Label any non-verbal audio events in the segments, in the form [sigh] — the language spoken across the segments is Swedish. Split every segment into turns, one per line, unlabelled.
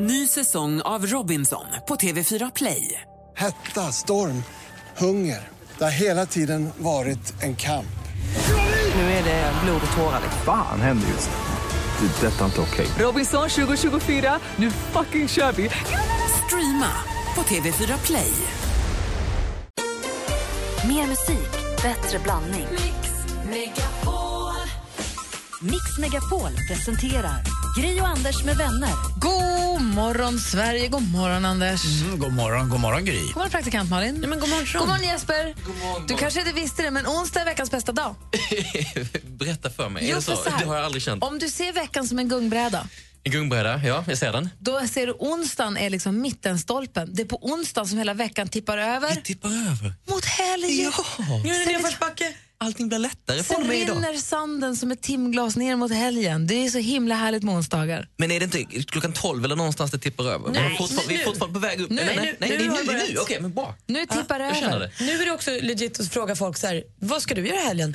Ny säsong av Robinson på TV4 Play.
Hetta, storm, hunger. Det har hela tiden varit en kamp.
Nu är det blod och tårar.
Fan händer just nu. Det. är Detta är inte okej.
Robinson 2024, nu fucking kör vi! Streama på TV4 Play.
Mer musik, bättre blandning. Mix Megapol presenterar Gri och Anders med vänner.
God morgon, Sverige. God morgon, Anders.
Mm,
God morgon, god morgon Gry.
God morgon, praktikant Malin. men god, morgon, god morgon, Jesper. Du kanske inte visste det, men onsdag är veckans bästa dag.
Berätta för mig. är
Jo,
det, så?
för så här.
det har jag aldrig känt.
Om du ser veckan som en gungbräda,
En gungbräda, ja, jag ser den.
då ser du onsdagen är liksom mittenstolpen. Det är på onsdagen som hela veckan tippar över
Tippar över.
mot helg.
Nu är
Sen-
det nedförsbacke. Allting blir lättare från och
Sen
med idag.
rinner sanden som ett timglas ner mot helgen. Det är så himla härligt med onsdagar.
Men är det inte klockan 12 eller någonstans det tippar över?
Nej,
vi, är fortfarande, vi är
nu.
fortfarande på väg upp.
Nu,
nej, nej,
nu,
nej,
nu
det är
har
nu,
jag
det är nu.
börjat.
Okej, men bra.
Nu tippar
Jag känner
över.
det.
Nu är det också legit att fråga folk så här, vad ska du göra i helgen?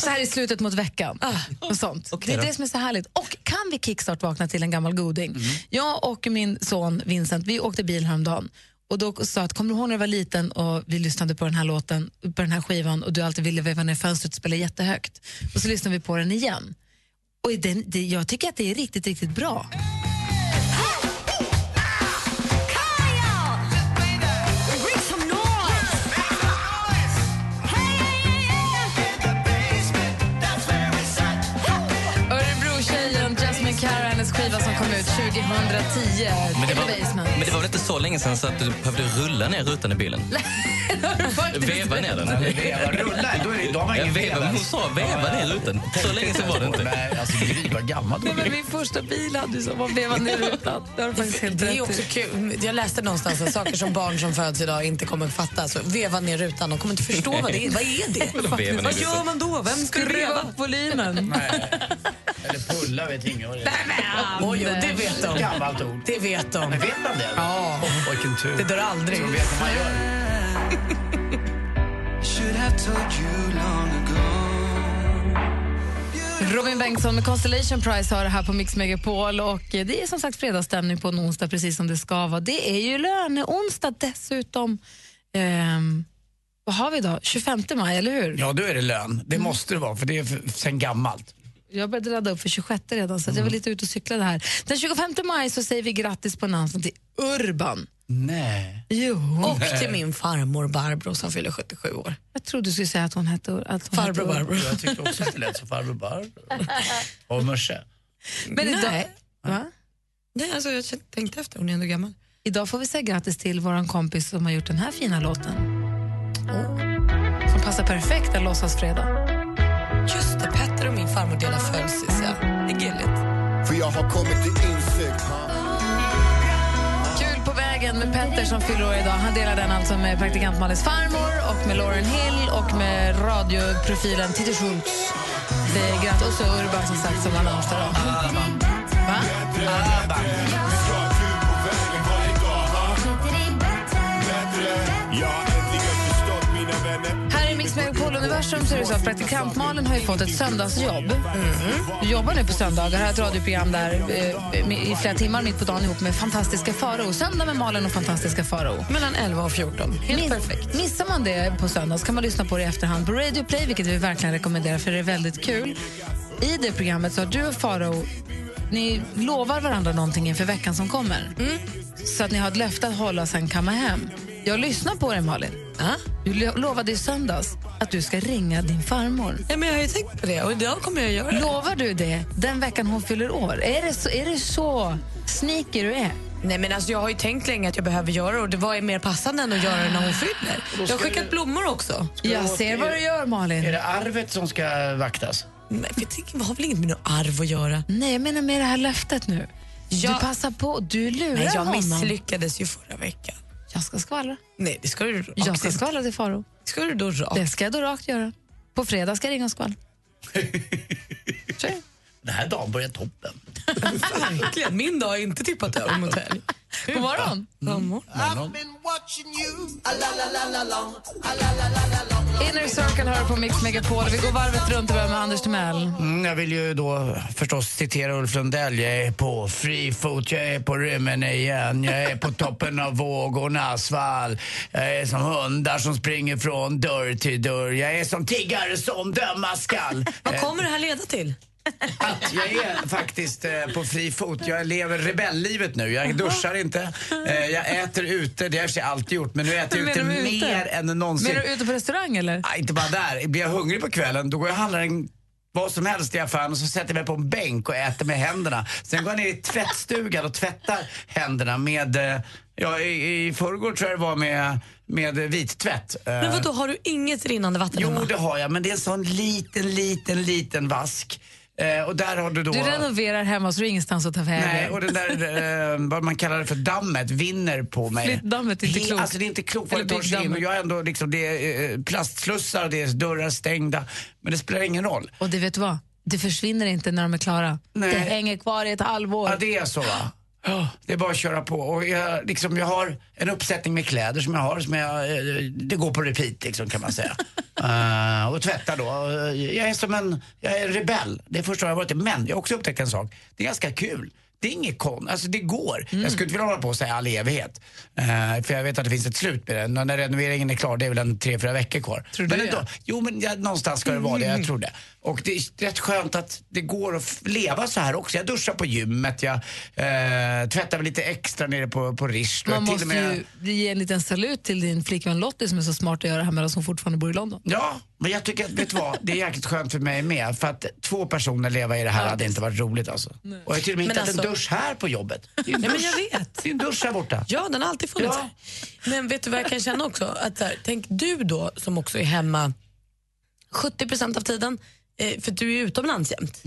Så här i slutet mot veckan.
Ah.
Och sånt.
Okej
det är
då. Mm.
det som är så härligt. Och kan vi kickstart vakna till en gammal goding? Jag och min son Vincent, vi åkte bil häromdagen och då sa att kommer du ihåg när du var liten och vi lyssnade på den här låten, på den här skivan och du alltid ville veva ner fönstret och spela jättehögt. Och så lyssnade vi på den igen. Och i den, det, jag tycker att det är riktigt, riktigt bra. Örebro-tjejen Jasmine Cara, hennes skiva som kom ut 2010,
Men det, var,
In the [laughs] basement.
men det var väl inte så länge sedan så att du behövde rulla ner rutan i bilen? Veva ner den.
Veva, rulla. Då, är det, då har man
Jag
ingen
vevar, men hon
vevens.
sa veva ner rutan. Så länge sedan var det inte.
Nej, alltså Gry, vad gammal du
Nej, men
är.
min första bil hade ju som var vevade ner rutan. Det har du faktiskt helt
Det
rätt
är
i.
också kul. Jag läste någonstans att saker som barn som föds idag inte kommer att fatta. Så veva ner rutan, de kommer inte förstå vad det är. Vad är det?
Vadå veva ner
Vad gör
rutan?
man då? Vem ska
Skruva
veva?
upp
[laughs]
volymen.
Nej. Eller pulla vet ingen vad det är.
Oj, oj, det vet de.
Gammalt ord.
Det vet
Men
de.
vet man det? Ja. Oh, vilken tur.
Det dör aldrig.
De vet vad man gör.
Robin Bengtsson med Constellation Prize har det här på Mix Megapol och eh, det är som sagt fredagsstämning på en onsdag precis som det ska vara. Det är ju löneonsdag dessutom. Ehm, vad har vi idag? 25 maj, eller hur?
Ja, då är det lön. Det måste det vara, för det är för, sen gammalt.
Jag började ladda upp för 26 redan så att jag
Mm.
var lite ute och cyklade här. Den 25 maj så säger vi grattis på namnsdagen till Urban.
Nej.
Jo.
Och till min farmor Barbro som fyller 77 år.
Jag trodde du skulle säga att hon hette Ur- att hon hette
Farbror
Urban.
Barbro.
Jag tyckte också att det lät som farbror Barbro. Och morse.
Men idag,
Nej.
va?
Nej, alltså jag tänkte efter. Hon är ändå gammal.
idag får vi säga grattis till vår kompis som har gjort den här fina låten. Oh. Som passar perfekt en låtsasfredag.
Just det, Petter och min farmor delar födelsedag. Det är gulligt.
För jag har kommit till insikt
Kul på vägen med Petter som fyller år idag. Han delar den alltså med praktikant Malins farmor och med Lauren Hill och med radioprofilen Titti Schultz. Det är grattis. Och så Urban som sagt som har namnsdag idag. Va? Här i Mix Megapol Universum så är det så att praktikant Malin har ju fått ett söndagsjobb. Du jobbar nu på söndagar, har ett radioprogram där eh, med- i flera timmar mitt på dagen ihop med fantastiska Farao. Söndag med Malin och fantastiska Farao.
Mellan 11 och 14. Helt
Miss-
perfekt.
Missar man det på söndag så kan man lyssna på det i efterhand på Radio Play, vilket vi verkligen rekommenderar för det är väldigt kul. I det programmet så har du och Farao ni lovar varandra någonting inför veckan som kommer.
Mm.
Så att ni har ett löfte att hålla och sen kamma hem. Jag lyssnar på dig, Malin. Du lo- lovade i söndags att du ska ringa din farmor.
Ja, men jag har ju tänkt på det och idag kommer jag göra det.
Lovar du det den veckan hon fyller år? Är det så, är det så sneaky du är?
Nej, men alltså, jag har ju tänkt länge att jag behöver göra det och det var ju mer passande än att göra det när hon fyller. Jag har skickat blommor också.
Jag ser vad du gör,
Är
Malin.
det arvet som ska vaktas?
Men jag tänker, vad har väl inget med något arv att göra?
Nej, jag menar med det här löftet nu.
Jag-
Du passar på, du lurar
Nej, jag
honom.
misslyckades ju förra veckan.
Jag ska skvallra.
Nej, det ska du rakt
Jag ska
inte.
skvallra till Faro.
ska du då rakt.
Det ska jag då rakt göra. På fredag ska jag ringa och skvallra. Så.
Den här dagen börjar toppen.
Verkligen, min dag är inte tippat över mot helg.
God morgon.
Mm.
God morgon.
I've been watching
Inner Circle hör på Mix Megapol. Vi går varvet runt och börjar med Anders Timell.
Mm, jag vill ju då förstås citera Ulf Lundell. Jag är på fri fot, jag är på rymmen igen. Jag är på toppen av vågornas vall. Jag är som hundar som springer från dörr till dörr. Jag är som tiggare som
[laughs]
dömas skall.
Vad kommer det här leda till?
att jag är faktiskt eh, på fri fot. Jag lever rebelllivet nu. Jag duschar inte. Eh, jag äter ute. Det har jag i och för sig alltid gjort. Men nu äter jag ute
Menar du ute?
mer än någonsin.
Menar du ute på restaurang eller?
Ah, inte bara där. Blir jag hungrig på kvällen då går jag och handlar en vad som helst i affären och så sätter jag mig på en bänk och äter med händerna. Sen går jag ner i tvättstugan och tvättar händerna med, eh, ja i, i förrgår tror jag det var med, med eh, vittvätt. Eh,
Men vadå, har du inget rinnande vatten
jo
hemma?
det har jag men det är en sån liten, liten, liten vask. Eh, och där har du då...
Du renoverar hemma så du har ingenstans att ta
Nej, och
vägen.
den där, eh, vad man kallar det för, dammet vinner på mig.
Flyttdammet är inte
He-
klokt.
Alltså det är inte klokt vad
Eller
det tar sig in. Och
byggdammet.
jag är ändå liksom, det är eh, plastslussar och det är dörrar stängda. Men det spelar ingen roll.
Och det vet du vad? Det försvinner inte när de är klara.
Nej.
Det hänger kvar i ett halvår.
Ja, det är så va? Ja, Det är bara att köra på. Och jag, liksom, jag har en uppsättning med kläder som jag har, som jag, eh, det går på repeat liksom, kan man säga. Eh, och tvätta då. Eh, Jag är som en, jag är en rebell. Det är första gången jag varit det. Men jag har också upptäckt en sak. Det är ganska kul. Det är inget kon, alltså det går. Jag skulle inte vilja hålla på och säga all evighet. Eh, för jag vet att det finns ett slut med det. När när renoveringen är klar, det är väl en tre, fyra veckor kvar.
Tror du
men
det? Mm.
ändå, Jo, men ja, någonstans ska det vara det, jag tror det. Och det är rätt skönt att det går att f- leva så här också. Jag duschar på gymmet, jag eh, tvättar mig lite extra nere på, på Rish.
Man
Till och
måste
med-
ju ge en liten salut till din flickvän Lottie som är så smart att göra här med oss som fortfarande bor i London.
Ja, men jag tycker att, vet du vad, det är jäkligt skönt för mig med. För att två personer leva i det här hade inte varit roligt alltså. Och jag har till och med
Men
hittat
alltså-
en dusch här på jobbet. Det är en
Ja, men
dusch.
jag vet.
Det är en dusch här borta.
Ja, den har alltid funnits.
Ja.
Men vet du vad jag kan känna också? Att, så här, tänk du då som också är hemma 70 av tiden, eh, för du är utomlands jämt.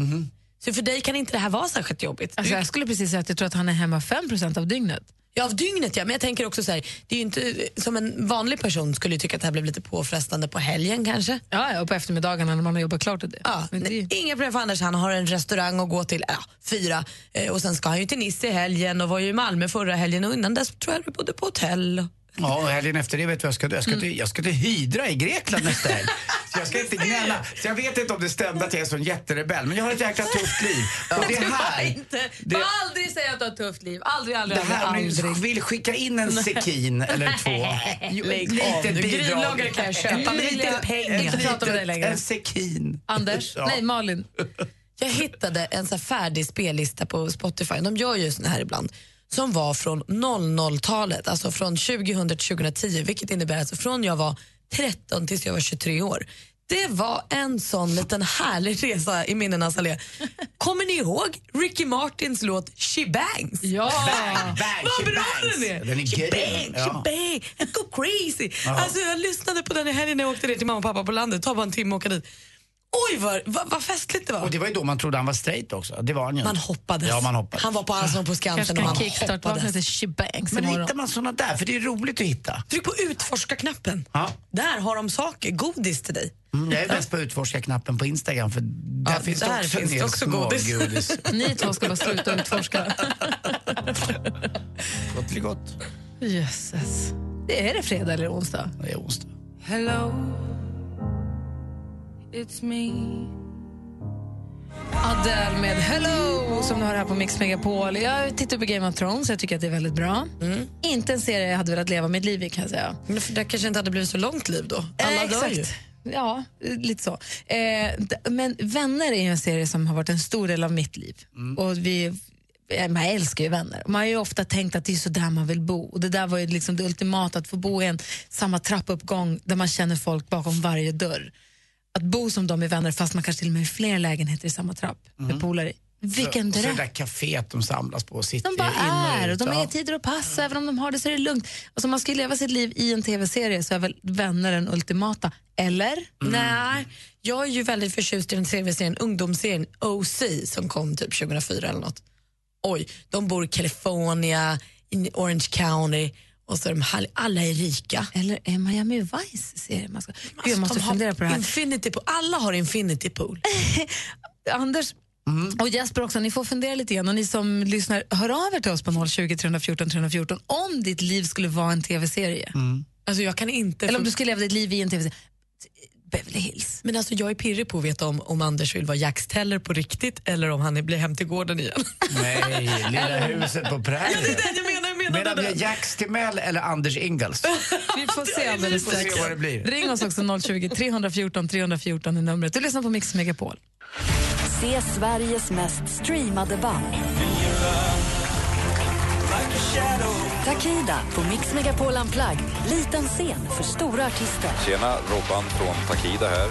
Så för dig kan inte det här vara särskilt jobbigt.
Alltså,
Du,
jag skulle precis säga att jag tror att han är hemma 5 av dygnet.
ja, av dygnet ja, men jag tänker också så här, det är ju inte eh, som en vanlig person skulle ju tycka att det här blev lite påfrestande på helgen kanske.
Ja, ja, och på eftermiddagarna när man har jobbat klart. och Det.
Ja,
Men det är ju-
nej, inga problem för Anders, han har en restaurang att gå till, ja, fyra. Eh, och sen ska han ju till Nice i helgen och var ju i Malmö förra helgen och innan dess tror jag du bodde på hotell.
Ja, och helgen efter det vet du vad jag ska,
Mm.
jag ska, till, jag ska till Hydra i Grekland nästa helg. Så jag ska inte gnälla. Så jag vet inte om det stämde att jag är en sån jätterebell, men jag har ett jäkla tufft liv. Och det här, det,
aldrig säga att du har ett tufft liv. Aldrig, aldrig,
det här om ni vill skicka in en sekin eller två. Jo,
Lägg
ett
av nu.
litet
Grinlagare
bidrag.
kan jag köpa, men
Julia,
lite pengar.
inte prata med dig längre.
En sekin.
Anders,
Ja.
nej Malin.
Jag hittade en så här färdig spellista på Spotify, de gör ju såna här ibland, som var från 00-talet, alltså från 2000 till 2010, vilket innebär alltså från jag var 13 tills jag var 23 år. Det var en sån liten härlig resa i minnenas allé. Kommer ni ihåg Ricky Martins låt She Bangs?
Ja.
Bang,
Vad
she
bra
bangs.
den är!
Den är
she
grym.
bang, she
Ja.
bang, I go crazy. Alltså jag lyssnade på den i helgen när jag åkte ner till mamma och pappa på landet, tar bara en timme och åka dit. Oj vad, vad, vad festligt det var.
Och det var ju då man trodde han var straight också. Det var han ju
Man
inte.
hoppades.
Ja, man hoppades.
Han var på Allsång
Kanske
på Skansen och
kan
han
kickstart-vakna
hoppades.
till Shebangs
Men
imorgon.
hittar man såna där? För det är roligt att hitta.
Tryck på utforska-knappen.
Ja.
Där har de saker, godis till dig.
Mm, jag är bäst på utforska-knappen på Instagram för där finns det
där
också
finns
en
det
del
också godis.
smågodis.
Ni två ska bara
[laughs]
sluta utforska.
Gott eller gott.
Jösses. Det är det fredag eller onsdag?
Det är onsdag.
Adele med Hello som du har här på Mix Megapol. Jag tittar på Game of Thrones, jag tycker att det är väldigt bra.
Mm.
Inte en serie jag hade velat leva mitt liv i kan jag säga.
Men för det kanske inte hade blivit så långt liv då. Alla
Eh,
dör ju.
Ja, eh, lite så. Eh, d- men Vänner är ju en serie som har varit en stor del av mitt liv. Och vi, eh, man älskar ju vänner. Man har ju ofta tänkt att det är så där man vill bo. Och Det där var ju liksom det ultimata, att få bo i en samma trappuppgång där man känner folk bakom varje dörr. Att bo som de är vänner fast man kanske till och med är fler lägenheter i samma trapp med polare. i. Vilken
Och så det
dröm!
där kaféet de samlas på och sitter
De bara
in
är
och
och
ut.
de
Ja.
är tider och pass. Även om de har det så är det lugnt. Alltså, man ska ju leva sitt liv i en tv-serie så är väl vänner den ultimata, eller?
Nej, jag är ju väldigt förtjust i den tv-serien, ungdomsserien OC som kom typ 2004 eller något. Oj, de bor i California, i Orange County och så är de härliga. Alla är rika.
Eller är Miami Vice serie man ska... Gud, jag
Alltså,
måste
de har
fundera på det här.
Infinity pool. Alla har infinity pool.
[laughs] Anders, Och Jesper också, ni får fundera lite grann. Och ni som lyssnar, hör av er till oss på 020 314 314 om ditt liv skulle vara en tv-serie.
Mm.
Alltså jag kan inte...
Mm. Eller om du skulle leva ditt liv i en tv-serie. Beverly Hills.
Men alltså jag är pirrig på att veta om, om Anders vill vara Jacks Teller på riktigt eller om han blir hem till gården igen.
Nej, Lilla huset på prärien. Medan det är Jax Timell eller Anders Ingalls.
Vi får se alldeles
Vi får se
strax.
vad det blir.
Ring oss också 020 314 314 är numret. Du lyssnar på Mix Megapol.
Se Sveriges mest streamade band. Takida på Mix Megapol Unplugged. Liten scen för stora artister.
Tjena, Robban från Takida här.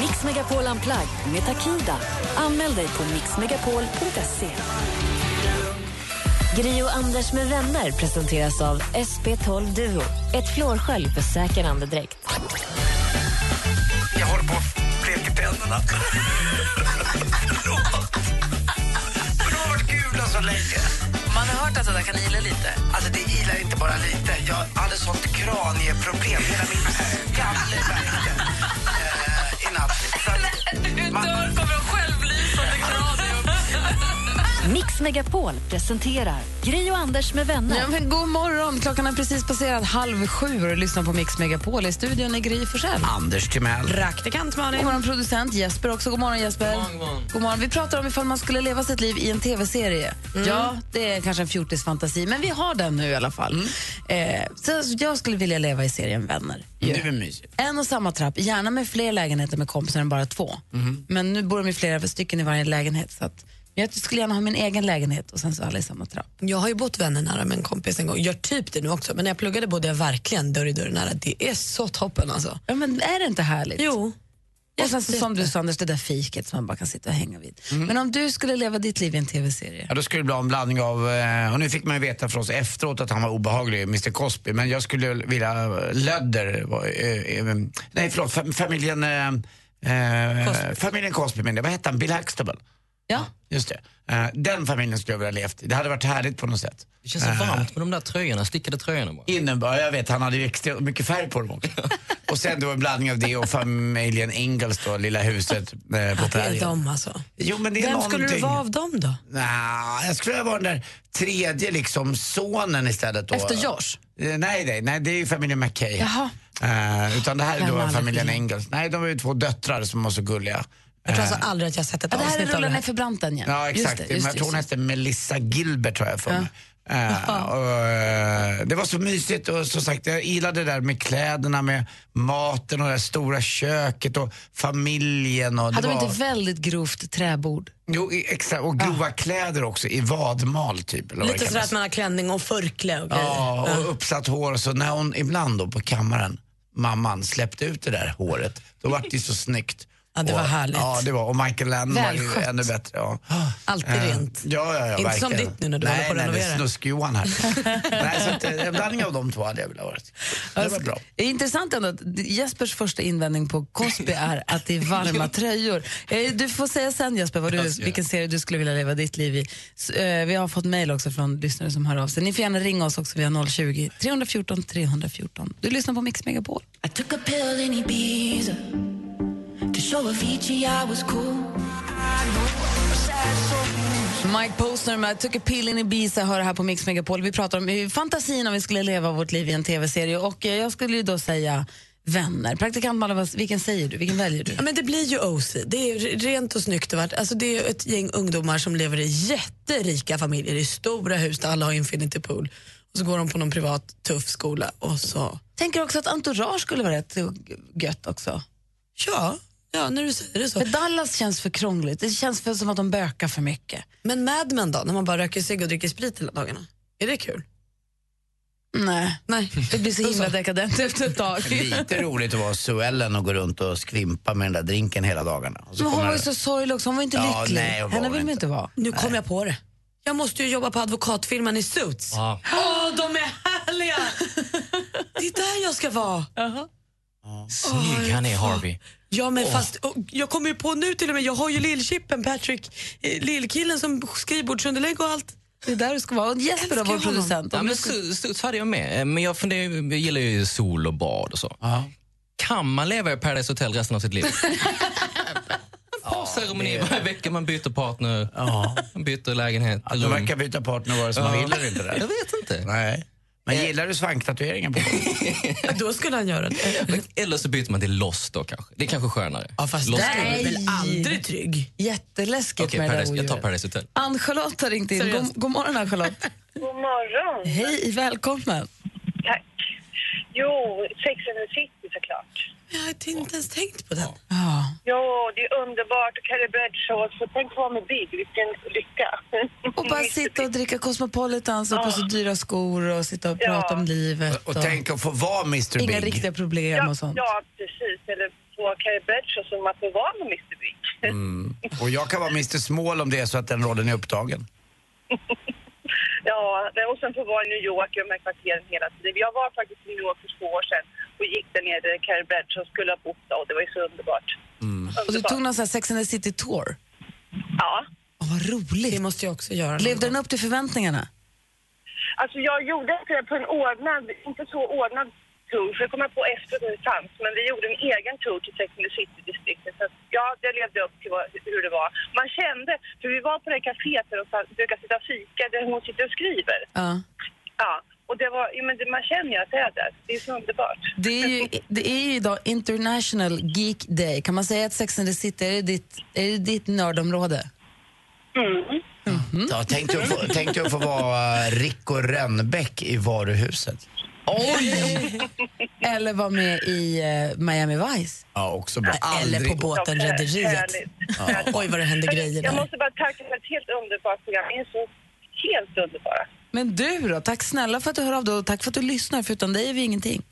Mix Megapol Unplugged med Takida. Anmäl dig på mixmegapol.se. Gri och Anders med vänner presenteras av SP12 Duo. Ett flårskölj för säker andedräkt.
Jag håller på att bleka tänderna. Förlåt. Men det har varit gula så länge.
Man har hört att det där kan ila lite.
Alltså det ilar inte bara lite. Jag hade sånt kranieproblem. Hela min skalle värkte eh, i natt. Så att man-
Mix Megapol presenterar Gri och Anders med vänner.
Ja, men god morgon! Klockan har precis passerat halv sju och du lyssnar på Mix Megapol. I studion är Gry Forssell.
Anders Timell.
Praktikant Malin. God morgon producent Jesper också. God morgon Jesper. God morgon. Vi pratar om ifall man skulle leva sitt liv i en tv-serie. Ja, det är kanske en fjortisfantasi, men vi har den nu i alla fall. Eh, så jag skulle vilja leva i serien Vänner. ju.
Det är väl mysigt.
En och samma trapp, gärna med fler lägenheter med kompisar än bara två.
Mhm.
Men nu bor de i flera stycken i varje lägenhet. Så att, men jag skulle gärna ha min egen lägenhet och sen så alla i samma trapp.
Jag har ju bott vänner nära med en kompis en gång. Gör typ det nu också. Men när jag pluggade bodde jag verkligen dörr i dörr nära. Det är så toppen alltså.
Ja, men är det inte härligt?
Jo.
Och sen så, som du sa Anders, det där fiket som man bara kan sitta och hänga vid.
Mm.
Men om du skulle leva ditt liv i en tv-serie?
Ja, då skulle det bli en blandning av, eh, och nu fick man ju veta från oss efteråt att han var obehaglig, Mr Cosby, men jag skulle vilja Lödder, var, eh, eh, nej förlåt, fam- familjen, eh, eh, familjen Cosby menar jag, vad hette han, Bill Huxtable?
Ja.
Just det. Eh, den familjen skulle jag vilja levt i. Det hade varit härligt på något sätt.
Det känns så varmt med de där tröjorna, stickade tröjorna bara.
Innebär, jag vet, han hade ju extremt mycket färg på dem också. och sen då en blandning av det och familjen Ingalls då, lilla huset eh, på
Det är
prärien.
dem alltså.
Jo men det är
Vem
någonting.
skulle du vara av dem då?
Nja, jag skulle vilja vara den där tredje liksom sonen istället då.
Efter George?
Eh, Nej, nej, nej, det är ju familjen McKay.
Jaha.
Eh, utan det här är
Vem
då
hade
familjen
det?
Ingalls. Nej, de är ju två döttrar som var så gulliga. Eh,
Jag tror alltså aldrig att jag har sett ett
Äh. Ja, det här är
avsnitt av det
rullar ner
här.
för branten igen.
Ja, exakt.
Just det, just
jag
det,
tror hon
just
hette Melissa Gilbert, har jag
[laughs]
för mig. Eh, och, eh, det var så mysigt och som sagt jag gillade det där med kläderna, med maten och det där stora köket och familjen. Och
det. Hade
det
de
var...
inte väldigt grovt träbord?
Jo, i- exakt. Och grova kläder också i vadmal typ. Eller vad det
Lite sådär
kallas.
att man har klänning och förkläde och grejer.
Ja, och uppsatt hår. Så när hon ibland då på kammaren, mamman, släppte ut det där håret, då var det ju så snyggt.
Ja, det var
Och-
härligt.
Ja, det var. Och Michael Lennon var ju
Välskött.
ännu bättre. Ja.
[gasps] Alltid
Eh,
rent.
Ja, ja, ja,
Inte som
verkligen.
ditt nu när du
nej,
håller på att
Nej, det är
renovera. [laughs]
snusk-Johan här. nej, så att, eh, en blandning av de två hade jag velat ha varit. Det var bra.
Det är intressant ändå att Jespers första invändning på Cosby är att det är
[laughs]
varma tröjor. Eh, Du får säga sen Jesper vad du, vilken serie du skulle vilja leva ditt liv i. S- eh, Vi har fått mejl också från lyssnare som hör av sig. Ni får gärna ringa oss också via 020-314 314. Du lyssnar på Mix Megapol.
I took a pill in Ibiza to show Avicii I was cool.
Mike Posner med Took a pill in Ibiza hör här på Mix Megapol. Vi pratar om eh, fantasin om vi skulle leva vårt liv i en tv-serie och eh, jag skulle ju då säga Vänner. Praktikant Malin, vad- vilken säger du? Vilken väljer du?
Ja, men det blir ju OC. Det är re- rent och snyggt. och vart- Alltså, det är ett gäng ungdomar som lever i jätterika familjer i stora hus där alla har infinity pool. Och så går de på någon privat tuff skola och så...
Tänker också att entourage skulle vara rätt gött också.
Ja, ja när du säger det så.
För Dallas känns för krångligt. Det känns för som att de bökar för mycket.
Men Mad Men då, när man bara röker cigg och dricker sprit hela dagarna? Är det kul?
Nej,
Nej.
det blir så himla dekadent efter ett tag.
Lite roligt att vara Suellen och gå runt och skvimpa med den där drinken hela dagarna. Och så
Men hon
kommer-
var ju så sorglig också. Hon var inte
Ja,
lycklig.
nej, hon var
Henne
hon
vill man inte
inte.
vara.
Nu kom jag på det. Jag måste ju jobba på advokatfirman i Suits. Åh,
Ja.
de är
[laughs]
härliga! det är där jag ska vara.
Snygg han är, Harvey.
Ja, men fast och, jag kommer ju på nu till och med, jag har ju lillchippen Patrick, eh, lillkillen som skrivbordsunderlägg och allt.
Det är där du ska vara. Och Jesper då,
Älskar
vår
honom.
producent.
[laughs]
Ja, men Studs hade jag med, Eh, men jag, funderar, jag gillar ju sol och bad och så.
Ja.
Kan man leva i Paradise Hotel resten av sitt
[laughs]
liv? Parceremoni varje vecka, man byter partner, man [laughs] byter lägenhet.
Att de verkar byta partner vare sig man vill eller inte. Där.
Jag vet inte. Eh.
Nej. Men gillar du svanktatueringar på
Då skulle han göra det.
Eller så byter man till Lost då kanske. Det är kanske skönare.
Ja, fast
Lost
där
är väl-
är väl aldrig trygg.
Jätteläskigt
Okej,
med det där
Paradise- jag tar
odjuret.
Paradise Hotel.
Ann-Charlotte har ringt in. God,
Seriöst.
god morgon, Ann-Charlotte.
God morgon.
Hej, välkommen.
Tack. Jo, Sex and the City såklart.
Jag har inte ens tänkt på den.
Ja.
Jo, det är underbart och Carrie Bradshaw. Så tänk att vara med Big, vilken lycka.
Och bara sitta och dricka Cosmopolitans och på så dyra skor och sitta och prata om livet.
Och tänk att få vara Mr
Inga
Big.
riktiga problem
ja,
och sånt.
ja, precis. Eller på Carrie Bradshaw som att få vara med Mr Big.
Mm. Och jag kan vara Mr Small om det är så att den rollen är upptagen.
Ja, det- och sen få vara i New York i de här kvarteren hela tiden. Jag var faktiskt i New York för två år sedan och gick där nere där Carrie Bradshaw skulle ha bott då, och det var ju så underbart.
Och du tog någon sån här Sex and the City Tour.
Ja.
Åh, vad roligt.
Det måste jag också göra.
Levde den upp till förväntningarna?
Alltså jag gjorde inte det på en ordnad, inte så ordnad tour, för det kom jag på efter det fanns, men vi gjorde en egen tour till Sex and the City-distriktet. Så att, ja, det levde upp till vad, hur det var. Man kände, för vi var på det här kaféet där de sa- brukar sitta och fika, där hon sitter och skriver.
Ja.
Ja, och det var, ja, men det, man känner ju att det är där. Det är så underbart.
Det är, ju, det är ju idag International Geek Day. Kan man säga att Sex and the City är det ditt, är det ditt nördområde?
Mm.
Mm. Ja, tänk dig att få, tänk dig att få vara eh, Rico Rennbeck i varuhuset.
Oj! [laughs] Eller vara med i eh, Miami Vice.
Ja, också bra.
Eller på
Aldrig-
båten
Ja,
Rederiet.
härligt.
Ja. Oj, vad det hände grejer
Alltså, Jag
där.
måste bara tacka för ett helt underbart program. Ni är så helt underbara.
Men du då? Tack snälla för att du hör av dig och tack för att du lyssnar, för utan dig är vi ingenting.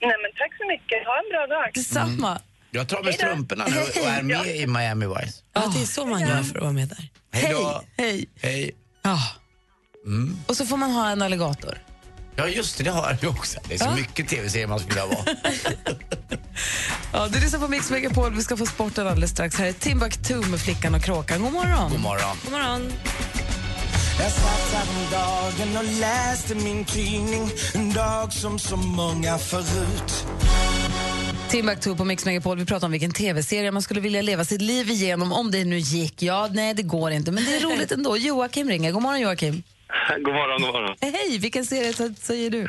Nej, men tack så mycket. Ha en bra dag.
Detsamma.
Mm. Jag tar med strumporna nu och är med i Miami Vice.
Ja, det är så man gör för att vara med där.
Hej då!
Hej!
Hej.
Ja.
Mm.
Och så får man ha en alligator.
Ja, just det, det har jag också. Det är så mycket tv-serier man skulle vilja vara.
Ja, du lyssnar på Mix Megapol. Vi ska få sporten alldeles strax. Här är Timbuktu med Flickan och Kråkan. God morgon!
God morgon.
God morgon.
Jag satt häromdagen och läste min tidning En dag som så många förut
Timbuktu på Mix Megapol. Vi pratar om vilken tv-serie man skulle vilja leva sitt liv igenom om det nu gick. Ja, nej, det går inte, men det är roligt ändå. Joakim ringer. God morgon, Joakim.
[laughs] God morgon, god morgon.
Eh, Hej, vilken serie så- säger du?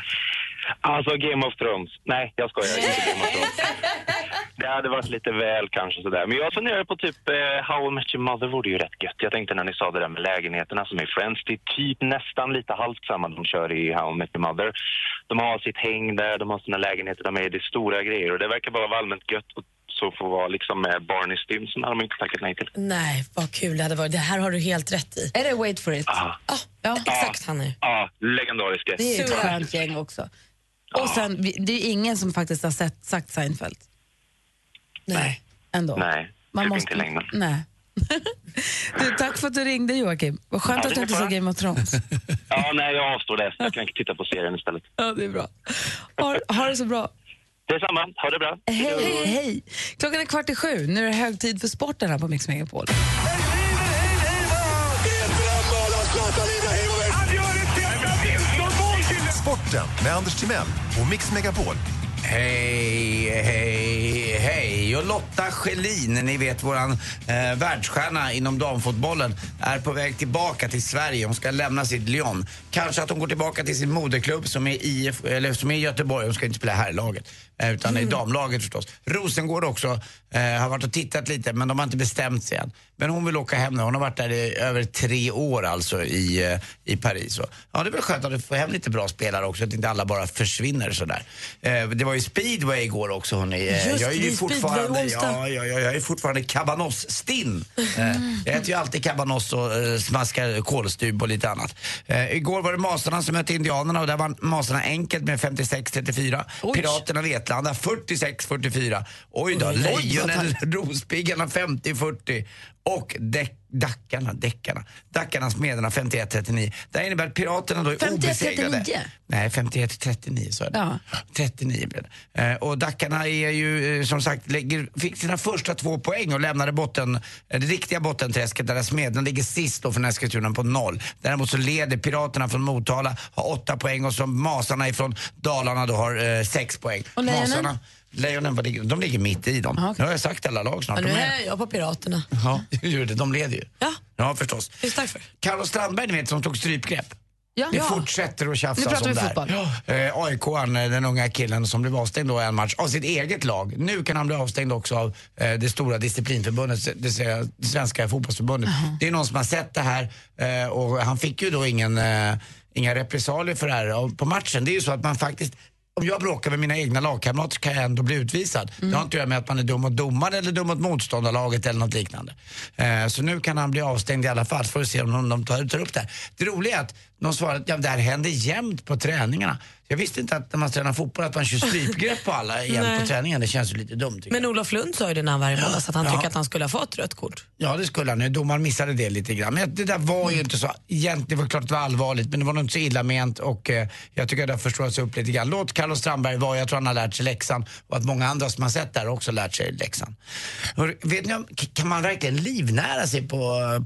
Alltså Game of Thrones. Nej, jag skojar. Inte Game of Thrones. Det hade varit lite väl kanske sådär. Men jag funderar på typ eh, How I Met Your Mother vore ju rätt gött. Jag tänkte när ni sa det där med lägenheterna som är i Friends. Det är typ nästan lite halvt samma de kör i How I Met Your Mother. De har sitt häng där, de har sina lägenheter där med. Det är stora grejer och det verkar bara vara allmänt gött. Och så får vara liksom med Barney Stinson hade de inte tackat nej till.
Nej, vad kul det hade varit. Det här har du helt rätt i.
Är det Wait for it?
Ah,
Ja,
exakt han är.
ah, legendariska.
Det är ett skönt gäng också. Och sen, vi- det är ingen som faktiskt har sett, sagt Seinfeld. Nej. Ändå.
Nej, typ inte längre.
Nej. [laughs] du, tack för att du ringde, Joakim. Vad skönt
Ja,
att du
det
inte
är
såg
bra.
Game of
[laughs]
Thrones.
Ja, nej, jag avstår det. Jag kan titta på serien istället.
Ja, det är bra. Ha, ha det så bra.
Detsamma. Ha det bra.
Hej, hej. Klockan är kvart i sju. Nu är det hög tid för sporten här på Mix Megapol.
Sporten med Anders Timell och Mix Megapol.
Hej, hej, hej. Och Lotta Schelin, ni vet våran eh, världsstjärna inom damfotbollen, är på väg tillbaka till Sverige. Hon ska lämna sitt Lyon. Kanske att hon går tillbaka till sin moderklubb som är, IF, eller, som är i Göteborg. Hon ska inte spela herrlaget, eh, utan
Mm.
i damlaget förstås. Rosengård också eh, har varit och tittat lite, men de har inte bestämt sig än. Men hon vill åka hem nu. Hon har varit där i över tre år alltså i, eh, i Paris. Och, ja, det är väl skönt att få hem lite bra spelare också, att inte alla bara försvinner sådär. Eh, det var ju speedway igår också hörni. Eh,
Just
jag är
det, det
ju
är
fortfarande,
speedway onsdag.
ja, ja, ja, jag är fortfarande kabanoss-stinn.
Mm.
Eh, jag äter ju alltid kabanoss och eh, smaskar kolstybb och lite annat. Eh, igår var det Masarna som mötte Indianerna och där vann Masarna enkelt med 56-34. Piraterna Vetlanda 46-44. Oj då,
Oj, oj, vad
Lejonen,
tajt.
[laughs] Rospiggarna 50-40 och däck Dackarna, Däckarna, Dackarna, Smederna 51-39. Det här innebär att Piraterna då är
51-39?
obesegrade. Nej, 51-39 så är det.
Ja.
39 blev det. Eh, och Dackarna är ju eh, som sagt, lägger, fick sina första två poäng och lämnade botten, eh, det riktiga bottenträsket där Smederna ligger sist då från Eskilstuna på noll. Däremot så leder Piraterna från Motala, har åtta poäng och så Masarna ifrån Dalarna då har eh, sex poäng.
Och Lejonen?
Masarna, Lejonen, var ligger, de ligger mitt i dem. Nu har jag sagt alla lag snart.
Men nu
De är-
är jag på Piraterna.
[laughs] Ja, det gjorde de. De led ju. Ja. Ja, förstås.
Just därför.
Carlos Strandberg, ni vet, som tog strypgrepp.
Ja.
Vi
Ja.
fortsätter att tjafsa
Nu pratar
som
vi
där.
fotboll.
Ja. Eh, AIK-an, eh, den unga killen som blev avstängd då i en match av sitt eget lag. Nu kan han bli avstängd också av eh, det stora disciplinförbundet, det, s- det svenska fotbollsförbundet. Det är någon som har sett det här eh, och han fick ju då ingen, eh, inga repressalier för det här Och på matchen. Det är ju så att man faktiskt om jag bråkar med mina egna lagkamrater så kan jag ändå bli utvisad. Det har inte att göra med att man är dum mot domaren eller dum mot motståndarlaget eller något liknande. Eh, så nu kan han bli avstängd i alla fall, så får vi se om de, de tar, tar upp det här. Det roliga är att de svarar att ja, det här händer jämt på träningarna. Jag visste inte att när man tränar fotboll att man kör
[laughs]
strypgrepp på alla jämt på
Nej.
träningen. Det känns ju lite dumt. tycker jag.
Men Olof Lund sa ju det när han var här i måndags att han
Ja.
tycker att han skulle ha fått rött kort.
Ja, det skulle han. ju. Domaren missade det lite grann. Men det där var ju inte så... Egentligen det var klart att det var allvarligt, men det var nog inte så illa ment och eh, jag tycker att det har förstorats upp lite grann. Låt Carlos Strandberg vara. Jag tror han har lärt sig läxan och att många andra som har sett det här också har lärt sig läxan. Hör, Vet ni om, k- kan man verkligen livnära sig på,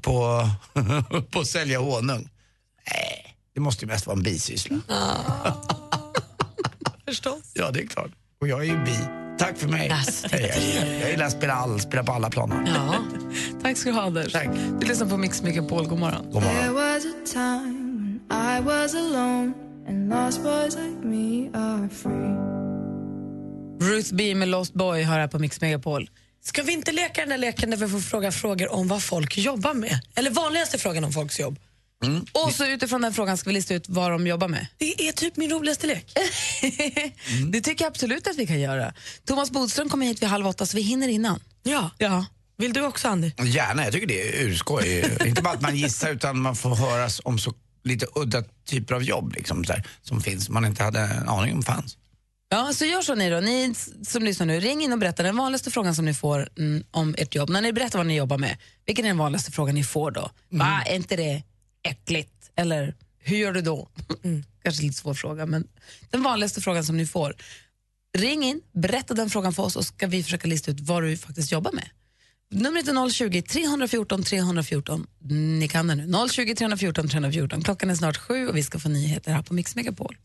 på, [laughs] på att sälja honung? Nej, det måste ju mest vara en bisyssla. [laughs]
Förstås.
Ja, det är klart. Och jag är ju bi. Tack för mig. Hej, hej. Jag gillar att spela all, spela på alla planer.
Ja. Tack ska du ha, Anders. Du lyssnar på Mix Megapol. God morgon.
God
There was a time when I was alone and lost boys like me are free.
Ruth B med Lost Boy hör här på Mix Megapol.
Ska vi inte leka den där leken där vi får fråga frågor om vad folk jobbar med? Eller vanligaste frågan om folks jobb.
Och så utifrån den frågan ska vi lista ut vad de jobbar med. Mm.
Det är typ min
[laughs]
roligaste lek.
Det tycker jag absolut att vi kan göra. Thomas Bodström kommer hit vid halv åtta så vi hinner innan.
Ja.
ja.
Vill du också, Andy?
Gärna, jag tycker det är urskoj. inte bara att man gissar utan man får höras om så lite udda typer av jobb liksom, så här, som finns som man inte hade en aning om fanns.
Ja, så gör så ni då. Ni som lyssnar nu, ring in och berätta den vanligaste frågan som ni får mm, om ert jobb. När ni berättar vad ni jobbar med, vilken är den vanligaste frågan ni får då? Va, är inte det äckligt? Eller hur gör du då? [laughs] Kanske lite svår fråga, men den vanligaste frågan som ni får. Ring in, berätta den frågan för oss och ska vi försöka lista ut vad du faktiskt jobbar med. Numret är 020 314 314. Ni kan det nu. 020 314 314. Klockan är snart sju och vi ska få nyheter här på Mix Megapol.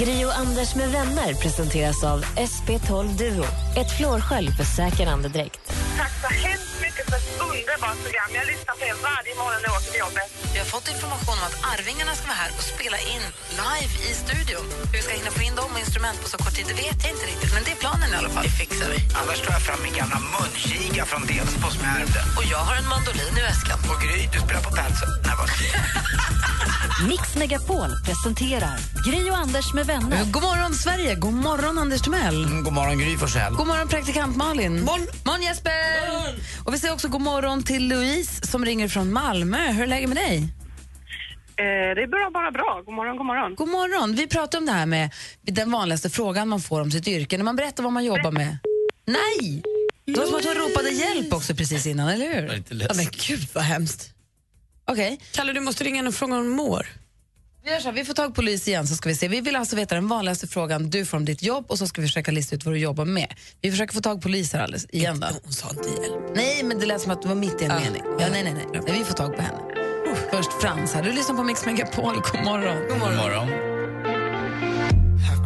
Gri och Anders med vänner presenteras av SP12 Duo. Ett flårskölj för säker andedräkt.
Tack så hemskt mycket för ett underbart program. Jag lyssnar på er varje morgon när jag åker till jobbet.
Vi har fått information om att Arvingarna ska vara här och spela in live i studion. Hur vi ska hinna få in dem och instrument på så kort tid det vet jag inte riktigt, men det är planen i alla fall. Det fixar vi.
Annars tar jag fram min gamla munkiga från Delsbo som jag ärvde.
Och jag har en mandolin i väskan.
Och Gry, du spelar på Patsy.
Mix Megapol presenterar Gri och Anders med vänner.
Eh, God morgon, Sverige! God Mm, morgon, Anders Timell!
God morgon Gry Forssell.
God morgon, praktikant Malin. Morgon, Jesper! Och Vi säger också god morgon till Louise som ringer från Malmö. Hur är läget med dig?
Eh, det är bara, bara bra. God morgon, god morgon.
God morgon. Vi pratade om det här med den vanligaste frågan man får om sitt yrke när man berättar vad man jobbar med. Nej! Det var som att hon ropade hjälp också precis innan, eller hur?
Ja, men gud vad hemskt.
Okej.
Kalle, du måste ringa in och fråga hur hon mår.
Vi, gör så här, vi får tag på Louise igen så ska vi se. Vi vill alltså veta den vanligaste frågan du får om ditt jobb och så ska vi försöka lista ut vad du jobbar med. Vi försöker få tag på Louise här alldeles igen då.
Hon sa inte hjälp.
Nej, men det lät som att det var mitt i en mening. Ja, nej, nej, nej, nej. Vi får tag på henne. Först Frans här. Du lyssnar på Mix Megapol. God morgon. God morgon.
I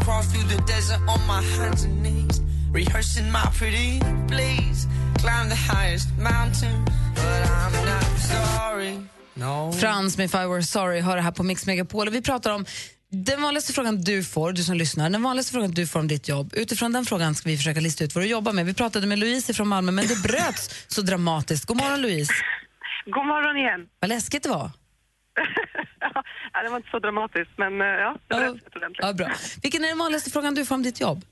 crawl through the desert on my hands and knees, rehearsing my pretty please. Climb the highest mountain, but I'm not sorry. No.
Frans med If I Were Sorry hör det här på Mix Megapol. Och vi pratar om den vanligaste frågan du får, du som lyssnar, den vanligaste frågan du får om ditt jobb. Utifrån den frågan ska vi försöka lista ut vad du jobbar med. Vi pratade med Louise från Malmö, men det bröts så dramatiskt. God morgon Louise.
God morgon igen.
Vad läskigt det var.
Ja, det var inte så dramatiskt, men eh, ja, det var rätt ordentligt.
Ja, bra. Vilken är den vanligaste frågan du får om ditt jobb?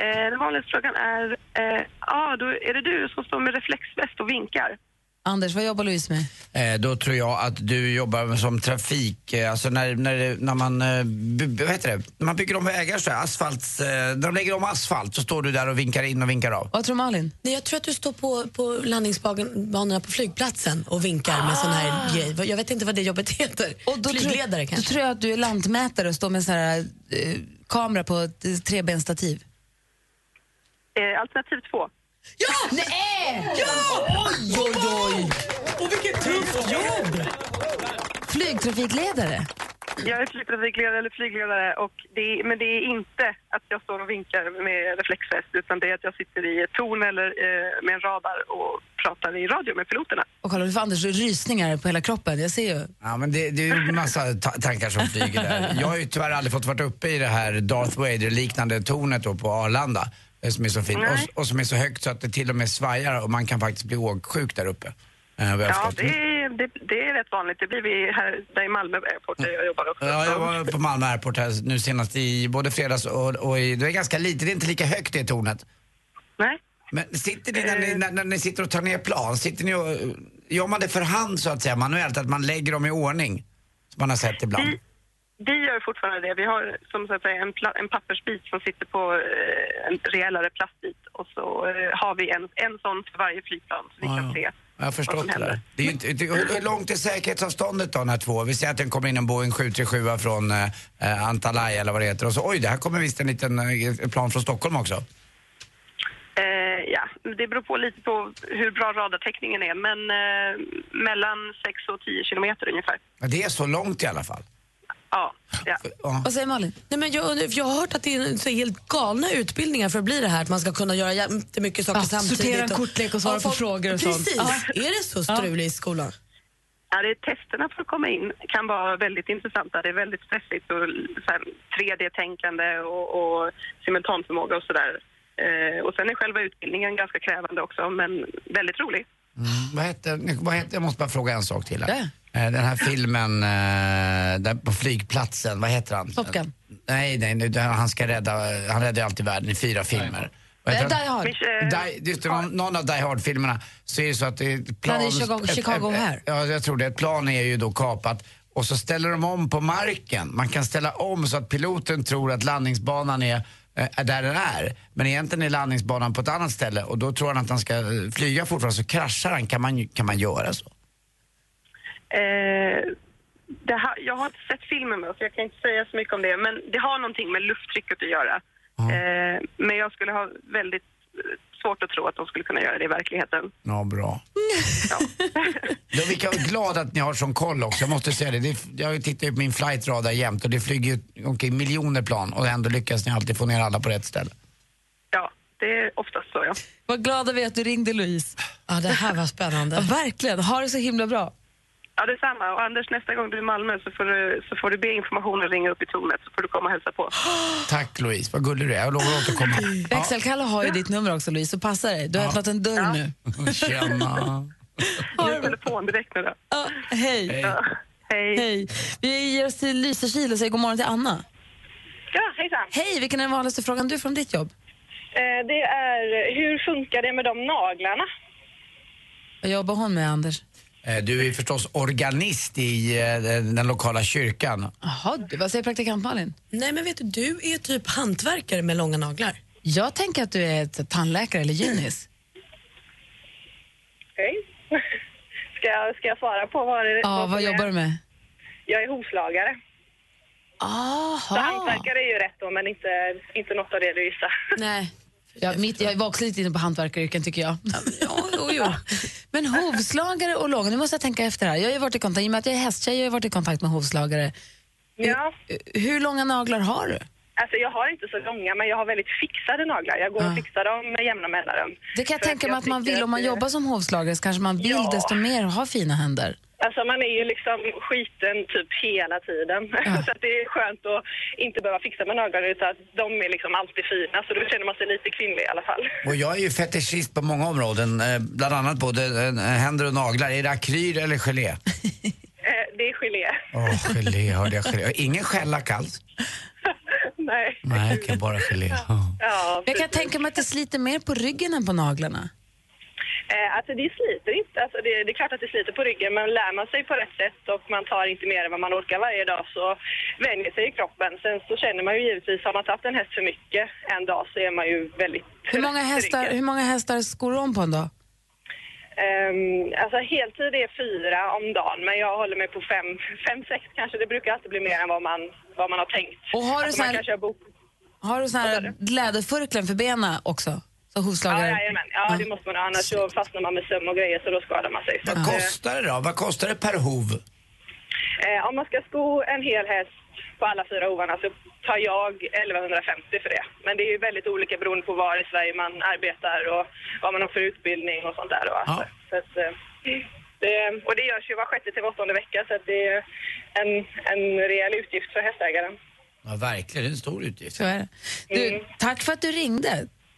Eh, den vanligaste frågan är, eh, ah, då är det du som står med reflexväst och vinkar?
Anders, vad jobbar Louise med?
Eh, då tror jag att du jobbar som trafik, eh, alltså när, när, det- när man, eh, by- by- vad heter det, när man bygger om vägar så här, asfalt, eh, när de lägger om asfalt så står du där och vinkar in och vinkar av.
Vad tror Malin?
Nej, jag tror att du står på, på landningsbanorna på flygplatsen och vinkar med sån här
Ah.
grej. Jag vet inte vad det jobbet heter.
Och då
Flygledare
tror, Då
kanske?
tror jag att du är lantmätare och står med en sån här eh, kamera på ett eh, trebensstativ.
Eh, alternativ två.
Ja! Nej! Ja! Oj, oj, oj! Och vilket tufft jobb!
Flygtrafikledare?
Jag är flygtrafikledare eller flygledare, och det är, men det är inte att jag står och vinkar med reflexväst utan det är att jag sitter i ett torn eller eh, med en radar och pratar i radio med piloterna.
Och kolla, du får Anders rysningar på hela kroppen. Jag ser ju.
Ja, men det, det är ju en massa ta- tankar som flyger där. Jag har ju tyvärr aldrig fått vara uppe i det här Darth Vader-liknande tornet då på Arlanda. eh, Som är så fint.
Nej.
Och, och som är så högt så att det till och med svajar och man kan faktiskt bli åksjuk där uppe. eh, vad jag
Ja,
förstått.
det är, det, det är rätt vanligt. Det blir vi här där i Malmö Airport där jag jobbar också.
Mm. Ja, jag var på Malmö Airport här nu senast i både fredags och, och i, det är ganska litet, det är inte lika högt det tornet.
Nej.
Men sitter ni när, ni
Mm.
när, när ni sitter och tar ner plan, sitter ni och, eh, gör man det för hand så att säga manuellt, att man lägger dem i ordning? Som man har sett ibland.
Mm. Vi gör fortfarande det. Vi har som så att säga, en, pla- en pappersbit som sitter på eh, en rejälare plastbit och så eh, har vi en, en sån för varje flygplan så vi
Ja,
kan
ja.
se.
Jag har förstått
vad
det
som
där.
händer.
Det är ju inte, det, hur hur långt är säkerhetsavståndet då, de här två? Vi säger att den kommer in en Boeing 737 från eh, eh, Antalya eller vad det heter och så oj, det här kommer visst en liten eh, ett plan från Stockholm också.
Eh, ja, det beror på lite på hur bra radartäckningen är men eh, mellan 6 och 10 kilometer ungefär.
Men det är så långt i alla fall.
Ja, ja.
Vad säger Malin? Nej, men jag, undrar, för jag har hört att det är så helt galna utbildningar för att bli det här, att man ska kunna göra jättemycket saker
Ja,
samtidigt.
sortera en kortlek och svara
Ja,
på frågor och sånt.
precis.
Ja.
Är det så struligt i skolan?
Ja, det är testerna för att komma in kan vara väldigt intressanta. Det är väldigt stressigt och så här 3D-tänkande och, och simultanförmåga och sådär. Eh, och sen är själva utbildningen ganska krävande också, men väldigt rolig.
mm, Vad hette, vad hette, jag måste bara fråga en sak till. Här. Eh, Den här filmen eh, där på flygplatsen, vad heter han?
Top Gun.
Nej, nej, nu, det- han ska rädda, han räddar ju alltid världen i fyra filmer. Vad heter
Die
han?
Hard.
Eh,
Die, just det, någon, någon av Die Hard-filmerna så är det så att det är ett plan...
är Chicago-
ett- ett-
Chicago
ett-
här.
Ja, jag tror det. Ett plan är ju då kapat och så ställer de om på marken. Man kan ställa om så att piloten tror att landningsbanan är eh, är där den är. Men egentligen är landningsbanan på ett annat ställe och då tror han att han ska eh, flyga fortfarande så kraschar han. Kan man, ju- kan man göra så?
Eh, det här, jag har inte sett filmen med, så jag kan inte säga så mycket om det, men det har någonting med lufttrycket att göra. Eh, men jag skulle ha väldigt eh, svårt att tro att de skulle kunna göra det i verkligheten.
Ja, bra.
[laughs]
Ja. vilka jag är glad att ni har sån koll också. Jag måste säga det. det är, jag tittar ju på min flightradar jämt och det flyger ju omkring miljoner plan och ändå lyckas ni alltid få ner alla på rätt ställe.
Ja, det är oftast så, ja.
Vad glada vi är att du ringde, Louise.
Ja, det här var spännande.
Ja, verkligen. Ha det så himla bra.
Ja, detsamma. Och Anders, nästa gång du är i Malmö så får du, så får du be informationen ringa upp i tornet så får du komma och hälsa på.
Tack Louise, vad gullig du är. Jag lovar att återkomma.
Växelkalle har ju ditt nummer också, Louise, så passa dig. Du har öppnat en dörr nu.
Tjena.
[laughs] Ge telefon direkt nu då.
Ja, hej.
Hej.
Ja, hej.
Hej. Vi ger oss till Lysekil och säger god morgon till Anna.
Ja, hejsan.
Hej, vilken är den vanligaste frågan du får om ditt jobb?
Eh, Det är, hur funkar det med de naglarna?
Vad jobbar hon med, Anders?
Eh, Du är förstås organist i eh, den den lokala kyrkan.
Jaha, du, vad säger praktikant Malin?
Nej, men vet du, du är typ hantverkare med långa naglar.
Jag tänker att du är ett tandläkare eller gynis.
Okej. [laughs] Ska, jag- ska jag svara på vad [laughs] det
Ja,
som
Ah, vad
är?
jobbar du med?
Jag är hovslagare. Så
Aha.
hantverkare är ju rätt då, men inte, inte något av det du gissar.
Nej. Ja, mitt, jag var också lite inne på hantverkaryrken tycker jag. [laughs] jo, jo. Men hovslagare och lång, nu måste jag tänka efter här. Jag har ju varit i kontakt, i och med att jag är hästtjej, jag har ju varit i kontakt med hovslagare.
Ja.
Hur, hur långa naglar har du?
Alltså jag har inte så långa, men jag har väldigt fixade naglar. Jag går
Ah.
och fixar dem med jämna mellanrum.
Det kan jag
Så
tänka mig att man
tycker
vill, om man
det-
jobbar som hovslagare så kanske man vill
Ja.
desto mer ha fina händer.
Alltså man är ju liksom skiten typ hela tiden. [laughs]
Ah.
Så att det är skönt att inte behöva fixa med naglarna utan att de är liksom alltid fina. Så då känner man sig lite kvinnlig i alla fall.
Och jag är ju fetischist på många områden, eh, bland annat både eh, händer och naglar. Är det akryl eller gelé?
Eh, det är gelé.
Åh, gelé hörde jag. Gelé. Ingen skällack alls?
[laughs] Nej.
Mm.
Nej, jag kan bara gelé. Ja.
Ja,
Jag kan tänka mig att det sliter mer på ryggen än på naglarna.
Eh, alltså det sliter inte. Alltså det, det är klart att det sliter på ryggen men lär man sig på rätt sätt och man tar inte mer än vad man orkar varje dag så vänjer sig ju kroppen. Sen så känner man ju givetvis, har man tagit en häst för mycket en dag så är man ju väldigt
Hur många hästar, hur många hästar skor du om på en dag?
Ehm, alltså heltid är fyra om dagen men jag håller mig på fem, fem sex kanske. Det brukar alltid bli mer än vad man, vad man har tänkt.
Och har du
alltså
så
man
här-
kan köra bok.
Har du sån här läderfurklen för benen också? Så
Ja,
hovslagare?
jajamän. ja, det måste man ha. Annars så fastnar man med söm och grejer så då skadar man sig. Så
Vad
att, eh,
kostar det då? Vad kostar det per hov?
Eh, om man ska sko en hel häst på alla fyra hovarna så tar jag 1150 för det. Men det är ju väldigt olika beroende på var i Sverige man arbetar och vad man har för utbildning och sånt där. Och allt det. så att, eh, det, och det görs ju var sjätte till var åttonde vecka så att det är en, en rejäl utgift för hästägaren. Mm.
Ja, verkligen. Det är en stor utgift.
Så är det. Du, tack för att du ringde.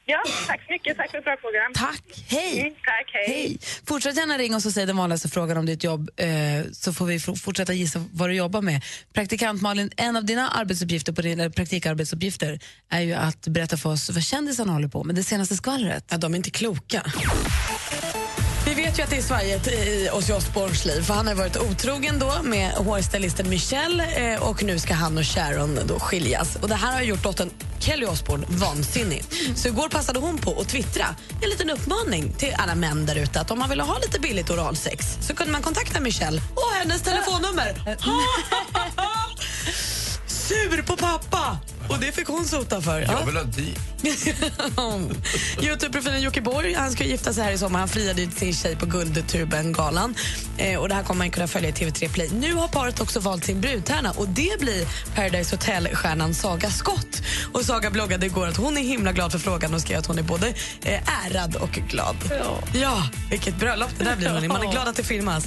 Ja, tack så mycket. Tack för ett bra program.
Tack. Hej.
Mm, tack, hej.
Hej. Fortsätt gärna ringa oss och säg den vanligaste frågan om ditt jobb eh, så får vi f- fortsätta gissa vad du jobbar med. Praktikant Malin, en av dina arbetsuppgifter på dina praktikarbetsuppgifter är ju att berätta för oss vad kändisarna håller på med, det senaste skvallret. Ja, de är inte kloka.
Vi vet ju att det är svajigt i Ozzy Osbournes liv för han har varit otrogen då med hårstylisten Michelle eh, och nu ska han och Sharon då skiljas. Och det här har gjort dottern Kelly Osbourne vansinnig. Så igår passade hon på att twittra en liten uppmaning till alla män där ute att om man ville ha lite billigt oralsex så kunde man kontakta Michelle och hennes telefonnummer. Sur på pappa! Och det fick hon sota för. Ja.
Jag vill ha
[laughs]
dit.
Youtube-profilen Jocke Borg han ska gifta sig här i sommar. Han friade till sin tjej på Guldtuben-galan. Eh, och det här kommer man kunna följa i TV3 Play. Nu har paret också valt sin brudtärna och det blir Paradise Hotel-stjärnan Saga Scott. Och Saga bloggade igår att hon är himla glad för frågan och skrev att hon är både eh, ärad och glad. Ja. vilket bröllop det där blir. hörni. Man är glad att det filmas.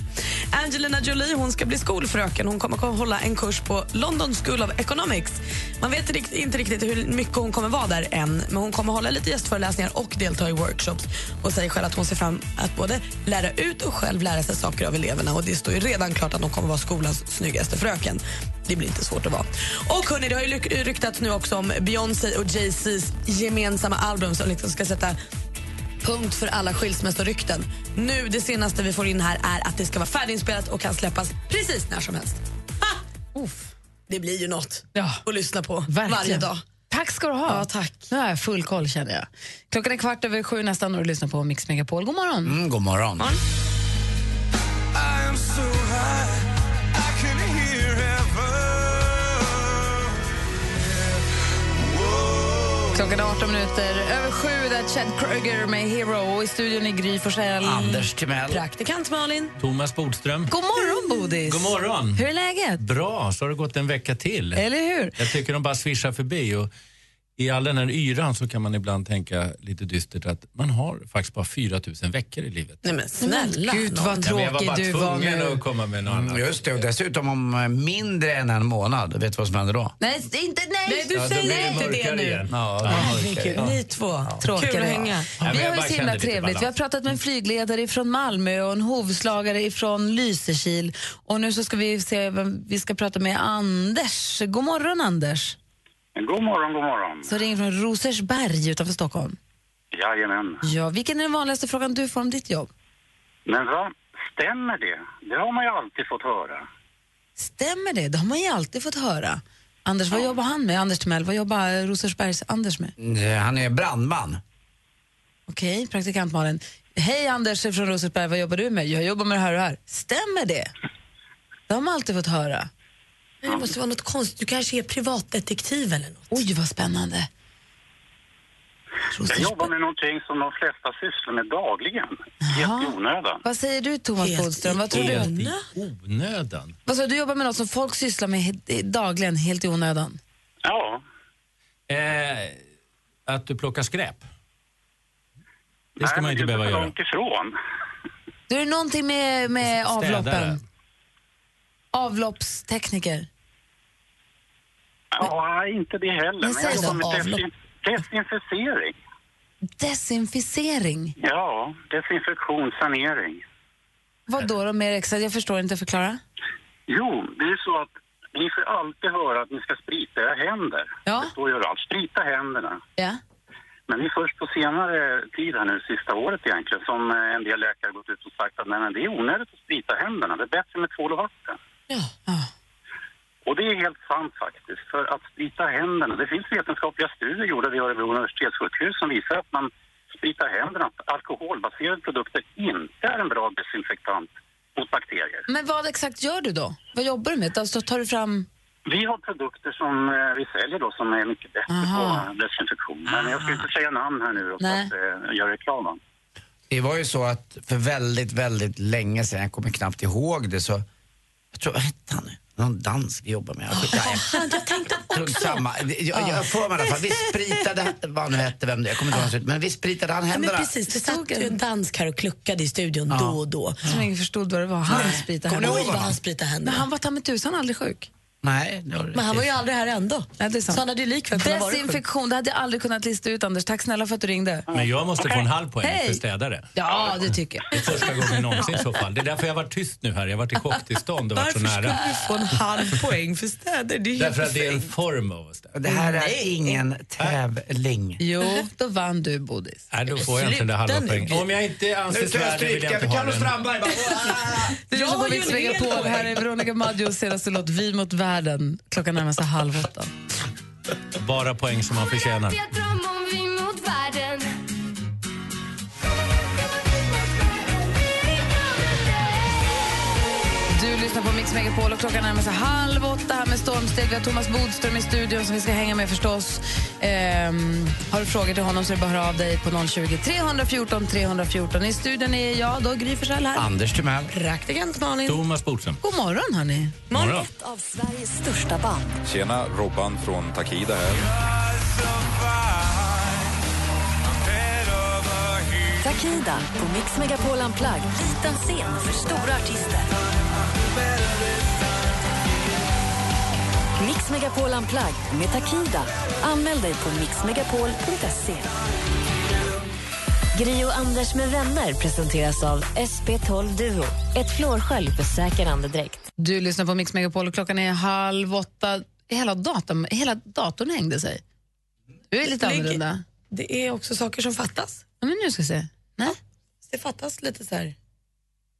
Angelina Jolie hon ska bli skolfröken. Hon kommer att hålla en kurs på London School of Economics. Man vet rikt- inte riktigt hur mycket hon kommer vara där än men hon kommer hålla lite gästföreläsningar och delta i workshops och säger själv att hon ser fram att både lära ut och själv lära sig saker av eleverna och det står ju redan klart att hon kommer vara skolans snyggaste fröken. Det blir inte svårt att vara. Och hörni, det har ju lyck- ryktats nu också om Beyoncé och Jay-Z's gemensamma album som liksom ska sätta punkt för alla skilsmässorykten. Nu, det senaste vi får in här är att det ska vara färdiginspelat och kan släppas precis när som helst. Ha! Det blir ju något att lyssna på varje dag.
Tack ska du ha. Ja, tack. Nu har jag full koll känner jag. Klockan är kvart över sju nästan och du lyssnar på Mix Megapol. God morgon.
Mm, god morgon.
I am so high, I can hear heaven.
Klockan är 18 minuter över sju. Där Chad Kroeger med Hero och i studion är Gry Forssell.
Anders Timell.
Praktikant Malin.
Thomas Bodström.
God morgon, Bodis.
God morgon.
Hur är läget?
Bra, så har det gått en vecka till.
Eller hur?
Jag tycker de bara svischar förbi. Och I all den här yran så kan man ibland tänka lite dystert att man har faktiskt bara 4000 veckor i livet.
Nej men snälla.
Gud, vad
någon.
Ja, men jag var bara tvungen att komma med något annat.
Mm, just det, och dessutom om eh, mindre än en månad. Vet du vad som händer då?
Nej, det är inte nej.
Nej, du
Ja, då blir det
säger inte det
mörkare
nu.
igen. Ja, då blir
Herregud,
det mörkare. Ja.
ni två.
Tråkigt.
Kul att hänga.
Vi har ju
bara
så
kände
himla
lite
trevligt.
balans. Mm.
Vi har pratat med en flygledare ifrån Malmö och en hovslagare ifrån Lysekil. Och nu så ska vi se vem vi ska prata med Anders. God morgon, Anders.
God morgon, god morgon.
Så ringer från Rosersberg utanför Stockholm.
Jajamän.
Ja, vilken är den vanligaste frågan du får om ditt jobb?
Men va? Stämmer det? Det har man ju alltid fått höra.
Stämmer det? Det har man ju alltid fått höra. Anders, vad jobbar han med? Anders Timell, vad jobbar Rosersbergs-Anders med?
Mm, Han är brandman.
Okej, praktikant Malin. Hej Anders från Rosersberg, vad jobbar du med? Jag jobbar med det här och det här. Stämmer det? Det har man alltid fått höra.
Men det måste vara något konstigt. Du kanske är privatdetektiv eller något.
Oj, vad spännande.
Jag jobbar med någonting som de flesta sysslar med dagligen. Helt i onödan.
Vad säger du Thomas Bodström? Vad tror
Helt
du?
i onödan.
Vad sa du? Du jobbar med något som folk sysslar med he- dagligen, helt i onödan.
Ja.
Eh, att du plockar skräp. Det
Nej,
ska man
men
inte
det är
behöva
så
göra.
långt ifrån.
Du är det någonting med, med
Städare.
avloppen? Avloppstekniker?
Ja, inte det heller.
Men
Men jag
säg
jobbar
då,
med
avlopp.
desin- desinficering.
Desinficering?
Ja, desinfektion, sanering.
Vad då, då mer exakt? Jag förstår inte, förklara.
Jo, det är så att ni får alltid höra att ni ska sprita era händer.
Ja.
Det står ju överallt. Sprita händerna.
Ja.
Men det är först på senare tid här nu, sista året egentligen, som eh, en del läkare gått ut och sagt att nej, men det är onödigt att sprita händerna. Det är bättre med tvål och vatten. Och det är helt sant faktiskt, för att sprita händerna, det finns vetenskapliga studier gjorda vid Örebro universitetssjukhus som visar att man spritar händerna, att alkoholbaserade produkter inte är en bra desinfektant mot bakterier.
Men vad exakt gör du då? Vad jobbar du med? Alltså, tar du fram...
Vi har produkter som eh, vi säljer då som är mycket bättre på desinfektion. Men jag ska inte säga namn här nu då, för
Ah. Nej.
att eh, göra reklam. va?
Det var ju så att för väldigt, väldigt länge sedan, jag kommer knappt ihåg det, så jag tror, vad hette han nu? Någon dansk vi jobbar med. Jag skickar-
jag tänkte
Strunt samma. Jag, jag får mig i alla fall. Vi spritade, vad han nu hette, vem det är, jag kommer inte ihåg hans ut, men vi spritade han
Ja, men
händerna.
precis, det satt ju en dansk här och kluckade i studion
Ja.
då och då.
Som ingen förstod vad det var. Han spritade
Kommer ni
händerna.
ihåg vad han spritade
Men
händerna?
han var ta mig tusan aldrig sjuk.
Nej, det har du
Men han
rätt
var
i.
ju aldrig här ändå.
Nej, det är sant.
Så han hade ju likväl kunnat vara sjuk.
Desinfektion, det hade jag aldrig kunnat lista ut Anders. Tack snälla för att du ringde.
Men jag måste få en halv poäng
Hej.
för städare.
Ja, det tycker jag.
Det är första gången någonsin i så fall. Det är därför jag har varit tyst nu här. Jag har varit i chocktillstånd och varit så nära.
få en halv poäng för städer? Det
Därför att det är en form av att städa.
Det här är
Nej.
ingen tävling.
Jo, då vann du, Bodis.
Nej, då får jag inte den där halva
Sluta nu,
poängen. Om jag inte anses värdig vill jag inte ha den.
Du lyssnar på
Jag
Mix
gör en
Megapol.
poäng.
Här är Veronica Maggios senaste låt Vi mot världen. Klockan närmar sig halv åtta.
Bara poäng som man förtjänar.
Jag drömmer om vi mot världen
Du lyssnar på Mix Megapol och klockan närmar sig halv åtta här med stormsteg. Vi har Thomas Bodström i studion som vi ska hänga med förstås. Ehm, har du frågor till honom så är det bara att höra av dig på 020 314 314. I studion är jag då, Gry Forssell här.
Anders Timell.
Praktikant Malin.
Thomas Bodström.
God morgon hörni.
Morgon.
Ett av Sveriges största band.
Tjena, Robban från Takida här.
Takida på Mix Megapol Unplugged. Liten scen för stora artister. Mix Megapol Unplugged med Takida. Anmäl dig på mixmegapol.se.
Gri och Anders med vänner presenteras av SP12 Duo. Ett flårskölj för säker andedräkt.
Du lyssnar på Mix Megapol och klockan är halv åtta. Hela, datorn, hela datorn hängde sig. Du är lite
Ligg.
annorlunda.
Det är också saker som fattas.
Ja, men nu ska vi se. Nej?
Det fattas lite så här.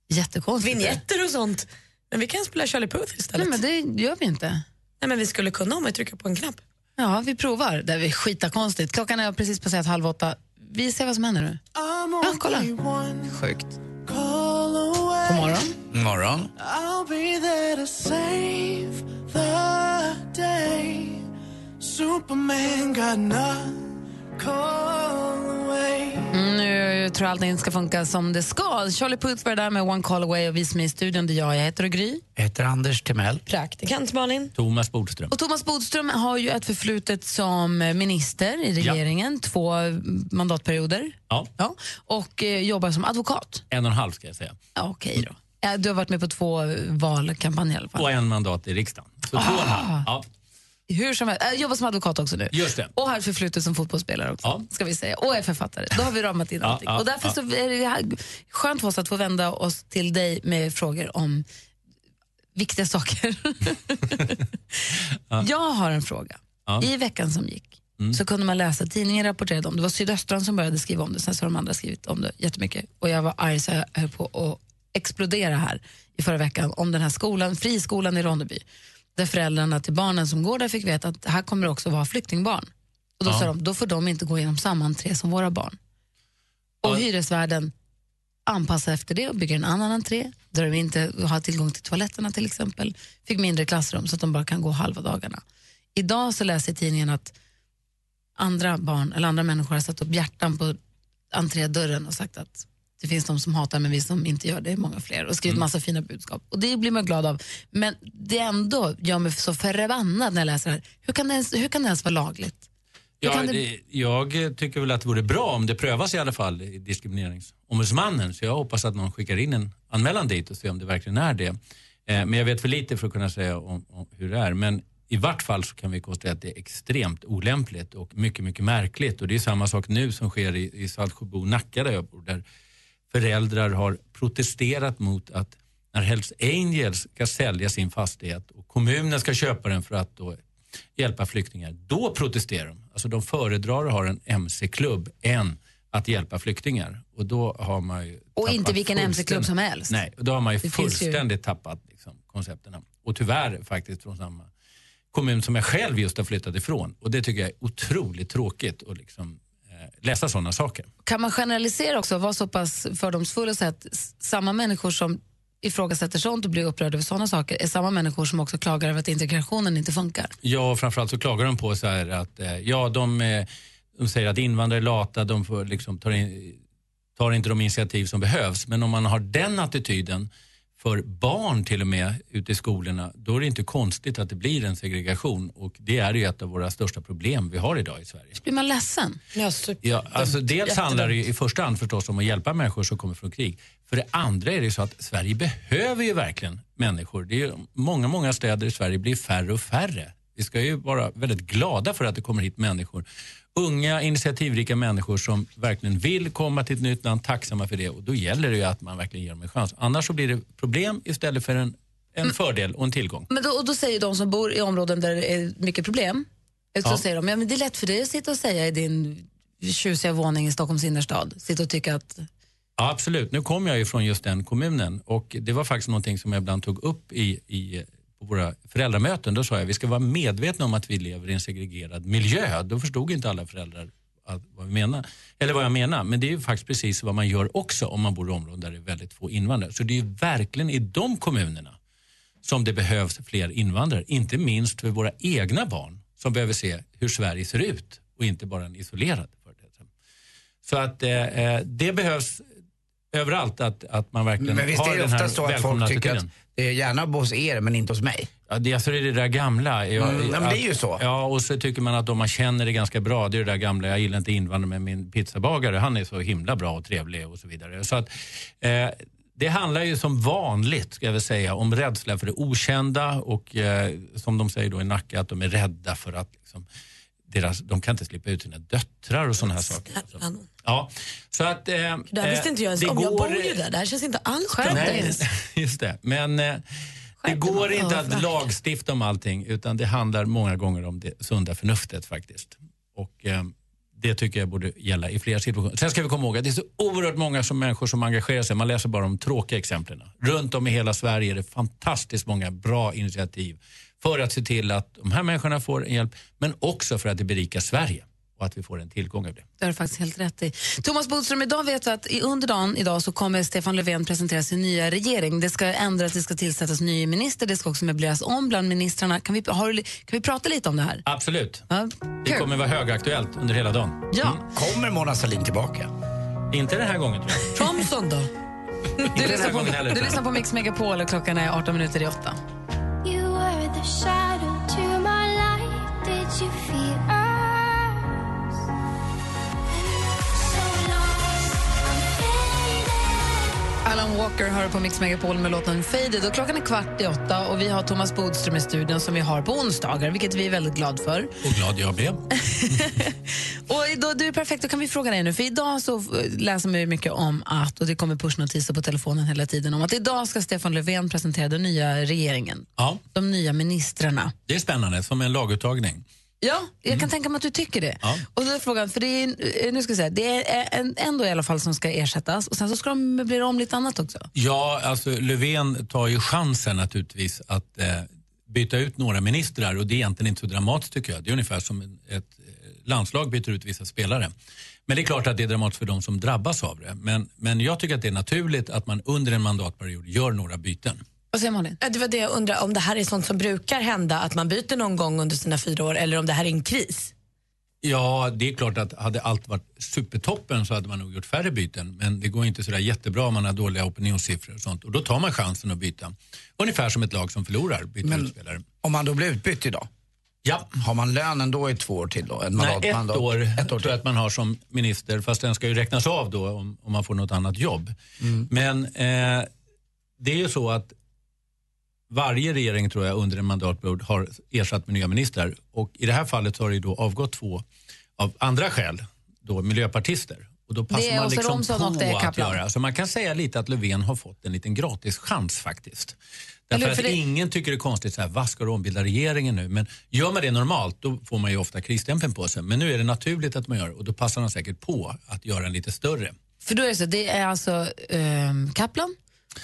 Jättekonstigt.
Vinjetter och sånt. Men vi kan spela Charlie Puth istället.
Nej, men det gör vi inte.
Nej, men vi skulle kunna om vi trycker på en knapp.
Ja, vi provar. Det är skita konstigt. Klockan är precis passerat halv åtta. Vi ser vad som händer nu. Ja, kolla. Sjukt. God morgon.
Morgon.
I'll be there to save the day. Superman got no call away.
Mm, Nu tror jag allting ska funka som det ska. Charlie Puth var det där med One Call Away och vi som är i studion, det är jag. Jag heter och Gry.
Jag heter Anders Timell.
Praktikant Malin.
Thomas Bodström.
Och Thomas Bodström har ju ett förflutet som minister i
Ja.
regeringen, två mandatperioder,
Ja,
och eh, jobbar som advokat.
en och en halv ska jag säga.
Ja, Okej
Mm.
då. Eh, Du har varit med på två valkampanjer i alla fall.
Och en mandat i riksdagen. Så två och en halv. Ja,
Hur som helst, äh, jobbar som advokat också nu.
just det.
Och har ett förflutet som fotbollsspelare också, ska vi säga. Och är författare. Då har vi ramat in
Ja,
allting.
ja,
och därför
ja.
så är det här skönt för oss att få vända oss till dig med frågor om viktiga saker. Jag har en fråga.
Ja.
I veckan som gick så kunde man läsa, tidningen rapporterade om det, det var Sydöstran som började skriva om det, sen så har de andra skrivit om det jättemycket. Och jag var arg så jag höll på att explodera här i förra veckan om den här skolan, friskolan i Ronneby. Där föräldrarna till barnen som går där fick veta att här kommer det också vara flyktingbarn. Och då
Ja.
sa de, då får de inte gå igenom samma entré som våra barn. Och hyresvärden anpassa efter det och bygger en annan entré där de inte har tillgång till toaletterna till exempel. Fick mindre klassrum så att de bara kan gå halva dagarna. Idag så läser jag i tidningen att andra barn eller andra människor har satt upp hjärtan på entrédörren och sagt att det finns de som hatar men vi som inte gör det är många fler och skrivit massa fina budskap. Och det blir man glad av. Men det ändå gör mig så förbannad när jag läser det här. Hur kan det ens, hur kan det ens vara lagligt? Hur
Ja,
kan det...
det, jag tycker väl att det vore bra om det prövas i alla fall i diskrimineringsombudsmannen. Så jag hoppas att någon skickar in en anmälan dit och ser om det verkligen är det. Eh, men jag vet för lite för att kunna säga om, om hur det är. Men i vart fall så kan vi konstatera att det är extremt olämpligt och mycket, mycket märkligt. Och det är samma sak nu som sker i, i Saltsjöbo, Nacka där jag bor. Där föräldrar har protesterat mot att när Hells Angels ska sälja sin fastighet och kommunen ska köpa den för att då hjälpa flyktingar, då protesterar de. Alltså de föredrar att ha en mc-klubb än att hjälpa flyktingar. Och då har man ju
Och
tappat
inte vilken
fullständigt-
MC-klubb som helst.
Nej, och då har man ju
Det finns ju-
fullständigt tappat liksom, koncepterna. Och tyvärr faktiskt från samma kommun som jag själv just har flyttat ifrån. Och det tycker jag är otroligt tråkigt att liksom, eh, läsa sådana saker.
Kan man generalisera också, vara så pass fördomsfull och säga att s- samma människor som ifrågasätter sånt och blir upprörda över sådana saker är samma människor som också klagar över att integrationen inte funkar?
Ja, och framförallt så klagar de på så här att eh, ja, de, eh, de säger att invandrare är lata, de får, liksom, tar, in, tar inte de initiativ som behövs. Men om man har den attityden för barn till och med ute i skolorna, då är det inte konstigt att det blir en segregation och det är ju ett av våra största problem vi har idag i Sverige.
Blir man ledsen?
Ja, super.
Ja, alltså dels handlar det ju i första hand förstås om att hjälpa människor som kommer från krig. För det andra är det ju så att Sverige behöver ju verkligen människor. Det är ju många, många städer i Sverige blir färre och färre. Vi ska ju vara väldigt glada för att det kommer hit människor. Unga, initiativrika människor som verkligen vill komma till ett nytt land, tacksamma för det. Och då gäller det ju att man verkligen ger dem en chans. Annars så blir det problem istället för en, en fördel och en tillgång.
Men då, och då säger de som bor i områden där det är mycket problem, eh, så
Ja.
säger de, ja men det är lätt för dig att sitta och säga i din tjusiga våning i Stockholms innerstad, sitta och tycka att
Ja, absolut. Nu kommer jag ju från just den kommunen och det var faktiskt någonting som jag ibland tog upp i, i på våra föräldramöten. Då sa jag vi ska vara medvetna om att vi lever i en segregerad miljö. Då förstod inte alla föräldrar att, vad, vi menar, eller vad jag menar. Men det är ju faktiskt precis vad man gör också om man bor i områden där det är väldigt få invandrare. Så det är ju verkligen i de kommunerna som det behövs fler invandrare. Inte minst för våra egna barn som behöver se hur Sverige ser ut och inte bara en isolerad. Så att eh, eh, det behövs överallt att, att man verkligen
Men visst
har
är det
den här
ofta så att folk tycker att
välkomnattityden.
det är gärna hos er men inte hos mig?
Ja, det, alltså det är det där gamla. Jag,
Mm, ja, men det är ju
att-
så.
Ja, och så tycker man att de man känner är ganska bra. Det är det där gamla, jag gillar inte invandrare men min pizzabagare, han är så himla bra och trevlig och så vidare. Så att, eh, det handlar ju som vanligt, ska jag väl säga, om rädsla för det okända och eh, som de säger då i Nacka, att de är rädda för att liksom, deras, de kan inte slippa ut sina döttrar och sådana här saker. Ja, så att... Eh,
Det här visste inte jag ens
det
om. Jag
går-
bor ju där. Det här känns inte alls
Skärp
bra.
dig. Just det. Men eh, det går inte att lagstifta om allting utan det handlar många gånger om det sunda förnuftet faktiskt. Och eh, det tycker jag borde gälla i flera situationer. Sen ska vi komma ihåg att det är så oerhört många som människor som engagerar sig. Man läser bara om tråkiga exemplen. Runt om i hela Sverige är det fantastiskt många bra initiativ för att se till att de här människorna får en hjälp men också för att det berikar Sverige och att vi får en tillgång av det.
Det har du faktiskt helt rätt i. Thomas Bodström, idag vet vi att i- under dagen idag så kommer Stefan Löfven presentera sin nya regering. Det ska ändras, det ska tillsättas ny minister, det ska också möbleras om bland ministrarna. Kan vi, har, du li- kan vi prata lite om det här?
Absolut.
Ja,
Det
kul.
kommer vara högaktuellt under hela dagen.
Ja.
Kommer Mona Sahlin tillbaka? Inte den här gången tror jag.
Thomson då? [laughs]
Inte
Du
den
lyssnar,
här gången heller.
på, du lyssnar på Mix Megapol och klockan är 18 minuter i åtta.
You were the shadow to my light. Did you feel us? So lost, I'm faded.
Alan Walker hör på Mix Megapol med låten Faded och klockan är kvart i åtta och vi har Thomas Bodström i studion som vi har på onsdagar, vilket vi är väldigt glada för.
Och glad jag blev.
Och då, du är perfekt, då kan vi fråga dig nu. För idag så eh, läser man ju mycket om att, och det kommer pushnotiser på telefonen hela tiden, om att idag ska Stefan Löfven presentera den nya regeringen.
Ja.
De nya ministrarna.
Det är spännande, som en laguttagning.
Ja, jag kan tänka mig att du tycker det.
Mm. Ja.
Och då är frågan, för det är, eh, nu ska jag säga, det är en, en då i alla fall som ska ersättas och sen så ska de möblera om lite annat också.
Ja, alltså Löfven tar ju chansen naturligtvis att eh, byta ut några ministrar och det är egentligen inte så dramatiskt tycker jag. Det är ungefär som en- ett eh, landslag byter ut vissa spelare. Men det är klart att det är dramatiskt för de som drabbas av det. Men, men jag tycker att det är naturligt att man under en mandatperiod gör några byten.
Vad säger Malin?
Det var det jag undrar, om det här är sånt som brukar hända, att man byter någon gång under sina fyra år, eller om det här är en kris.
Ja, det är klart att hade allt varit supertoppen så hade man nog gjort färre byten. Men det går inte sådär jättebra om man har dåliga opinionssiffror och sånt. Och då tar man chansen att byta. Ungefär som ett lag som förlorar byter
Men-
ut spelare.
Om man då blir utbytt idag?
Ja.
Har man lönen då i två år till då? En
Nej,
mandat-
ett,
mandat-
år, tror jag att man har som minister. Fast den ska ju räknas av då om, om man får något annat jobb. Men eh, det är ju så att varje regering tror jag under en mandatperiod har ersatt med nya ministrar. Och i det här fallet så har det ju då avgått två av andra skäl, då miljöpartister. Och då
Det
passar
är
man
Åsa
liksom
Romson och
på
det är
att
Kaplan.
göra. Så man kan säga lite att Löfven har fått en liten gratis chans faktiskt. Därför
Eller hur?
att
För det-
ingen tycker det är konstigt, så här, vad ska du ombilda regeringen nu? Men gör man det normalt då får man ju ofta krisstämpeln på sig. Men nu är det naturligt att man gör det och då passar man säkert på att göra en lite större.
För då är det så, det är alltså ehm, Kaplan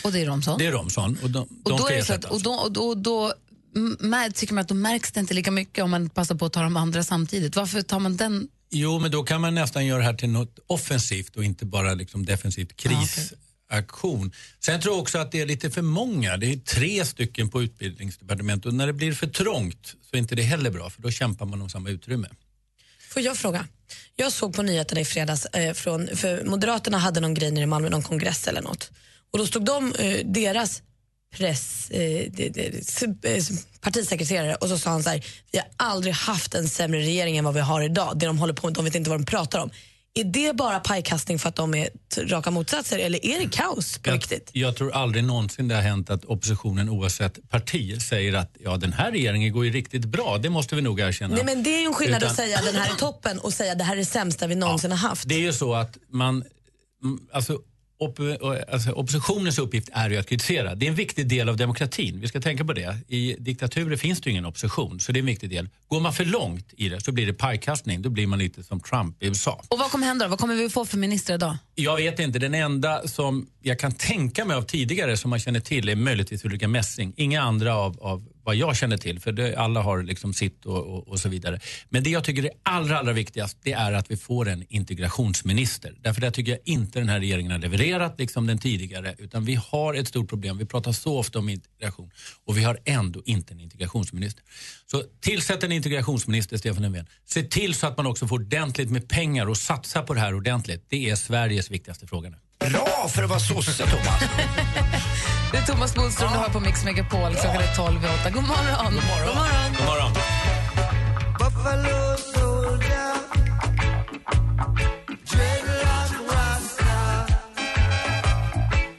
och det är Romson.
Det är Romson och de, de
Och då,
ska
är det så att,
ersättas.
och då, och då, och då m- mär- tycker man att då märks det inte lika mycket om man passar på att ta de andra samtidigt. Varför tar man den?
Jo, men då kan man nästan göra det här till något offensivt och inte bara liksom defensivt krisaktion. Sen tror jag också att det är lite för många. Det är tre stycken på utbildningsdepartementet och när det blir för trångt så är inte det heller bra för då kämpar man om samma utrymme.
Får jag fråga? Jag såg på nyheterna i fredags, eh, från, för Moderaterna hade någon grej nere i Malmö, någon kongress eller något. Och då stod de, eh, deras press, eh, det, det, sub- eh, partisekreterare och så sa han så här, vi har aldrig haft en sämre regering än vad vi har idag. Det de håller på med, de vet inte vad de pratar om. Är det bara pajkastning för att de är t- raka motsatser eller är det kaos på
Jag-
riktigt?
Jag tror aldrig någonsin det har hänt att oppositionen oavsett parti säger att ja, den här regeringen går ju riktigt bra, det måste vi nog erkänna.
Nej men det är ju en skillnad
Utan-
att säga den här är toppen och säga det här är det sämsta vi någonsin har haft.
Det är ju så att man, mm, alltså, op, alltså oppositionens uppgift är ju att kritisera. Det är en viktig del av demokratin. Vi ska tänka på det. I diktaturer finns det ju ingen opposition, så det är en viktig del. Går man för långt i det så blir det pajkastning. Då blir man lite som Trump i USA.
Och vad kommer hända då? Vad kommer vi få för minister idag?
Jag vet inte. Den enda som jag kan tänka mig av tidigare som man känner till är möjligtvis Ulrica Messing. Inga andra av, av vad jag känner till, för det, alla har liksom sitt och, och, och så vidare. Men det jag tycker är allra, allra viktigast det är att vi får en integrationsminister. Därför där tycker jag inte den här regeringen har levererat liksom den tidigare. Utan vi har ett stort problem. Vi pratar så ofta om integration och vi har ändå inte en integrationsminister. Så tillsätt en integrationsminister, Stefan Löfven. Se till så att man också får ordentligt med pengar och satsa på det här ordentligt. Det är Sveriges viktigaste fråga nu.
Bra för att vara sosse, Thomas.
Det är Thomas Bodström du har på Mix Megapol. Klockan är 12 och 8. God morgon! God morgon.
God morgon.
Buffalo soldier, dreadlock rasta.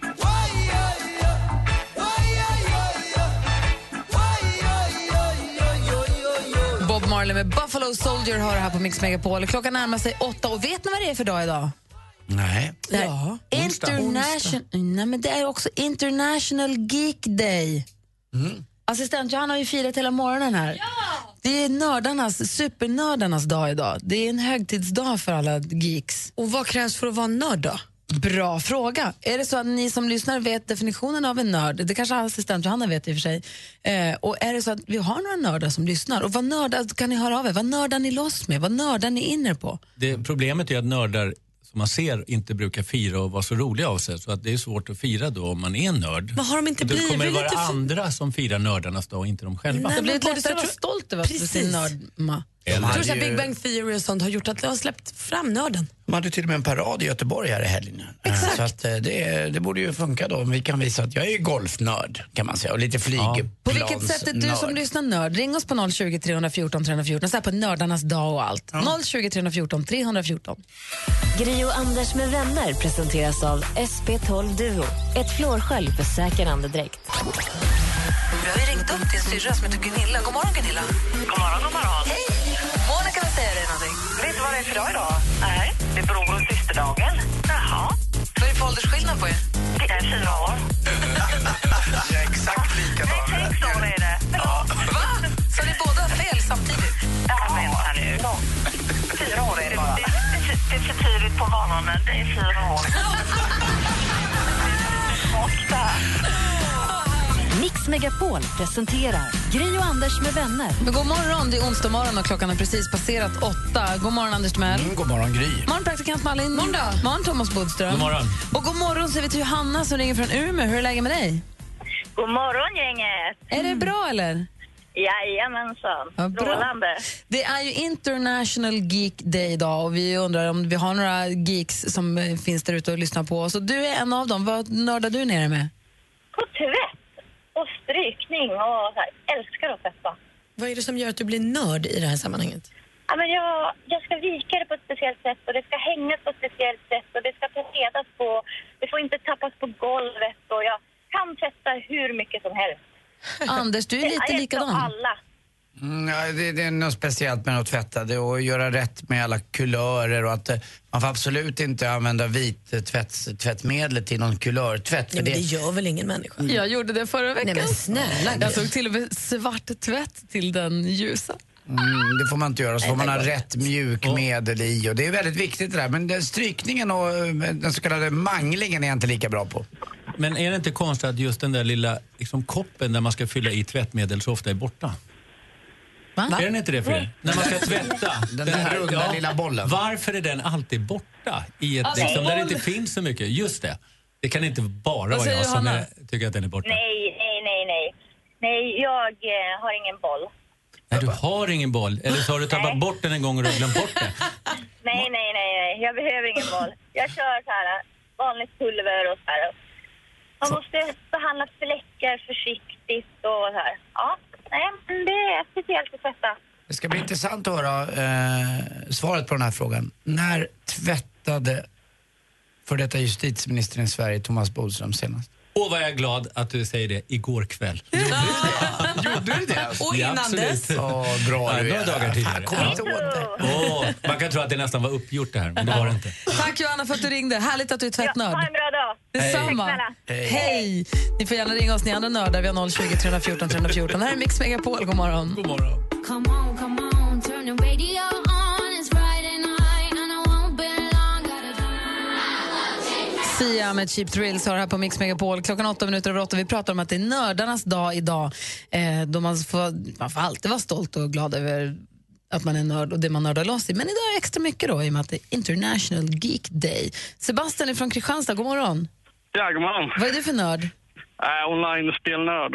Why yo yo, why yo yo yo, why yo yo yo yo yo yo.
Bob Marley med Buffalo Soldier har det här på Mix Megapol. Klockan närmar sig åtta och vet ni vad det är för dag idag?
Nej.
Det är International, nej, men det är också International Geek Day.
Mm.
Assistent Johanna har ju firat hela morgonen här. Det är nördarnas, supernördarnas dag idag. Det är en högtidsdag för alla geeks.
Och vad krävs för att vara nörd då?
Bra fråga. Är det så att ni som lyssnar vet definitionen av en nörd? Det kanske assistent Johanna vet i och för sig. Eh, och är det så att vi har några nördar som lyssnar? Och vad nördar, kan ni höra av er? Vad nördar ni loss med? Vad nördar ni in er på?
Det, problemet är att nördar som man ser inte brukar fira och vara så roliga av sig. Så att det är svårt att fira då om man är en nörd.
Men har de inte
Då kommer det
blivit
vara
lite för-
andra som firar nördarnas dag och inte de själva.
det har blivit
men
lättare att vara
borde-
stolt över att du är
Precis.
nörd, Ma.
Jag tror att
hade ju-
Big Bang Theory och sånt har gjort att det har släppt fram nörden.
De hade till och med en parad i Göteborg här i helgen. Exakt. Så att eh, det, det borde ju funka då om vi kan visa att jag är ju golfnörd kan man säga och lite flygplansnörd.
På vilket sätt är du som lyssnar nörd? Ring oss på 020 314 314, så här på nördarnas dag och allt. 020 314 314.
Gri och Anders med vänner presenteras av SP12 Duo. Ett flårskölj för säker andedräkt.
Jag har ringt upp till en syrra som heter Gunilla. God morgon, Gunilla.
God morgon, god morgon. Hej!
Monica vill säga dig någonting.
Vet du vad det är för dag idag? Nej. Det är bror och systerdagen. Jaha.
Vad är det för åldersskillnad på er?
Det är fyra år.
Jag är exakt likadan.
Sex år är det. Ja.
Va? Så ni båda har fel samtidigt?
Ja, vänta nu. Fyra år är det bara. Det, det, det är för tidigt på morgonen. Det är fyra år.
Mix Megapol presenterar Gri och Anders med vänner.
Men god morgon, det är onsdag morgon och klockan har precis passerat åtta. God morgon, Anders Timell.
Mm, god morgon, Gry.
Morgon, praktikant Malin. Morgon, morgon Thomas Bodström.
God morgon.
Och god morgon säger vi till Hanna som ringer från Umeå. Hur är läget med dig?
God morgon gänget!
Är det bra eller?
Jajamensan,
Ja, bra.
strålande.
Det är ju International Geek Day idag och vi undrar om vi har några geeks som eh, finns där ute och lyssnar på oss. Och du är en av dem. Vad nördar du ner dig med?
På tvätt och strykning och så här, älskar att tvätta.
Vad är det som gör att du blir nörd i det här sammanhanget?
Ja, men jag, jag ska vika det på ett speciellt sätt och det ska hängas på ett speciellt sätt och det ska torredas på. Det får inte tappas på golvet och jag kan tvätta hur mycket som helst.
[laughs] Anders, du är lite
jag
likadan.
alla.
Mm, ja, det, det är något speciellt med att tvätta det och göra rätt med alla kulörer och att eh, man får absolut inte använda vit eh, tvätts, tvättmedel till någon kulörtvätt.
Nej, men det Mm. gör väl ingen människa?
Jag gjorde det förra veckan.
Nej, men snälla
Jag
Gry.
tog till och med svart tvätt till den ljusa.
Mm, det får man inte göra. Så
Nej,
får man
det
ha
går
rätt mjukmedel i och det är väldigt viktigt det där. Men den strykningen och eh, den så kallade manglingen är jag inte lika bra på.
Men är det inte konstigt att just den där lilla liksom, koppen där man ska fylla i tvättmedel så ofta är borta?
Va?
Är den inte det för er? När man ska tvätta.
Den där runda lilla bollen.
Varför är den alltid borta? I ett,
Alltså,
liksom, där det
boll.
inte finns så mycket. Just det. Det kan inte bara
Vad
vara
säger
jag som
Johanna?
är, tycker att den är borta. Nej.
Nej, nej, nej, nej. Nej, jag eh, har ingen boll.
du har ingen boll. Eller så har du tappat bort den en gång och du har glömt bort den.
Nej, nej, nej, nej. Jag behöver ingen boll. Jag kör så här vanligt pulver och så här. Man måste behandla fläckar försiktigt och så här. Ja, nej, men det är speciellt att tvätta.
Det ska bli intressant att höra eh, svaret på den här frågan. När tvättade för detta justitieministern i Sverige, Thomas Bodström, senast?
Åh, vad jag är glad att du säger det. Igår kväll.
Gjorde du det?
Och Ja, innan absolut. dess?
Åh, bra
Ja,
du
några
är.
dagar tidigare.
Jag kommer inte åt dig.
Åh, man kan tro att det nästan var uppgjort det här, men det var det inte.
Tack Johanna för att du ringde. Härligt att du är tvättnörd.
Ha en bra dag.
Detsamma.
Tack snälla.
Hej. Hej. Ni får gärna ringa oss, ni andra nördar. Vi har 020 314 314. Det här är Mix Megapol. God morgon.
God morgon.
Come on, come on, turn the radio on. It's Friday night and I won't be long. Gotta
Sia med Cheap Thrills har här på Mix Megapol. Klockan åtta minuter över åtta. Vi pratar om att det är nördarnas dag idag. Eh, då man får, man får alltid vara stolt och glad över att man är nörd och det man nördar loss i. Men idag är det extra mycket då i och med att det är International Geek Day. Sebastian är från Kristianstad. God morgon.
Ja, god morgon.
Vad är du för nörd?
Äh, online-spelnörd.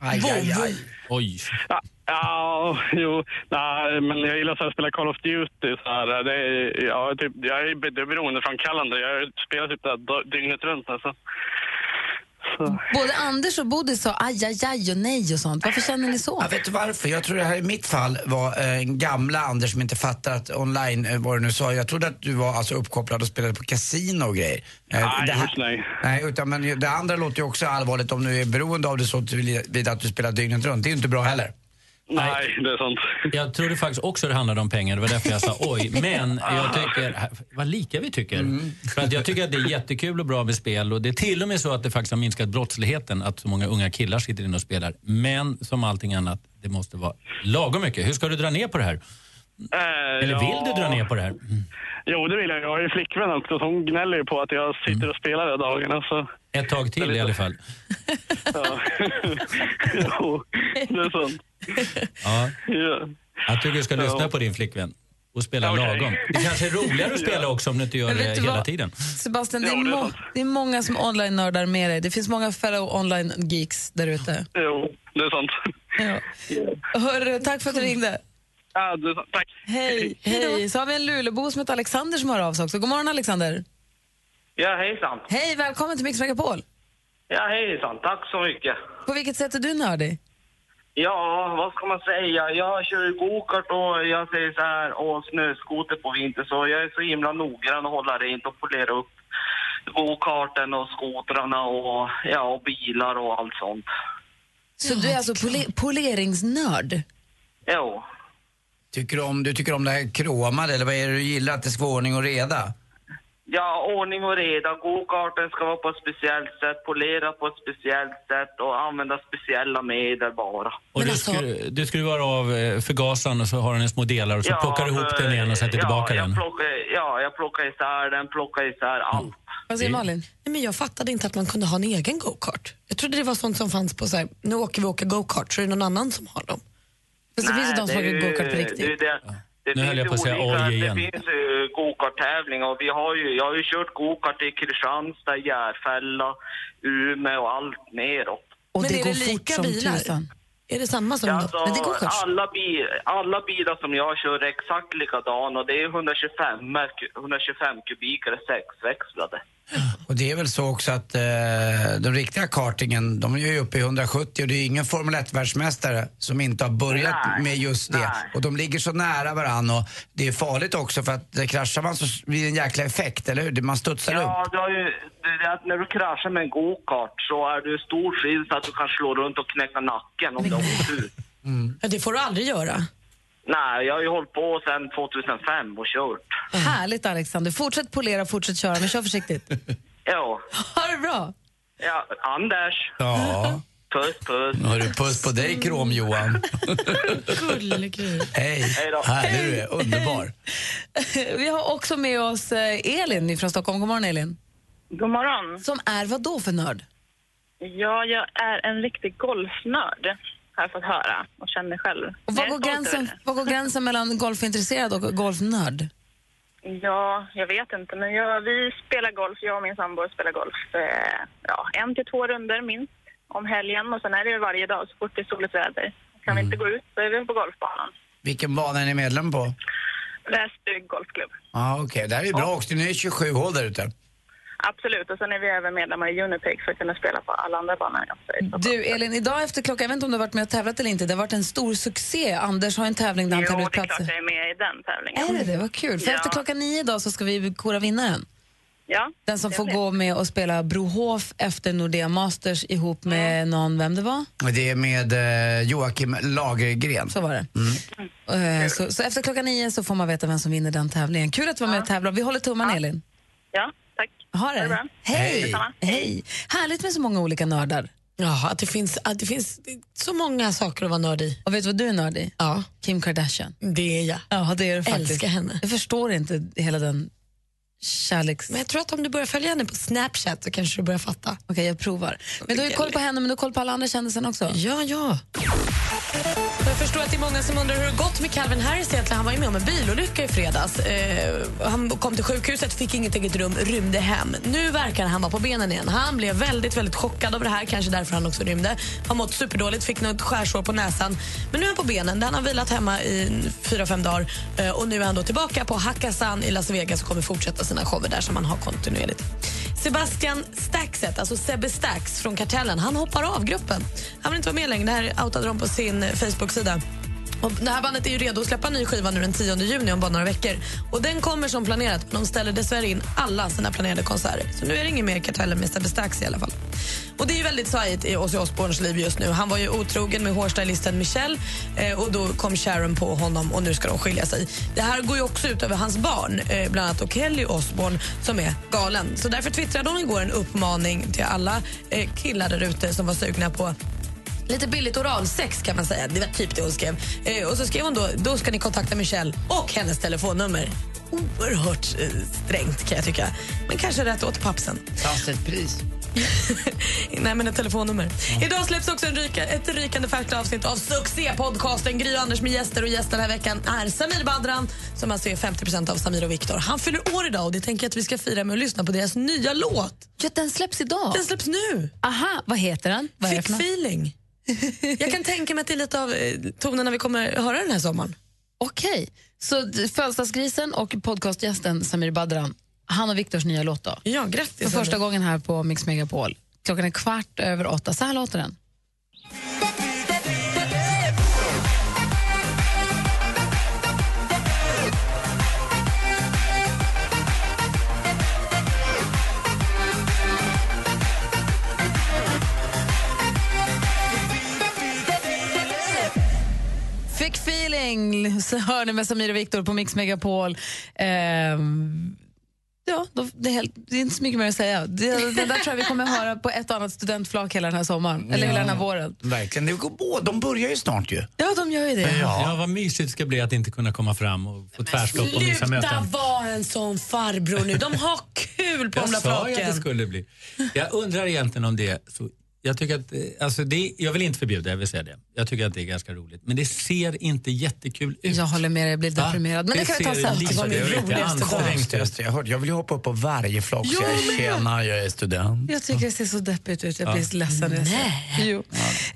Aj, aj, aj.
Oj.
Ja, ja, jo. Nej, men jag gillar så här att spela Call of Duty. Så här. Det är, ja, typ, jag är be- det är beroende från kalender. Jag spelar typ det här dag- dygnet runt alltså. nästan.
Både Anders och Bodis sa aj, aj, aj och nej och sånt. Varför känner ni så?
Ja, vet du varför? Jag tror det här i mitt fall var eh, en gamla Anders som inte fattar att online, eh, vad du nu sa, jag trodde att du var alltså uppkopplad och spelade på kasino och grejer. Eh,
Nej,
det här-
just nej.
Nej, utan men ju- det andra låter ju också allvarligt om du är beroende av det så tillvida att du spelar dygnet runt. Det är ju inte bra heller.
Nej, det är sant.
Jag trodde faktiskt också det handlade om pengar, det var därför jag sa oj. Men jag tycker, vad lika vi tycker.
Mm.
För att jag tycker att det är jättekul och bra med spel och det är till och med så att det faktiskt har minskat brottsligheten att så många unga killar sitter inne och spelar. Men som allting annat, det måste vara lagom mycket. Hur ska du dra ner på det här?
Eh,
Eller
ja.
vill du dra ner på det här?
Jo, det vill jag. Jag har ju flickvän också, så hon gnäller ju på att jag sitter
Mm.
och spelar hela dagarna. Så.
Ett tag till i alla fall.
alltså.
[laughs]
Ja. jo, det är sant.
Ja.
Ja.
Jag tycker du ska
Ja.
lyssna på din flickvän och spela
Okej.
lagom. Det kanske är roligare att spela också om du inte gör
Men vet
det
du
hela
vad?
tiden.
Sebastian, det
Ja,
är,
det är
må-
sant.
det är många som online-nördar med dig. Det finns många fellow online-geeks där ute.
Jo, det är sant.
Ja. Hörru, tack för att du ringde.
Ja, det är sant. Tack.
Hej, hej. Så har vi en Lulebo som heter Alexander som hör av sig också. God morgon Alexander.
Ja, hejsan.
Hej, välkommen till Mix Megapol.
Ja, hejsan. Tack så mycket.
På vilket sätt är du nördig?
Ja, vad ska man säga? Jag kör ju gokart och jag säger så här, och snöskoter på vinter, så jag är så himla noggrann och håller rent och polerar upp gokarten och skotrarna och, ja, och bilar och allt sånt.
Så du är alltså pole- poleringsnörd?
Jo.
Tycker du om, du tycker om det här kromade eller vad är det du gillar? Att det ska vara ordning och reda?
Ja, ordning och reda. Gokarten ska vara på ett speciellt sätt, polera på ett speciellt sätt och använda speciella medel bara.
Och du,
alltså-
skru, du skruvar av eh, förgasaren och så har den i små delar och så plockar du ihop
eh,
den igen och sätter
ja,
tillbaka
jag
den. Mm.
Plockar, ja, jag plockar isär den, plockar isär allt.
Vad säger Malin? Nej, men jag fattade inte att man kunde ha en egen go-kart. Jag trodde det var sånt som fanns på så här, nu åker vi och åker go-kart så är det någon annan som har dem. Fast det finns ju de som
Nej,
åker
det är
go-kart på
ju-
riktigt.
Det, är ju det, det
Nu höll jag på att säga
olika-
oj igen.
Det finns ju gokart-tävlingar och vi har ju, jag har ju kört gokart i Kristianstad, Järfälla, Umeå och allt neråt.
Och
Men
det
är
går
det
fort
lika
som
bilar?
tusan. Är det samma som
Alltså,
dem? Nej, det är go-karts.
alla, bil, alla bilar som jag kör är exakt likadana och det är 125, merk- 125 kubikare sexväxlade.
Och det är väl så också att eh, den riktiga kartingen, de är ju uppe i 170 och det är ingen Formel 1-världsmästare som inte har börjat
Nej,
med just det.
nej.
Och de ligger så nära varann och det är farligt också för att eh, kraschar man så blir det en jäkla effekt, eller hur? Det- Man studsar upp.
Ja, du har ju, det är att när du kraschar med en gokart så är du stor chans att du kan slå runt och knäcka nacken om du har otur. Mm.
Ja, det får du aldrig göra.
Nej, jag har ju hållit på sedan 2005 och kört.
Härligt Alexander. Fortsätt polera, fortsätt köra, men kör [laughs] försiktigt.
Ja,
Ha det bra.
ja Anders.
Ja.
Puss, puss.
Hörru, puss på dig
[laughs]
Krom-Johan. Hej.
Hej då.
Härlig du är, underbar.
[laughs] Vi har också med oss eh, Elin från Stockholm. God morgon Elin.
God morgon.
Som är vad då för nörd?
Ja, jag är en riktig golfnörd, har jag fått höra och känner själv.
Och
Jag
vad,
är
går
stolt över
gränsen, vad går gränsen mellan golfintresserad och golfnörd?
det. Ja, jag vet inte, men jag, vi spelar golf, jag och min sambo spelar golf eh, ja, en till två runder minst om helgen och sen är det ju varje dag så fort det är soligt väder. Kan vi inte
Mm.
gå ut så är vi på golfbanan.
Vilken bana är ni medlem på?
Väsby golfklubb.
Ja, okej. Det här är ju bra också. Ni är 27 hål där ute.
Absolut, och sen är vi även medlemmar i Unipeg för att kunna spela på alla andra banor. också. [laughs]
Du, Elin, idag efter klockan, jag vet inte om du har varit med och tävlat eller inte, det har varit en stor succé. Anders har en tävling där han
Jo,
tävlar ut
det är klart
platser.
jag är med i den tävlingen.
Är det det? Vad kul. För
Ja.
efter klockan nio idag så ska vi kora vinnaren.
Ja,
Den som
det
får
blir.
gå med och spela Brohof efter Nordea Masters ihop med någon, vem det var?
Och Det är med eh, Joakim Lagergren.
Så var det.
Mm.
Eh, Så, så efter klockan nio så får man veta vem som vinner den tävlingen. Kul att du var med och tävlade. Vi håller tummarna, Elin.
Ja, tack.
Ha
Ha det
det.
bra.
Hej.
Detsamma.
Hej. Härligt med så många olika nördar.
Ja, att det finns, att det finns så många saker att vara nörd i.
Och vet du vad du är nörd i?
Ja.
Kim Kardashian.
Det är jag.
Ja, det är det faktiskt.
Älskar henne.
Jag förstår inte hela den kärleks...
Men jag tror att om du börjar följa henne på Snapchat så kanske du börjar fatta. Okej,
jag provar. Men du har ju koll på henne, men du har koll på alla andra kändisar också.
Ja, ja. Jag förstår att det är många som undrar hur det gått med Calvin Harris egentligen. Han var ju med om en bilolycka i fredags. Eh, han kom till sjukhuset, fick inget eget rum, rymde hem. Nu verkar han vara på benen igen. Han blev väldigt, väldigt chockad över det här. Kanske därför han också rymde. Har mått superdåligt, fick något skärsår på näsan. Men nu är han på benen. Där han har vilat hemma i fyra, fem dagar. Eh, och nu är han då tillbaka på Hakkasan i Las Vegas och kommer fortsätta sina shower där som han har kontinuerligt. Sebastian Staxet, alltså Sebbe Stax från Kartellen, han hoppar av gruppen. Han vill inte vara med längre. Det här outade de på sin Facebook-sida. Och det här bandet är ju redo att släppa en ny skiva nu den 10 juni om bara några veckor. Och den kommer som planerat, men de ställer dessvärre in alla sina planerade konserter. Så nu är det ingen mer Kartellen med Sebbe Stax i alla fall. Och det är ju väldigt svajigt i Ozzy Osbournes liv just nu. Han var ju otrogen med hårstylisten Michelle eh, och då kom Sharon på honom och nu ska de skilja sig. Det här går ju också ut över hans barn, eh, bland annat och Kelly Osbourne som är galen. Så därför twittrade hon igår en uppmaning till alla eh, killar där ute som var sugna på Lite billigt oralsex kan man säga. Det var typ det hon skrev. Eh, och så skrev hon då, då ska ni kontakta Michelle och hennes telefonnummer. Oerhört eh, strängt kan jag tycka. Men kanske rätt åt pappsen.
Fast ett pris.
[laughs] Nej, men ett telefonnummer. Idag släpps också en ryka, ett rykande färskt avsnitt av succépodcasten Gry och Anders med gäster. Och gästen den här veckan är Samir Badran som alltså är 50 av Samir och Viktor. Han fyller år idag och det tänker jag att vi ska fira med att lyssna på deras nya låt.
Ja, den släpps idag.
Den släpps nu.
Aha, vad heter den? Vad är det
Fick
för något?
feeling. Jag kan tänka mig att det är lite av eh, tonerna vi kommer höra den här sommaren.
Okej, så d- födelsedagsgrisen och podcastgästen Samir Badran, han och Viktors nya låt då?
Ja, grattis.
För första
Samir.
gången här på Mix Megapol. Klockan är kvart över åtta, så här låter den. Fick feeling, så hör ni med Samir och Viktor på Mix Megapol. Ehm, ja, då, det, är helt, det är inte så mycket mer att säga. Det, det där tror jag vi kommer att höra på ett och annat studentflak hela den här sommaren, eller hela den här våren.
Mm, Verkligen. Det går bå- de börjar ju snart ju.
Ja, de gör ju det.
Ja. vad mysigt det ska bli att inte kunna komma fram och få tvärstopp och missa
Sluta
möten.
vara en sån farbror nu. De har kul på
Jag
de där
sa ju att det
flaken.
skulle bli. Jag undrar egentligen om det. Så jag, tycker att, eh, alltså det, jag vill inte förbjuda, jag vill säga det. Jag tycker att det är ganska roligt. Men det ser inte jättekul ut.
Jag håller med dig, jag blir deprimerad. Men det kan vi ta
ser
sen.
lite-
Det är väl inte ansträngst. Jag, hörde, jag vill ju hoppa upp på varje flak så
Jag
jag
med.
tjena, jag är student.
Jag tycker det ser så deppigt ut. Jag blir
Ja.
så ledsen. när jag ser det. Jo.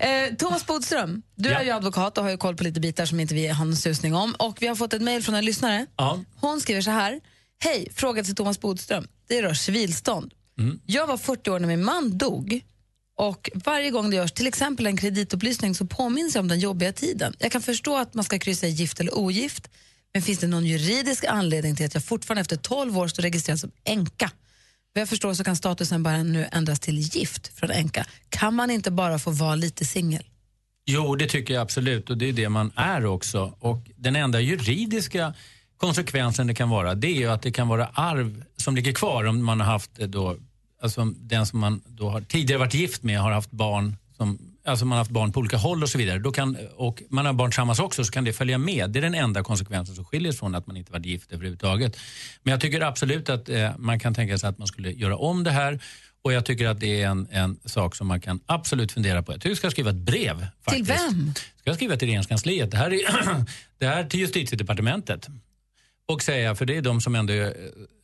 Eh, Thomas Bodström, du
Ja.
är ju advokat och har ju koll på lite bitar som inte vi har någon susning om. Och vi har fått ett mejl från en lyssnare.
Ja.
Hon skriver så här. Hej, fråga till Thomas Bodström. Det rör civilstånd.
Mm.
Jag var 40 år när min man dog. Och Varje gång det görs till exempel en kreditupplysning så påminns jag om den jobbiga tiden. Jag kan förstå att man ska kryssa i gift eller ogift men finns det någon juridisk anledning till att jag fortfarande efter 12 år står registrerad som änka? Vad jag förstår så kan statusen bara nu ändras till gift från änka. Kan man inte bara få vara lite singel?
Jo, det tycker jag absolut och det är det man är också. Och den enda juridiska konsekvensen det kan vara det är ju att det kan vara arv som ligger kvar om man har haft eh, då, alltså om den som man då har tidigare varit gift med har haft barn som Alltså man har haft barn på olika håll och så vidare. Då kan, och man har barn tillsammans också så kan det följa med. Det är den enda konsekvensen som skiljer sig från att man inte varit gift överhuvudtaget. Men jag tycker absolut att eh, man kan tänka sig att man skulle göra om det här. Och jag tycker att det är en, en sak som man kan absolut fundera på. Jag tycker vi ska skriva ett brev
Till vem?
ska jag skriva till Regeringskansliet. Det här, är, [clears throat] det här till justitiedepartementet. Och säga, för det är de som ändå eh,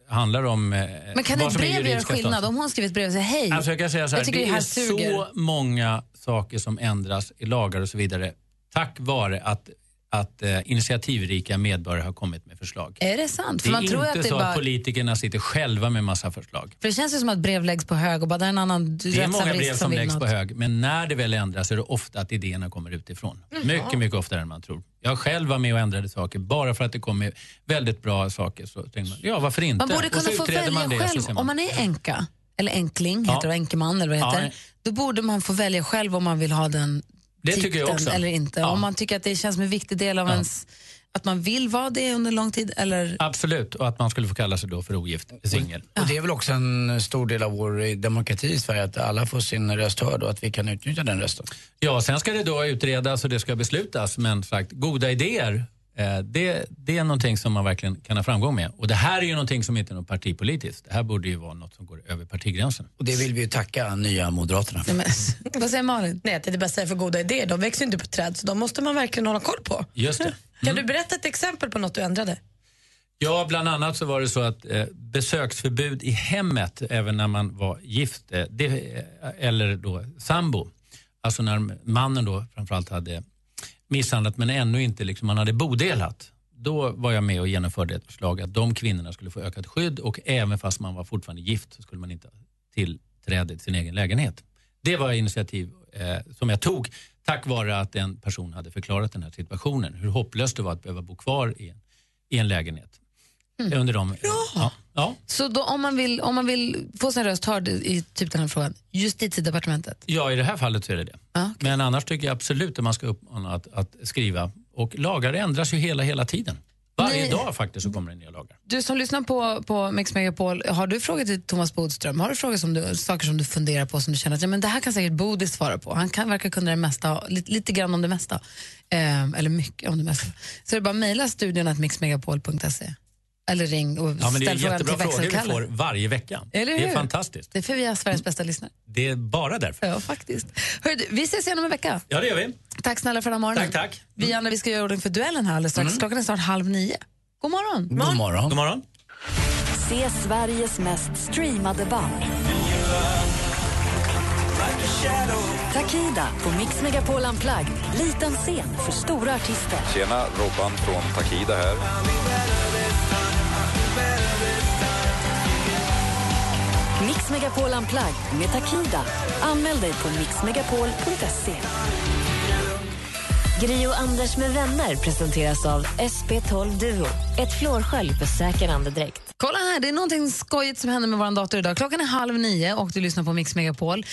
handlar om eh,
Men kan
vad
ett
som är
brev göra
juridiska
skillnad?
status.
Om hon skriver ett brev och säger hej,
Alltså jag kan säga så här,
jag tycker
det
det här
är
suger.
så många saker som ändras i lagar och så vidare tack vare att att eh, initiativrika medborgare har kommit med förslag.
Är det sant?
Det
För
är
man
inte
tror att det
så
är bara...
att politikerna sitter själva med massa förslag.
För det känns ju som att brev läggs på hög och bara där är en annan
Det är många brev
rättsamlist
som
vill
läggs på
något.
hög, men när det väl ändras är det ofta att idéerna kommer utifrån.
Jaha.
Mycket, mycket oftare än man tror. Jag själv var med och ändrade saker bara för att det kom med väldigt bra saker. Så tänkte man, ja varför inte?
Man borde
Och så
kunna få
utreder
välja
man det, så
själv.
ser man-
Om man är änka, eller änkling,
Ja.
heter det, änkeman eller vad det
Ja,
heter,
nej.
då borde man få välja själv om man vill ha den
Det
titeln
tycker jag också.
eller inte.
Ja.
Om man tycker att det känns som en viktig del av
Ja.
ens, att man vill vara det under lång tid eller
Absolut, och att man skulle få kalla sig då för ogift singel.
Och det är väl också en stor del av vår demokrati i Sverige att alla får sin röst hörd och att vi kan utnyttja den rösten.
Ja, sen ska det då utredas och det ska beslutas. Men sagt, goda idéer, eh, det, det är någonting som man verkligen kan ha framgång med. Och det här är ju någonting som inte är något partipolitiskt. Det här borde ju vara något som går över partigränsen.
Och det vill vi ju tacka nya Moderaterna för.
Nej, men,
[laughs]
Vad säger Malin?
Nej, jag tänkte bara säga för goda idéer, de växer ju inte på träd så de måste man verkligen hålla koll på.
Just det.
Kan du berätta ett exempel på något du ändrade?
Ja, bland annat så var det så att eh, besöksförbud i hemmet även när man var gift eh, det, eh, eller då sambo. Alltså när mannen då framförallt hade misshandlat men ännu inte liksom, man hade bodelat. Då var jag med och genomförde ett förslag att de kvinnorna skulle få ökat skydd och även fast man var fortfarande gift så skulle man inte ha tillträde till sin egen lägenhet. Det var initiativ eh, som jag tog tack vare att en person hade förklarat den här situationen. Hur hopplöst det var att behöva bo kvar i en, i en lägenhet.
Mm.
Under de, ja. Ja,
Så då, om, man vill, om man vill få sin röst hörd i typ den här frågan, justitiedepartementet.
ja, i det här fallet så är det det. Men annars tycker jag absolut att man ska uppmana att, att skriva. Och lagar ändras ju hela, hela tiden. Varje
Nej.
dag faktiskt så kommer det nya lagar.
Du som lyssnar på, på Mix Megapol, har du frågor till Thomas Bodström? Har du frågor som du, saker som du funderar på som du känner att ja, men det här kan säkert Bodis svara på? Han kan, verkar kunna det mesta, lite, lite grann om det mesta. Ehm, eller mycket om det mesta. Så det är bara att mejla studion att mixmegapol.se. Eller ring och
Ja, men det är
ställ frågan till
jättebra frågor vi får
växelkalle.
varje vecka.
Eller
Det är
hur?
fantastiskt.
Det är för vi är Sveriges bästa lyssnare.
Det är bara därför.
Ja, faktiskt. Hörru, du, vi ses igen om en vecka.
Ja, det gör vi.
Tack snälla för den här morgonen.
Tack, Mm. tack.
Vi andra vi ska göra ordning för duellen här alldeles strax. Klockan är snart halv nio. God morgon.
God morgon.
God morgon.
Se Sveriges mest streamade band. Takida på Mix Megapol Unplugged. Liten scen för stora artister.
Tjena, Robban från Takida här.
Mix Megapol Unplugged med Takida. Anmäl dig på mixmegapol.se. Gri och Anders med vänner presenteras av SP12 Duo. Ett flårskölj för säker andedräkt.
Kolla här, det är någonting skojigt som händer med vår dator idag. Klockan är halv nio och du lyssnar på Mix Megapol.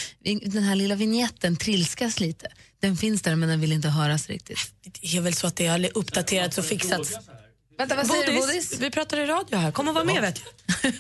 Den här lilla vignetten trilskas lite. Den finns där men den vill inte höras riktigt.
Det är väl så att det har uppdaterats och fixats.
Vänta, vad säger du Bodis?
Vi pratar i radio här, kom och var med vet jag.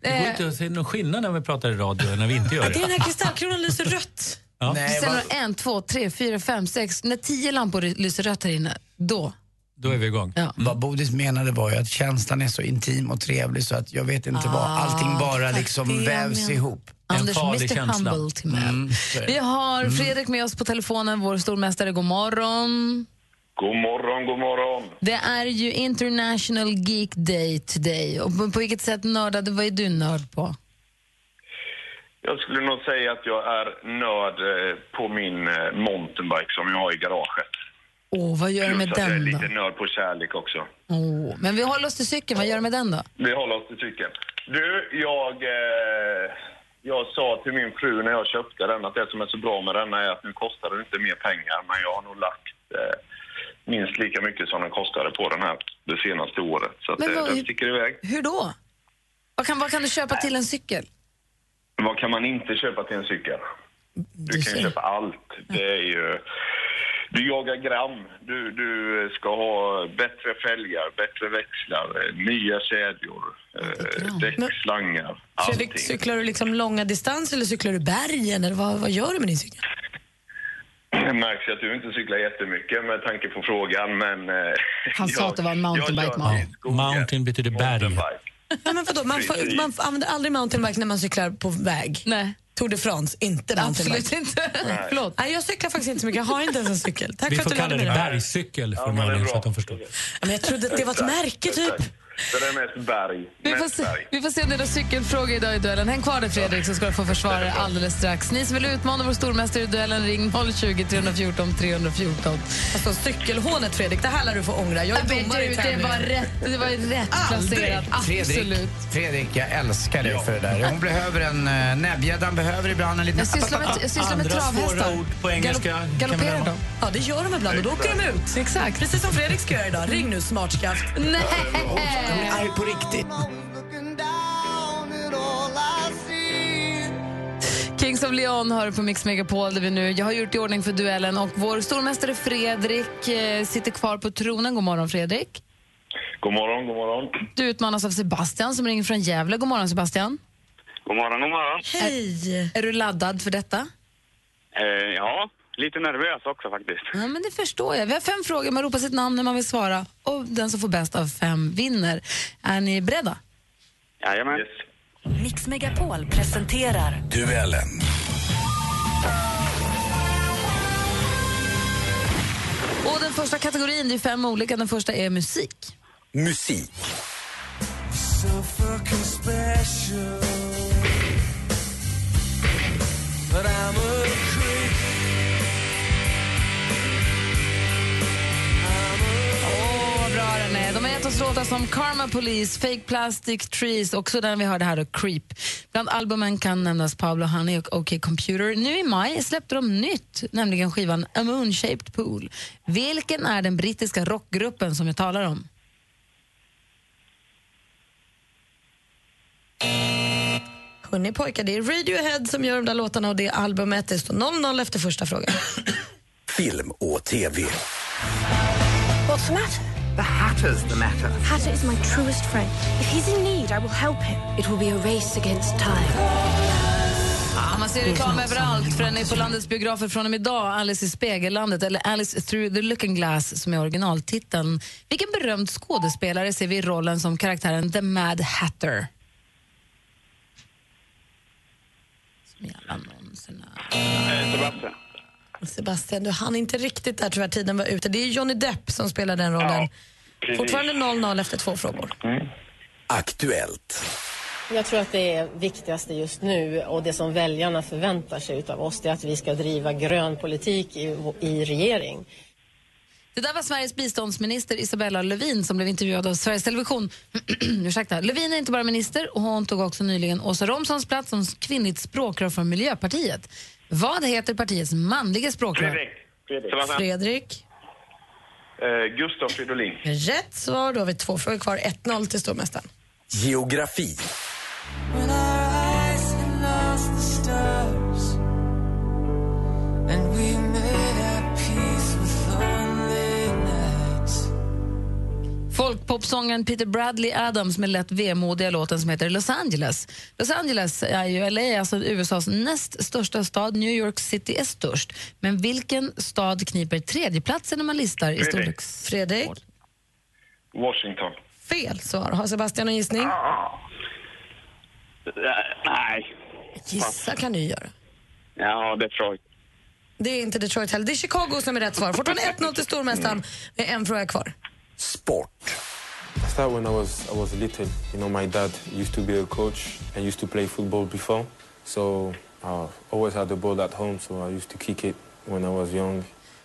Det går inte att se någon skillnad när vi pratar i radio och när vi inte gör
Det är den
det.
här kristallkronan lyser rött.
Ja.
Sen har du en, två, tre, fyra, fem, sex. När tio lampor lyser rött här inne, då.
Då är vi igång.
Ja.
Vad Bodis menade var ju att känslan är så intim och trevlig så att jag vet inte vad, allting bara liksom
Ah, det jag
vävs
menar.
ihop.
Anders, Mr. Humble till mig.
Mm, så är det.
Vi har
Mm.
Fredrik med oss på telefonen, vår stormästare. God morgon.
God morgon, god morgon.
Det är ju International Geek Day today. Och på, på vilket sätt nördade, vad är du nörd på?
Jag skulle nog säga att jag är nörd eh, på min eh, mountainbike som jag har i garaget.
Åh, vad gör du med
Plus att jag är
den då?
lite nörd på kärlek också.
Åh, men vi håller oss till cykeln, vad gör du med den då?
Vi håller oss till cykeln. Du, jag, eh, jag sa till min fru när jag köpte den att det som är så bra med den är att nu kostar den inte mer pengar, men jag har nog lagt eh, minst lika mycket som den kostade på den här det senaste året. Så att,
Men
eh,
vad-
den sticker iväg.
Hur då? Vad kan, vad kan du köpa till en cykel?
Vad kan man inte köpa till en cykel? Du kan ju köpa allt. Det är ju... Du jagar gram. Du, du ska ha bättre fälgar, bättre växlar, eh, nya kedjor, eh, däck, slangar,
Fredrik,
allting.
cyklar du liksom långa distanser eller cyklar du bergen? Eller vad, vad gör du med din cykel? [laughs]
Det [clears throat] märks ju att du inte cyklar jättemycket med tanke på frågan, men... eh,
Han sa
[laughs] jag-
att det var en mountainbike,
jag kör
Malin.
till
Mountain betyder berg.
Nej, men vadå? Man, får, man använder aldrig mountainbike när man cyklar på väg.
Nej.
Tour de France, inte mountainbike.
Absolut inte.
Nej.
Förlåt. Nej, jag cyklar faktiskt inte så mycket. Jag har inte ens en cykel. Tack
Vi
för att
får
du lärde
kalla det
mig det.
bergcykel för Malin så att de förstår.
Ja, Men jag trodde att det var ett märke typ.
Så det är mest berg.
Vi får,
mest
se,
berg.
vi får se om det är någon cykelfråga idag i duellen. Häng kvar där Fredrik så ska du få försvara dig alldeles strax. Ni som vill utmana vår stormästare i duellen, ring 020 314 314.
Alltså cykelhånet Fredrik, det här lär du få ångra. Jag är
Nej, men
domare
du,
i
det
tävlingen. Ah,
var rätt- det var rätt
Aldrig.
placerat. Absolut.
Fredrik, Fredrik, jag älskar dig för det där. Hon behöver en... eh, Näbbgäddan behöver ibland en liten...
Jag sysslar med, jag sysslar med travhästar. Galopp- Galopperar de?
Ja, det gör de ibland och då åker de ut.
Exakt.
Precis som Fredrik ska göra idag. Ring nu, smartskaft.
Nej!
Jag blir
arg på riktigt.
Kings of Leon hör på Mix Megapol där vi nu, jag har gjort i ordning för duellen och vår stormästare Fredrik eh, sitter kvar på tronen. God morgon Fredrik.
God morgon, god morgon.
Du utmanas av Sebastian som ringer från Gävle. God morgon Sebastian.
God morgon, god morgon.
Hej! Är, är du laddad för detta?
Eh, ja, lite nervös också faktiskt.
Ja, men det förstår jag. Vi har fem frågor, man ropar sitt namn när man vill svara och den som får bäst av fem vinner. Är ni beredda?
Jajamän. Yes.
Mix Megapol presenterar
Duellen.
Och den första kategorin, det är fem olika, den första är musik.
Musik.
Åh, vad bra den är. De har gett oss låtar som Karma Police, Fake Plastic Trees, också den vi hörde här, och Creep. Bland albumen kan nämnas Pablo Honey och OK Computer. Nu i maj släppte de nytt, nämligen skivan A Moon-Shaped Pool. Vilken är den brittiska rockgruppen som jag talar om?
Hörrni pojkar, det är Radiohead som gör de där låtarna och det är albumet. Det står 0-0 efter första frågan.
Film och TV.
What's the matter?
The Hatter's the matter.
Hatter is my truest friend. If he's in need, I will help him. It will be a race against time.
Ja, man ser reklam
Mm.
överallt för den är på landets biografer från och med idag. Alice i spegellandet, eller Alice through the looking glass som är originaltiteln. Vilken berömd skådespelare ser vi i rollen som karaktären The Mad Hatter?
Sebastian.
Sebastian, du hann inte riktigt där tyvärr, tiden var ute. Det är Johnny Depp som spelar den rollen.
precis.
Fortfarande 0-0 efter två frågor.
Aktuellt.
Jag tror att det är viktigaste just nu och det som väljarna förväntar sig utav oss det är att vi ska driva grön politik i, i regering.
Det där var Sveriges biståndsminister Isabella Lövin som blev intervjuad av Sveriges Television. [clears throat] Ursäkta. Lövin är inte bara minister och hon tog också nyligen Åsa Romsons plats som kvinnligt språkrör för Miljöpartiet. Vad heter partiets manliga språkrör?
Sebastian.
Fredrik.
Eh, Gustav Fridolin.
Rätt svar, då har vi två frågor kvar. 1-0 till stormästaren.
Geografi.
Folkpopsångaren Peter Bradley Adams med lätt vemodiga låten som heter Los Angeles. Los Angeles är ju LA, alltså USAs näst största stad. New York City är störst. Men vilken stad kniper tredjeplatsen när man listar i
Fredrik.
storleks... Fredrik?
Washington.
Fel svar. Har Sebastian en gissning?
Eh,
Nej.
Gissa kan du göra.
Ja, Detroit.
Det är inte Detroit heller. Det är Chicago som är rätt svar. Fortfarande 1-0 till stormästaren. Det är en fråga kvar.
I started when I was I was little. You know, my dad used to be a coach and used to play football before, so I always had the ball at home. So I used to kick it when I was young.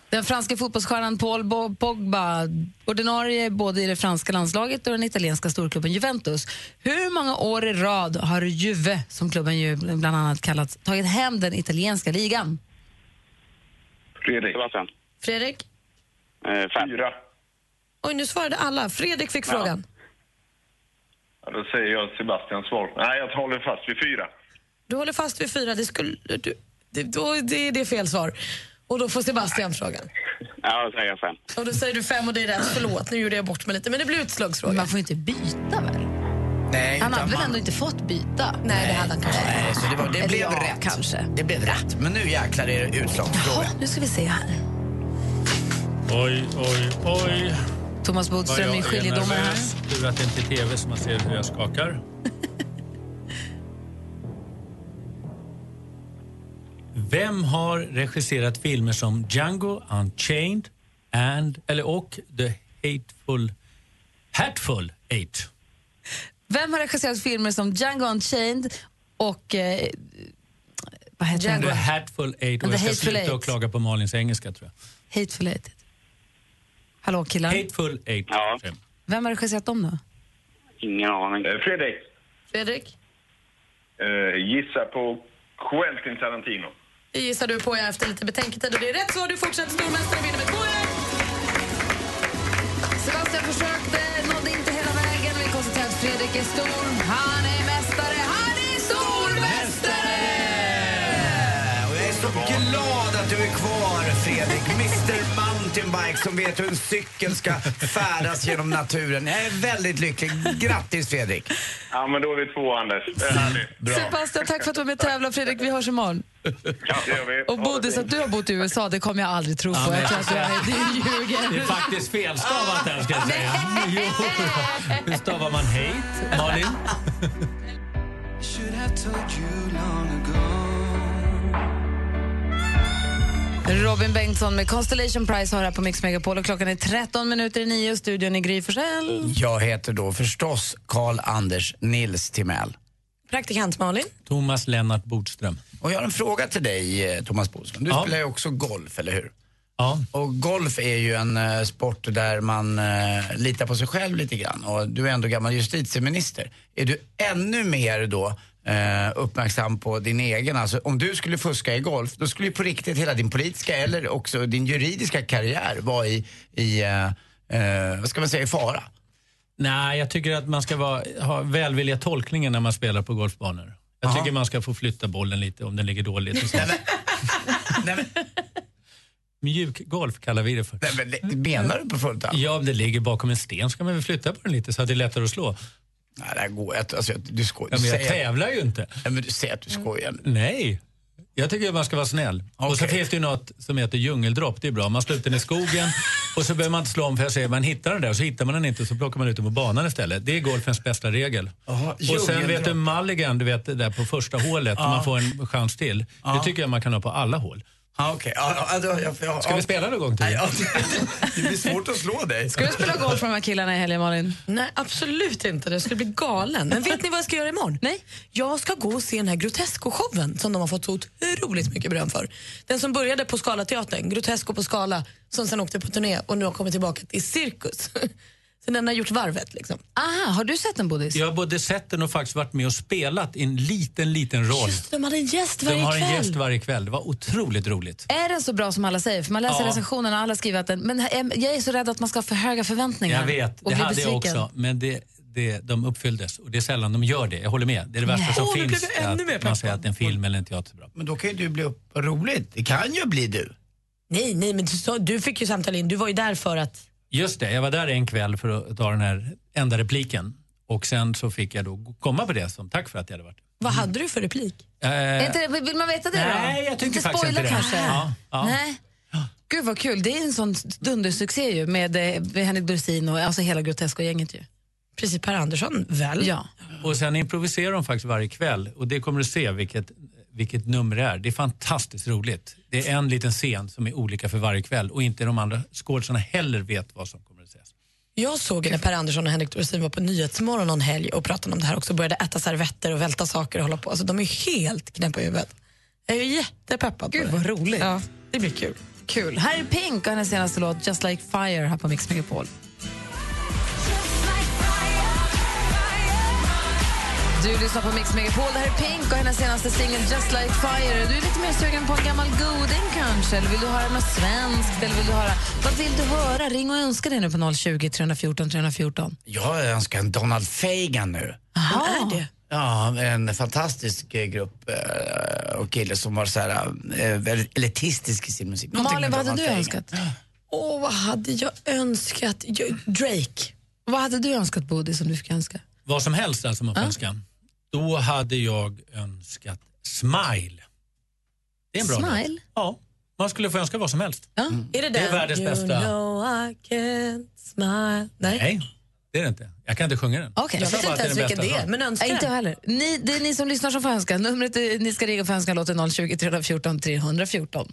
Den franska fotbollsstjärnan Paul Bo- Pogba, ordinarie både i det franska landslaget och den italienska storklubben Juventus. Hur många år i rad har Juve, som klubben ju bland annat kallats, tagit hem den italienska ligan?
Fredrik.
Sebastian.
Fredrik?
Eh, fem.
Fyra.
Oj, nu svarade alla. Fredrik fick frågan.
Ja, då säger jag Sebastians svar. Nej, jag håller fast vid fyra.
Du håller fast vid fyra. Det, skulle, du, det, då, det är det fel svar. Och då får Sebastian frågan.
Ja, då säger jag fem.
Och då säger du fem och det är rätt. Förlåt, nu gjorde jag bort mig lite. Men det blir utslagsfråga. Man
får inte byta väl?
Nej,
Han
utan
hade väl
man-
ändå inte fått byta?
Nej, det hade han kanske
Nej, så det, var, det
Eller
blev
ja,
rätt.
kanske.
Det blev rätt. Men nu jäklar är det utslagsfråga.
Nu ska vi se här.
Oj, oj, oj.
Thomas Bodström är skiljedomare här.
Tur att det inte är tv så man ser hur
[laughs]
jag skakar. Vem har regisserat filmer som Django Unchained and, eller, och The Hateful, Hatful Eight?
Vem har regisserat filmer som Django Unchained och... Eh, vad heter
The
den?
Hatful Eight. Och
The
jag ska
Hateful
sluta
Eight.
och klaga på Malins engelska tror jag.
Hateful Eight. Hallå killar.
Hateful Eight. Ja.
Vem har regisserat dem då?
Ingen aning. Eh, Fredrik,
Fredrik,
eh, gissa på Quentin Tarantino.
det gissar du på jag efter lite betänketid och det är rätt svar. Du fortsätter stormästare och vinner med 2
Sebastian försökte, nådde inte hela vägen. Vi konstaterar att Fredrik är stor. Han är mästare. Han är stormästare!
Och jag är så glad att du är kvar, Fredrik. Mr Mountainbike som vet hur en cykel ska färdas genom naturen. Jag är väldigt lycklig. Grattis, Fredrik.
Ja, men då är vi två, Anders. Det är härligt.
Sebastian, tack för att du var med och tävlade. Fredrik, vi hörs imorgon.
Ja, det gör vi.
Och Bodis, att du har bott i USA, det kommer jag aldrig tro på.
Ja, men-
Jag tror att du är, du ljuger.
Det är faktiskt felstavat här ska jag säga. Jo. Hur stavar man hate, Malin?
Should have told you long ago.
Robin Bengtsson med Constellation Prize har här på Mix Megapol och klockan är 13 minuter i nio och studion är Gry Forssell.
Jag heter då förstås Karl-Anders Nils Timell.
Praktikant Malin.
Thomas Lennart Bodström.
Och jag har en fråga till dig, eh, Thomas Bodström. Du spelar ju också golf, eller hur?
Ja.
Och golf är ju en eh, sport där man eh, litar på sig själv lite grann. Och du är ändå gammal justitieminister. Är du ännu mer då eh, uppmärksam på din egen, alltså om du skulle fuska i golf, då skulle ju på riktigt hela din politiska eller också din juridiska karriär vara i, i eh, eh, vad ska man säga, i fara.
Nej, jag tycker att man ska vara, ha välvilliga tolkningar när man spelar på golfbanor. Jag tycker man ska få flytta bollen lite om den ligger dåligt. Och sånt. Mjukgolf kallar vi det för. Nej,
men menar du på fullt allvar?
Ja, om det ligger bakom en sten ska man väl flytta på den lite så att det är lättare att slå.
Nej, det här går inte. Alltså, du skojar.
Ja, men jag
Du säger-
tävlar ju inte.
Nej, men du säger att du skojar nu.
Nej. Jag tycker att man ska vara snäll. Och så finns det ju något som heter djungeldropp. Det är bra. Man slår ut den
[laughs]
i skogen och så behöver man inte slå om för jag säger man hittar den där och så hittar man den inte så plockar man ut den på banan istället. Det är golfens bästa regel.
Jaha,
och sen vet du
djungeldropp.
mulligan, du vet det där på första hålet,
Ja.
man får en chans till.
Ja.
Det tycker jag man kan ha på alla hål.
Ja, Ah, okej. Ja, ja, då- jag- jag-
Ska vi spela någon gång till?
[laughs] Det blir svårt att slå dig.
Ska du spela golf med de här killarna i helgen, Malin?
Nej, absolut inte. Jag skulle bli galen. Men vet ni vad jag ska göra imorgon? Nej. Jag ska gå och se den här Grotesco-showen som de har fått så otroligt mycket beröm för. Den som började på Scalateatern, Grotesco på Skala, som sen åkte på turné och nu har kommit tillbaka till cirkus. [laughs] Så den har gjort varvet liksom.
Aha, har du sett den Bodis?
Jag har både sett den och faktiskt varit med och spelat i en liten, liten roll.
De hade en gäst varje
De har en
kväll.
gäst varje kväll. Det var otroligt roligt.
Är den så bra som alla säger? För man läser
Ja.
recensionerna och alla skriver att den... Men eh, jag är så rädd att man ska ha för höga förväntningar.
Jag vet,
och
det
bli
hade
besviken.
jag också. Men det, det, de uppfylldes och det är sällan de gör det. Jag håller med. Det är det värsta
Nej.
som
Åh, nu blev
finns.
jag ännu mer
att man säger att en film eller en teater är bra.
Men då kan ju du bli upp... Roligt. Det kan ju bli du.
Nej, nej, men du, sa- du fick ju samtal in. Du var ju där för att...
Just det, jag var där en kväll för att ta den här enda repliken. Och sen så fick jag då komma på det som tack för att jag hade varit.
Vad hade du för replik?
Eh,
Är inte det, vill man veta det då?
Nej, jag tycker
inte
faktiskt
spoila
inte det.
kanske?
Ja, ja.
Nej. Gud vad kul, det är en sån dundersuccé ju med eh, Henrik Dorsin och alltså hela Grotesco-gänget ju.
Precis, Per
Mm,
Andersson väl?
Ja.
Och sen improviserar de faktiskt varje kväll och det kommer du se vilket, vilket nummer det är. Det är fantastiskt roligt. Det är en liten scen som är olika för varje kväll och inte de andra skådespelarna heller vet vad som kommer att sägas.
Jag såg när Per Andersson och Henrik Dorsin var på Nyhetsmorgon någon helg och pratade om det här också, började äta servetter och välta saker och hålla på. Alltså de är helt knäppa i huvudet. Jag är jättepeppad Gud, på det.
vad roligt.
Ja, det blir kul.
Kul. Här är Pink och hennes senaste låt Just Like Fire här på Mix Megapol. Du lyssnar på Mix Megapol. Det här är Pink och hennes senaste singel Just Like Fire. Du är lite mer sugen på en gammal goding kanske? Eller vill du höra något svenskt? Eller vill du höra... Vad vill du höra? Ring och önska dig nu på 020 314 314.
Jag önskar en Donald Fagan nu.
Aha. Är det?
Ja, en fantastisk eh, grupp eh, och kille som var så här eh, väldigt elitistisk i sin musik. Någonting
Malin, vad
med
hade
Donald
du
Fagan.
önskat? Åh, vad hade jag önskat? Jag, Drake.
Vad hade du önskat, Bodil, som du fick önska?
Vad som helst alltså man får önska. Då hade jag önskat Smile. Det är en bra
Smile?
låt. Ja, man skulle få önska vad som helst.
Mm.
Är det
Det är
den?
världens
you
bästa.
Know I can't smile. Nej.
Nej. Det är det inte. Jag kan inte sjunga den.
Okej, jag
sa
vet
bara
inte ens
att det är den
vilken
bästa
det är,
jag
men önskar
Nej,
den.
inte jag heller. Ni, det är ni som lyssnar som får önska. Numret är, ni ska ringa och få önska låten 020 314 314.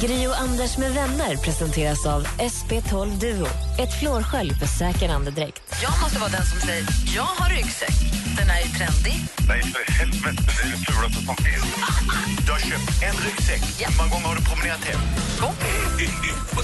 Gri och Anders med vänner presenteras av SP12 Duo. Ett flårskölj för säker andedräkt.
Jag måste vara den som säger, jag har ryggsäck. Den är ju trendig.
Nej, för helvete. Det är det fulaste som finns. Du har köpt en ryggsäck. Hur många gånger har du promenerat hem? På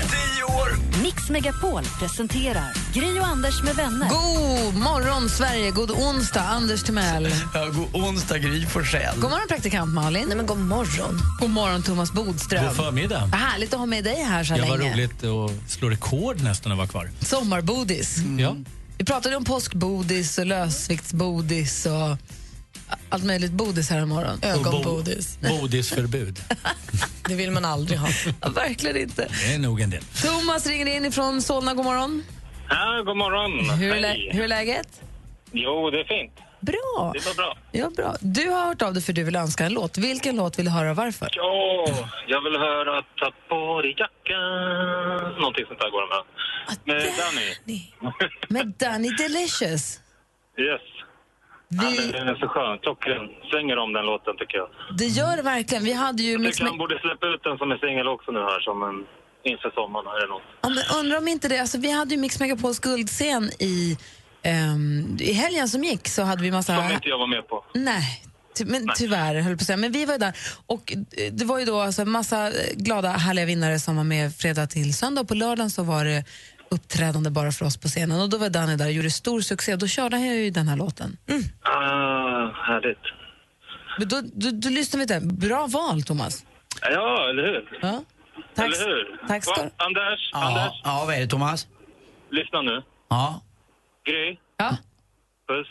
tio år!
Mix Megapol presenterar Gri och Anders med vänner.
God morgon, Sverige. God onsdag, Anders Timell.
Ja, god onsdag Gry Forssell.
God morgon, praktikant Malin. Nej, men god morgon. God morgon, Thomas Bodström.
God förmiddag.
Vad härligt att ha med dig här så här
Jag var
länge.
roligt att slå rekord nästan att vara kvar.
Sommarbodis.
Mm. Ja.
Vi pratade om påskbodis och lösviktsbodis och allt möjligt bodis här imorgon.
Och bo- Bodisförbud.
[laughs] Det vill man aldrig ha. Verkligen inte.
Det är nog en del.
Thomas ringer in ifrån Solna. God morgon.
Ja, god morgon.
Hur, är
Hej.
lä- hur är läget?
Jo, det är fint.
Bra.
Det var bra.
Ja, bra. Du har hört av dig för du vill önska en låt. Vilken låt vill du höra och
[laughs]
varför?
Ja, jag vill höra Ta på dig jackan. Någonting sånt där går det med. Med Danny.
Med Danny Delicious.
Yes.
Vi,
Den är så skön. Klockren. Svänger om den låten tycker jag.
det gör det verkligen. Vi hade ju
Jag
Mix
tycker han borde släppa ut den som en singel också nu här som en inför sommaren eller något.
Ja, men undrar om inte det, alltså, vi hade ju Mix Megapols guldscen i, ehm, i helgen som gick så hade vi massa...
Som inte jag var med på.
Nej, ty, men
Nej.
tyvärr höll jag på att säga. Men vi var ju där och eh, det var ju då alltså massa eh, glada härliga vinnare som var med fredag till söndag och på lördagen så var det uppträdande bara för oss på scenen och då var Danny där och gjorde stor succé. Då körde han ju den här låten.
Ah, härligt.
Men då, då, då lyssnade vi till den. Bra val, Thomas.
Ja, eller hur?
Ja.
Tack-
eller hur?
tack ska-
Va, Anders,
Ja,
Anders,
ja, vad är det Thomas?
lyssna nu.
Ja.
Gry.
Ja.
Puss.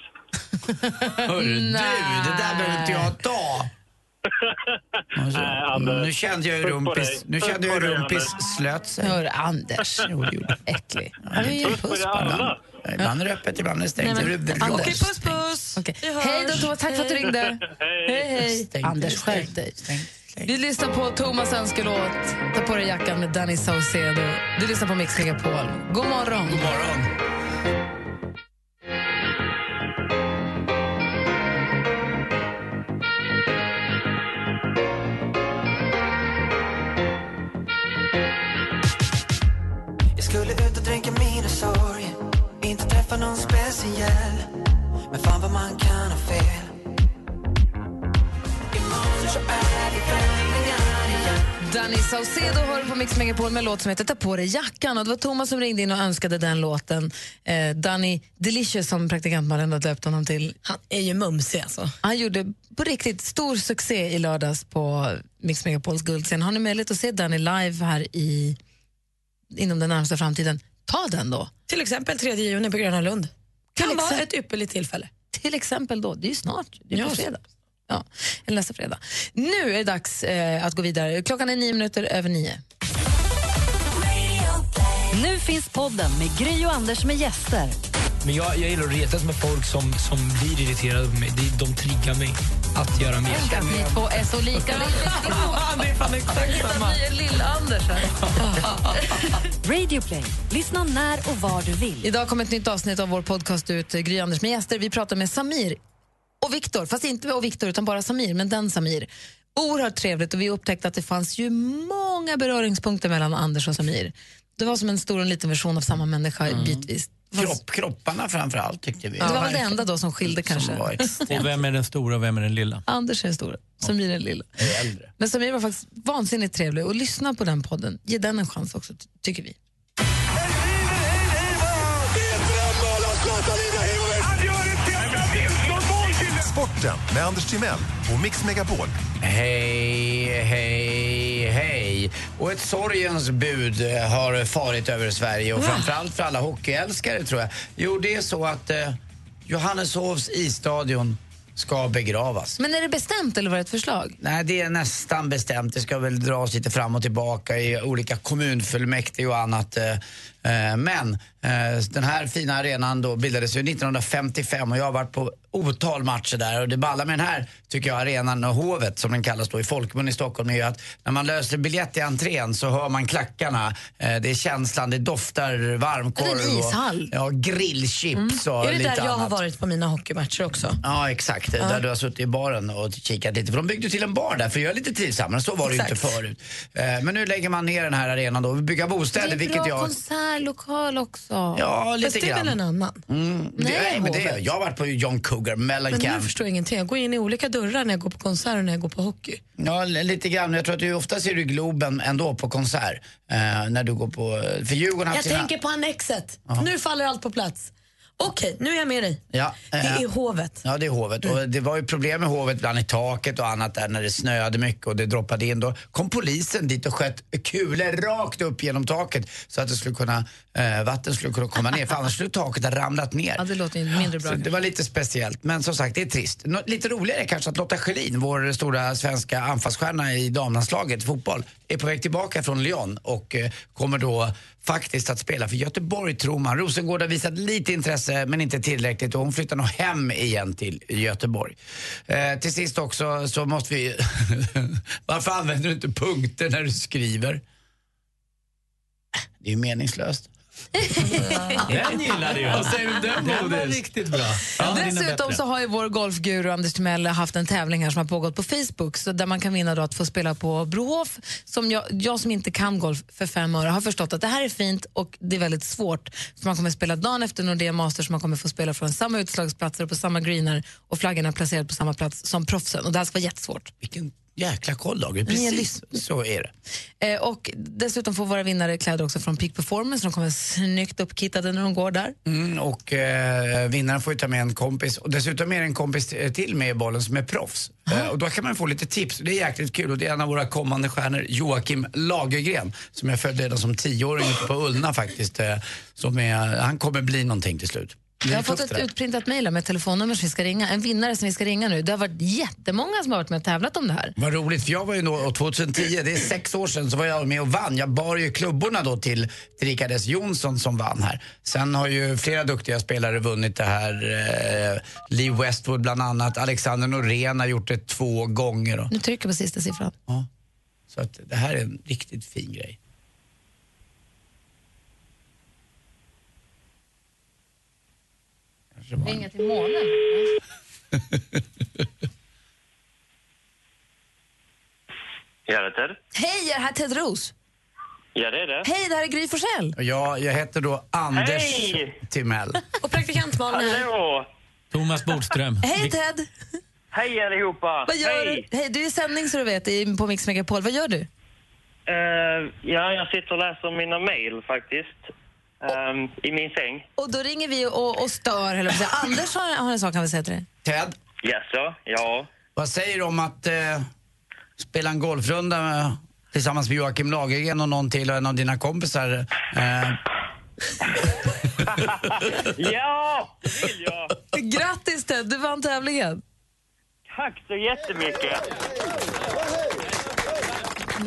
[laughs] Hörru du, det där behöver inte jag ta. Alltså, nu kände jag hur
Puss på
rumpis,
dig.
nu
Puss
kände jag
på
hur
dig,
rumpis slöt sig.
Hör Anders. Jo, det gjorde
Äcklig.
Puss på dig alla.
Ibland är det öppet, ibland är det stängt.
Nej, men-
Det är väl
Anders.
bra.
Okej, puss,
puss.
Hej då, Thomas. Tack för att du ringde. Hej, hej.
Stäng,
Anders,
stäng,
skärp dig. Vi lyssnar på Thomas önskelåt. Ta på dig jackan med Danny Saucedo. Du lyssnar på Mix Megapol. God morgon. God
morgon.
Jag skulle ut och dränka mina sorg Inte träffa någon speciell Men fan vad man kan ha fel Imorgon så är det vändningar igen
Danny Saucedo hör du på Mix Megapol med en låt som heter Ta på dig jackan. Och det var Thomas som ringde in och önskade den låten. Eh, Danny Delicious, som praktikantmannen har döpt honom till. Han är ju mumsig alltså. Han gjorde på riktigt stor succé i lördags på Mix Megapols guldscen. Har ni möjlighet att se Danny live här i inom den närmsta framtiden, ta den då.
Till exempel 3 juni på Gröna Lund. Kan vara ett ypperligt tillfälle.
Till exempel då, det är ju snart, det är
Ja,
på
så.
fredag. Ja, eller nästa fredag. Nu är det dags eh, att gå vidare. Klockan är nio minuter över nio.
Nu finns podden med Gri och Anders med gäster.
Men jag, jag gillar att retas med folk som, som blir irriterade på mig. De, de triggar mig att göra mer.
Tänk att ni två är så lika. [laughs]
Det är fan exakt samma.
Lill-Anders här.
Radio Play. Lyssna när och var du vill.
Idag kommer ett nytt avsnitt av vår podcast ut, eh, Gry Anders med gäster. Vi pratar med Samir och Viktor, fast inte och Viktor utan bara Samir, men den Samir. Oerhört trevligt och vi upptäckte att det fanns ju många beröringspunkter mellan Anders och Samir. Det var som en stor och en liten version av samma människa bitvis.
Kropp, kropparna framför allt tyckte vi.
Mm. Det var väl det enda då som skilde kanske.
Och vem är den stora och vem är den lilla?
[laughs] Anders är den stora, Samir är den lilla. Men Samir var faktiskt vansinnigt trevlig och lyssna på den podden. Ge den en chans också, ty- tycker vi.
Sporten med Anders Timell och Mix Megapol.
Hej, hej, hej. Och ett sorgens bud eh, har farit över Sverige och framförallt för alla hockeyälskare tror jag. Jo, det är så att eh, Johanneshovs isstadion ska begravas.
Men är det bestämt eller var det ett förslag?
Nej, det är nästan bestämt. Det ska väl dras lite fram och tillbaka i olika kommunfullmäktige och annat. eh, Eh, Men eh, den här fina arenan då bildades ju 1955 och jag har varit på otal matcher där och det balla med den här, tycker jag, arenan och hovet som den kallas då i folkmun i Stockholm är ju att när man löser biljett i entrén så hör man klackarna, eh, det är känslan, det doftar varmkorv
Det är en ishall. Mm.
och ja, grillchips och
är det
lite
där jag
annat.
har varit på mina hockeymatcher också?
Ja, exakt.
Ja.
Där du har suttit i baren och kikat lite. För de byggde till en bar där för att göra lite trivsammare. Så var det ju inte
Exakt.
förut. Eh, Men nu lägger man ner den här arenan då och vill bygga bostäder,
det är
vilket
bra
jag...
konsertlokal också.
Ja, lite
Fast det är väl
grann.
en annan?
Mm, det,
Nej,
nej, men det,
hovet.
jag har varit på John Cougar,
Men nu
Mellencamp.
förstår jag ingenting. Jag går in i olika dörrar när jag går på konsert och när jag går på hockey.
Ja, li- lite grann. Jag tror att du ofta ser du Globen ändå på konsert. Eh, när du går på... För Djurgården
Jag
har haft sina...
tänker på Annexet.
Jaha.
Nu faller allt på plats. Okej, nu är jag med dig.
Ja,
Det är
eh,
hovet.
Ja, det är hovet.
Mm.
Och det var ju problem med hovet, bland i taket och annat där när det snöade mycket och det droppade in. Då kom polisen dit och sköt kulor rakt upp genom taket så att det skulle kunna, eh, vatten skulle kunna komma ner för annars skulle taket ha ramlat ner.
Ja, det låter ju mindre bra.
Så det var lite speciellt, men som sagt det är trist. Nå- lite roligare kanske att Lotta Schelin, vår stora svenska anfallsstjärna i damlandslaget i fotboll, är på väg tillbaka från Lyon och eh, kommer då faktiskt att spela för Göteborg tror man. Rosengård har visat lite intresse men inte tillräckligt och hon flyttar nog hem igen till Göteborg. Eh, till sist också så måste vi... [laughs] Varför använder du inte punkter när du skriver? Det är ju meningslöst.
Den gillade jag.
Vad säger du om den,
Den var
Bodis?
riktigt bra.
Dessutom så har ju vår golfguru Anders Timell haft en tävling här som har pågått på Facebook så där man kan vinna då att få spela på Brohof. Som jag, jag som inte kan golf för fem öre har förstått att det här är fint och det är väldigt svårt. Så man kommer spela dagen efter Nordea Masters som man kommer få spela från samma utslagsplatser på samma greener och flaggorna placerade på samma plats som proffsen. Och det här ska vara jättesvårt.
Vilken jäkla koll, Dagen.
Ni har
Precis så är det.
Eh, och dessutom får våra vinnare kläder också från Peak Performance. De kommer snyggt uppkittade när de går där.
Mm, och eh, vinnaren får ju ta med en kompis. Och dessutom är det en kompis eh, till med i bollen som är proffs. Eh, och då kan man få lite tips. Det är jäkligt kul. Och det är en av våra kommande stjärnor, Joakim Lagergren, som jag följde redan som tioåring ute på Ullna faktiskt. Eh, som är, han kommer bli någonting till slut. Det är
Jag har
tufft
fått ett
det där.
utprintat mejl med telefonnummer som vi ska ringa. En vinnare som vi ska ringa nu. Det har varit jättemånga som har varit med och tävlat om det här.
Vad roligt, för jag var ju då, och 2010, det är sex år sedan, så var jag med och vann. Jag bar ju klubborna då till, till Rickard S Jonsson som vann här. Sen har ju flera duktiga spelare vunnit det här. Eh, Lee Westwood bland annat, Alexander Norén har gjort det två gånger. Och,
Nu trycker jag på sista siffran.
ja. Så att det här är en riktigt fin grej.
Ringa till månen. [laughs]
Jag heter?
Hej, är det här Ted Ros?
Ja, det är det.
Hej, det här är Gry Forssell.
Och jag, jag heter då Anders
Hej!
Timell.
Och praktikant Malin här.
Hallå!
Thomas Bodström.
Hej Ted!
Hej allihopa!
Vad gör
Ah, Hej!
du? Hej, du är i sändning så du vet i- på Mix Megapol. Vad gör du?
Eh, ja, jag sitter och läser mina mejl faktiskt. Ehm, I min säng.
Och då ringer vi och, och stör, eller vad Anders har, har en sak han vill säga till dig.
Ted,
Jaså? Ja.
vad säger du om att eh, spela en golfrunda med, tillsammans med Joakim Lagergren och någon till och en av dina kompisar? Eh,
ja, det vill jag!
Grattis Ted, du vann tävlingen.
Tack så jättemycket!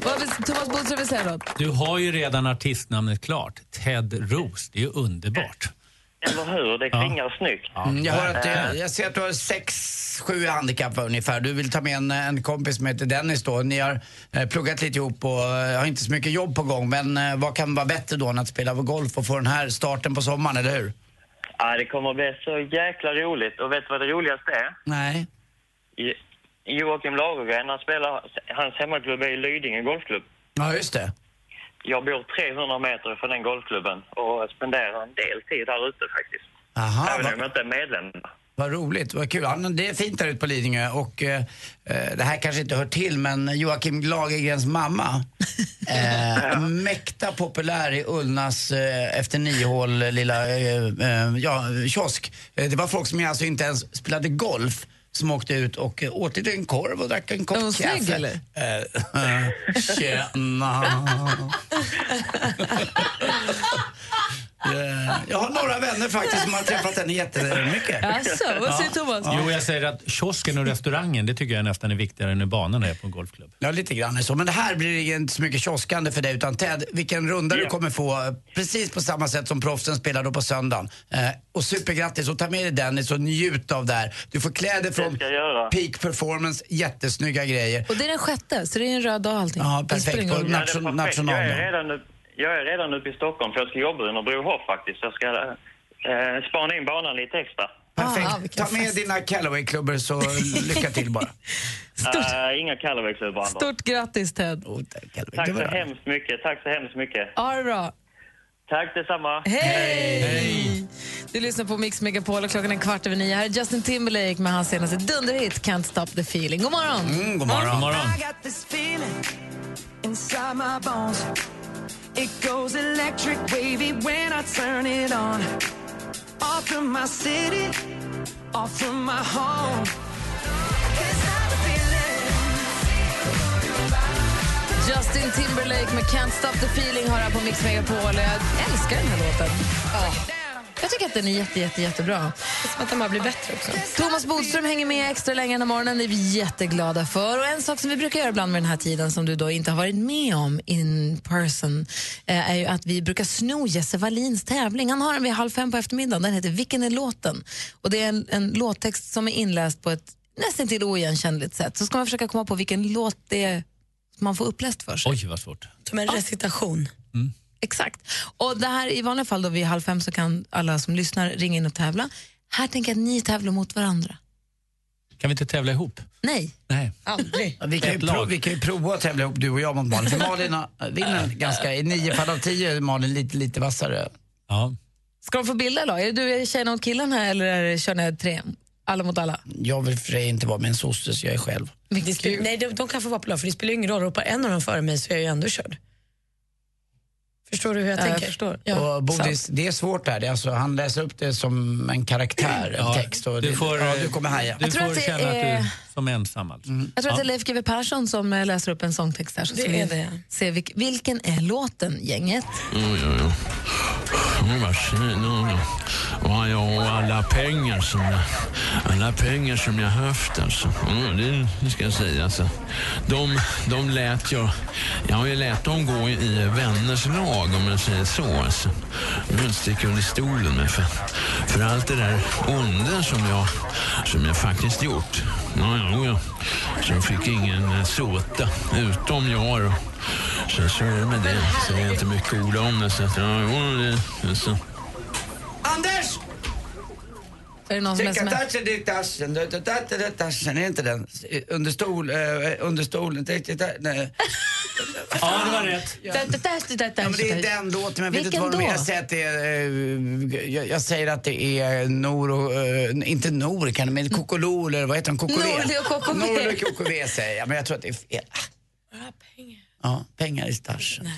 Vad vill, Thomas Bodström vill säga något?
Du har ju redan artistnamnet klart. Ted Roos. Det är ju underbart.
Eller hur? Det klingar snyggt.
Mm, jag, hör att,
Eh,
eh, jag ser att du har sex, sju handikapp ungefär. Du vill ta med en, en kompis som heter Dennis då. Ni har eh, pluggat lite ihop och eh, har inte så mycket jobb på gång. Men eh, vad kan vara bättre då än att spela golf och få den här starten på sommaren, eller hur?
Ja, det kommer bli så jäkla roligt. Och vet du vad det roligaste är?
Nej.
Jo- Joakim Lagergren, han spelar, hans hemmaklubb är ju Lidingö golfklubb.
Ja, just det.
Jag bor 300 meter från den golfklubben och spenderar en del tid där ute faktiskt.
Aha,
Även om jag inte är medlem.
Vad roligt, vad kul. Ja, men det är fint där ute på Lidingö och eh, eh, det här kanske inte hör till men Joakim Lagergrens mamma, eh, mäkta populär i Ullnas eh, efter niohål eh, lilla eh, eh, ja, kiosk. Eh, det var folk som alltså inte ens spelade golf som åkte ut och eh, åt lite en korv och drack en kopp
Är hon
kaffe.
snygg, eller?
[laughs] Eh,
[laughs]
Tjena. Eh, Ja, Jag har några vänner faktiskt som har träffat henne jättemycket.
Jaså, vad säger Thomas?
Jo, jag säger att kiosken och restaurangen, det tycker jag nästan är viktigare än hur banan är på en golfklubb.
Ja, lite grann så. Men det här blir inte så mycket kioskande för dig utan Ted, vilken runda du kommer få eh, precis på samma sätt som proffsen spelar då på söndagen. Eh, och supergrattis och ta med dig Dennis och njut av det här. Du får kläder från Peak Performance, jättesnygga grejer.
Och det är den sjätte, så det är en röd dag och allting.
Ja,
Det spelar
perfekt.
ingen
Och
roll.
nation,
Jag
nationaldagen.
är, redan, upp- jag är redan uppe i Stockholm för jag ska jobba under Brohof faktiskt. Jag ska eh, spana in banan lite extra.
Ah,
ah,
Perfekt. Ta med dina Callaway-klubbor så lycka till bara.
Eh, inga Callaway-klubbar. Anders.
Stort grattis Ted.
Oh,
Tack så hemskt mycket. Tack så hemskt mycket.
Ha det bra.
Tack detsamma.
Hej! Du lyssnar på Mix Megapol och klockan är kvart över nio. Här är Justin Timberlake med hans senaste dunderhit Can't stop the feeling. God morgon!
Mm, god morgon. God morgon.
I got this feeling inside my bones. It goes electric wavy when I turn it on. Off from my city, off from my home.
Justin Timberlake med Can't stop the feeling har här på Mix Megapol. Jag älskar den här låten. Jag tycker att den är jätte, jätte, jättebra.
Som att den bara blir bättre också.
Thomas Bodström hänger med extra länge den här morgonen. Det är vi jätteglada för. Och en sak som vi brukar göra ibland med den här tiden som du då inte har varit med om in person eh, är ju att vi brukar sno Jesse Wallins tävling. Han har den vid halv fem på eftermiddagen. Den heter Vilken är låten? Och det är en, en låttext som är inläst på ett nästan till oigenkännligt sätt. Så ska man försöka komma på vilken låt det är som man får uppläst för sig.
Oj, vad svårt.
Som en recitation. Exakt. Och det här, I vanliga fall då vid halv fem så kan alla som lyssnar ringa in och tävla. Här tänker jag att ni tävlar mot varandra.
Kan vi inte [laughs] tävla ihop?
Nej,
Nej.
aldrig.
Vi kan, ju
Ett
pro-
lag.
vi kan ju prova att tävla ihop du och jag mot Malin. För Malin har- vinner ganska, i nio fall av tio är Malin lite, lite vassare.
Ja.
Ska de få bilda lag? Är det du, är det tjejerna mot killarna här eller är det, kör ni tre? Alla mot alla?
Jag vill för sig inte vara med en sosse så jag är själv.
Det spelar, nej, de, de kan få vara på lag för det spelar ju ingen roll. Ropar en av dem före mig så är jag ju ändå körd. Förstår du hur jag
Ja, jag
tänker?
förstår.
Ja,
och Bodis, det är svårt där. Det är alltså, han läser upp det som en karaktär, en
Ja,
text. Och det,
du får,
ja,
eh,
du kommer haja.
Du
Jag tror
får
att det
känna
är-
att du som ensam alltså.
Jag tror att det är
Ja.
Leif GW Persson som eh, läser upp en sångtext här. Så
Det
ska vi
är det.
Se vilk, vilken är låten, gänget?
Oj, oj, oj. Oj, vad fin. Oj, oj. Oj, oj, oj, alla pengar som jag, alla pengar som jag haft alltså. Mm, det, det ska jag säga. Alltså. De, de lät jag, jag har ju lät dem gå i vänners lag om jag säger så. Alltså. Nu vill jag inte sticka under stolen med för, för allt det där onda som jag, som jag faktiskt gjort. Ja, ja, ja. Så fick ingen eh, såta, utom jag då. Så, så är det med det. Så det är inte mycket ord om det. Så att, ja, jo, det, det, alltså, så.
Anders!
Är det någon som är
Tycka
som är...
tassen, det är tassen, det är tassen, det är tassen. Är inte den? Under stol, eh, under stolen, tycka tassen, nej.
Ja, det var rätt.
Ja, men
det är den låten, men jag vet inte
Vilken
vad
då?
de är. Jag säger att det är, eh, jag, jag säger att det är Nor och, eh, inte Nor kan det, men Kokolo eller vad heter de? Kokové?
Norli Mm. och Kokové.
Norli och Kokové säger jag, men jag tror att det är fel. Ja, pengar i staschen.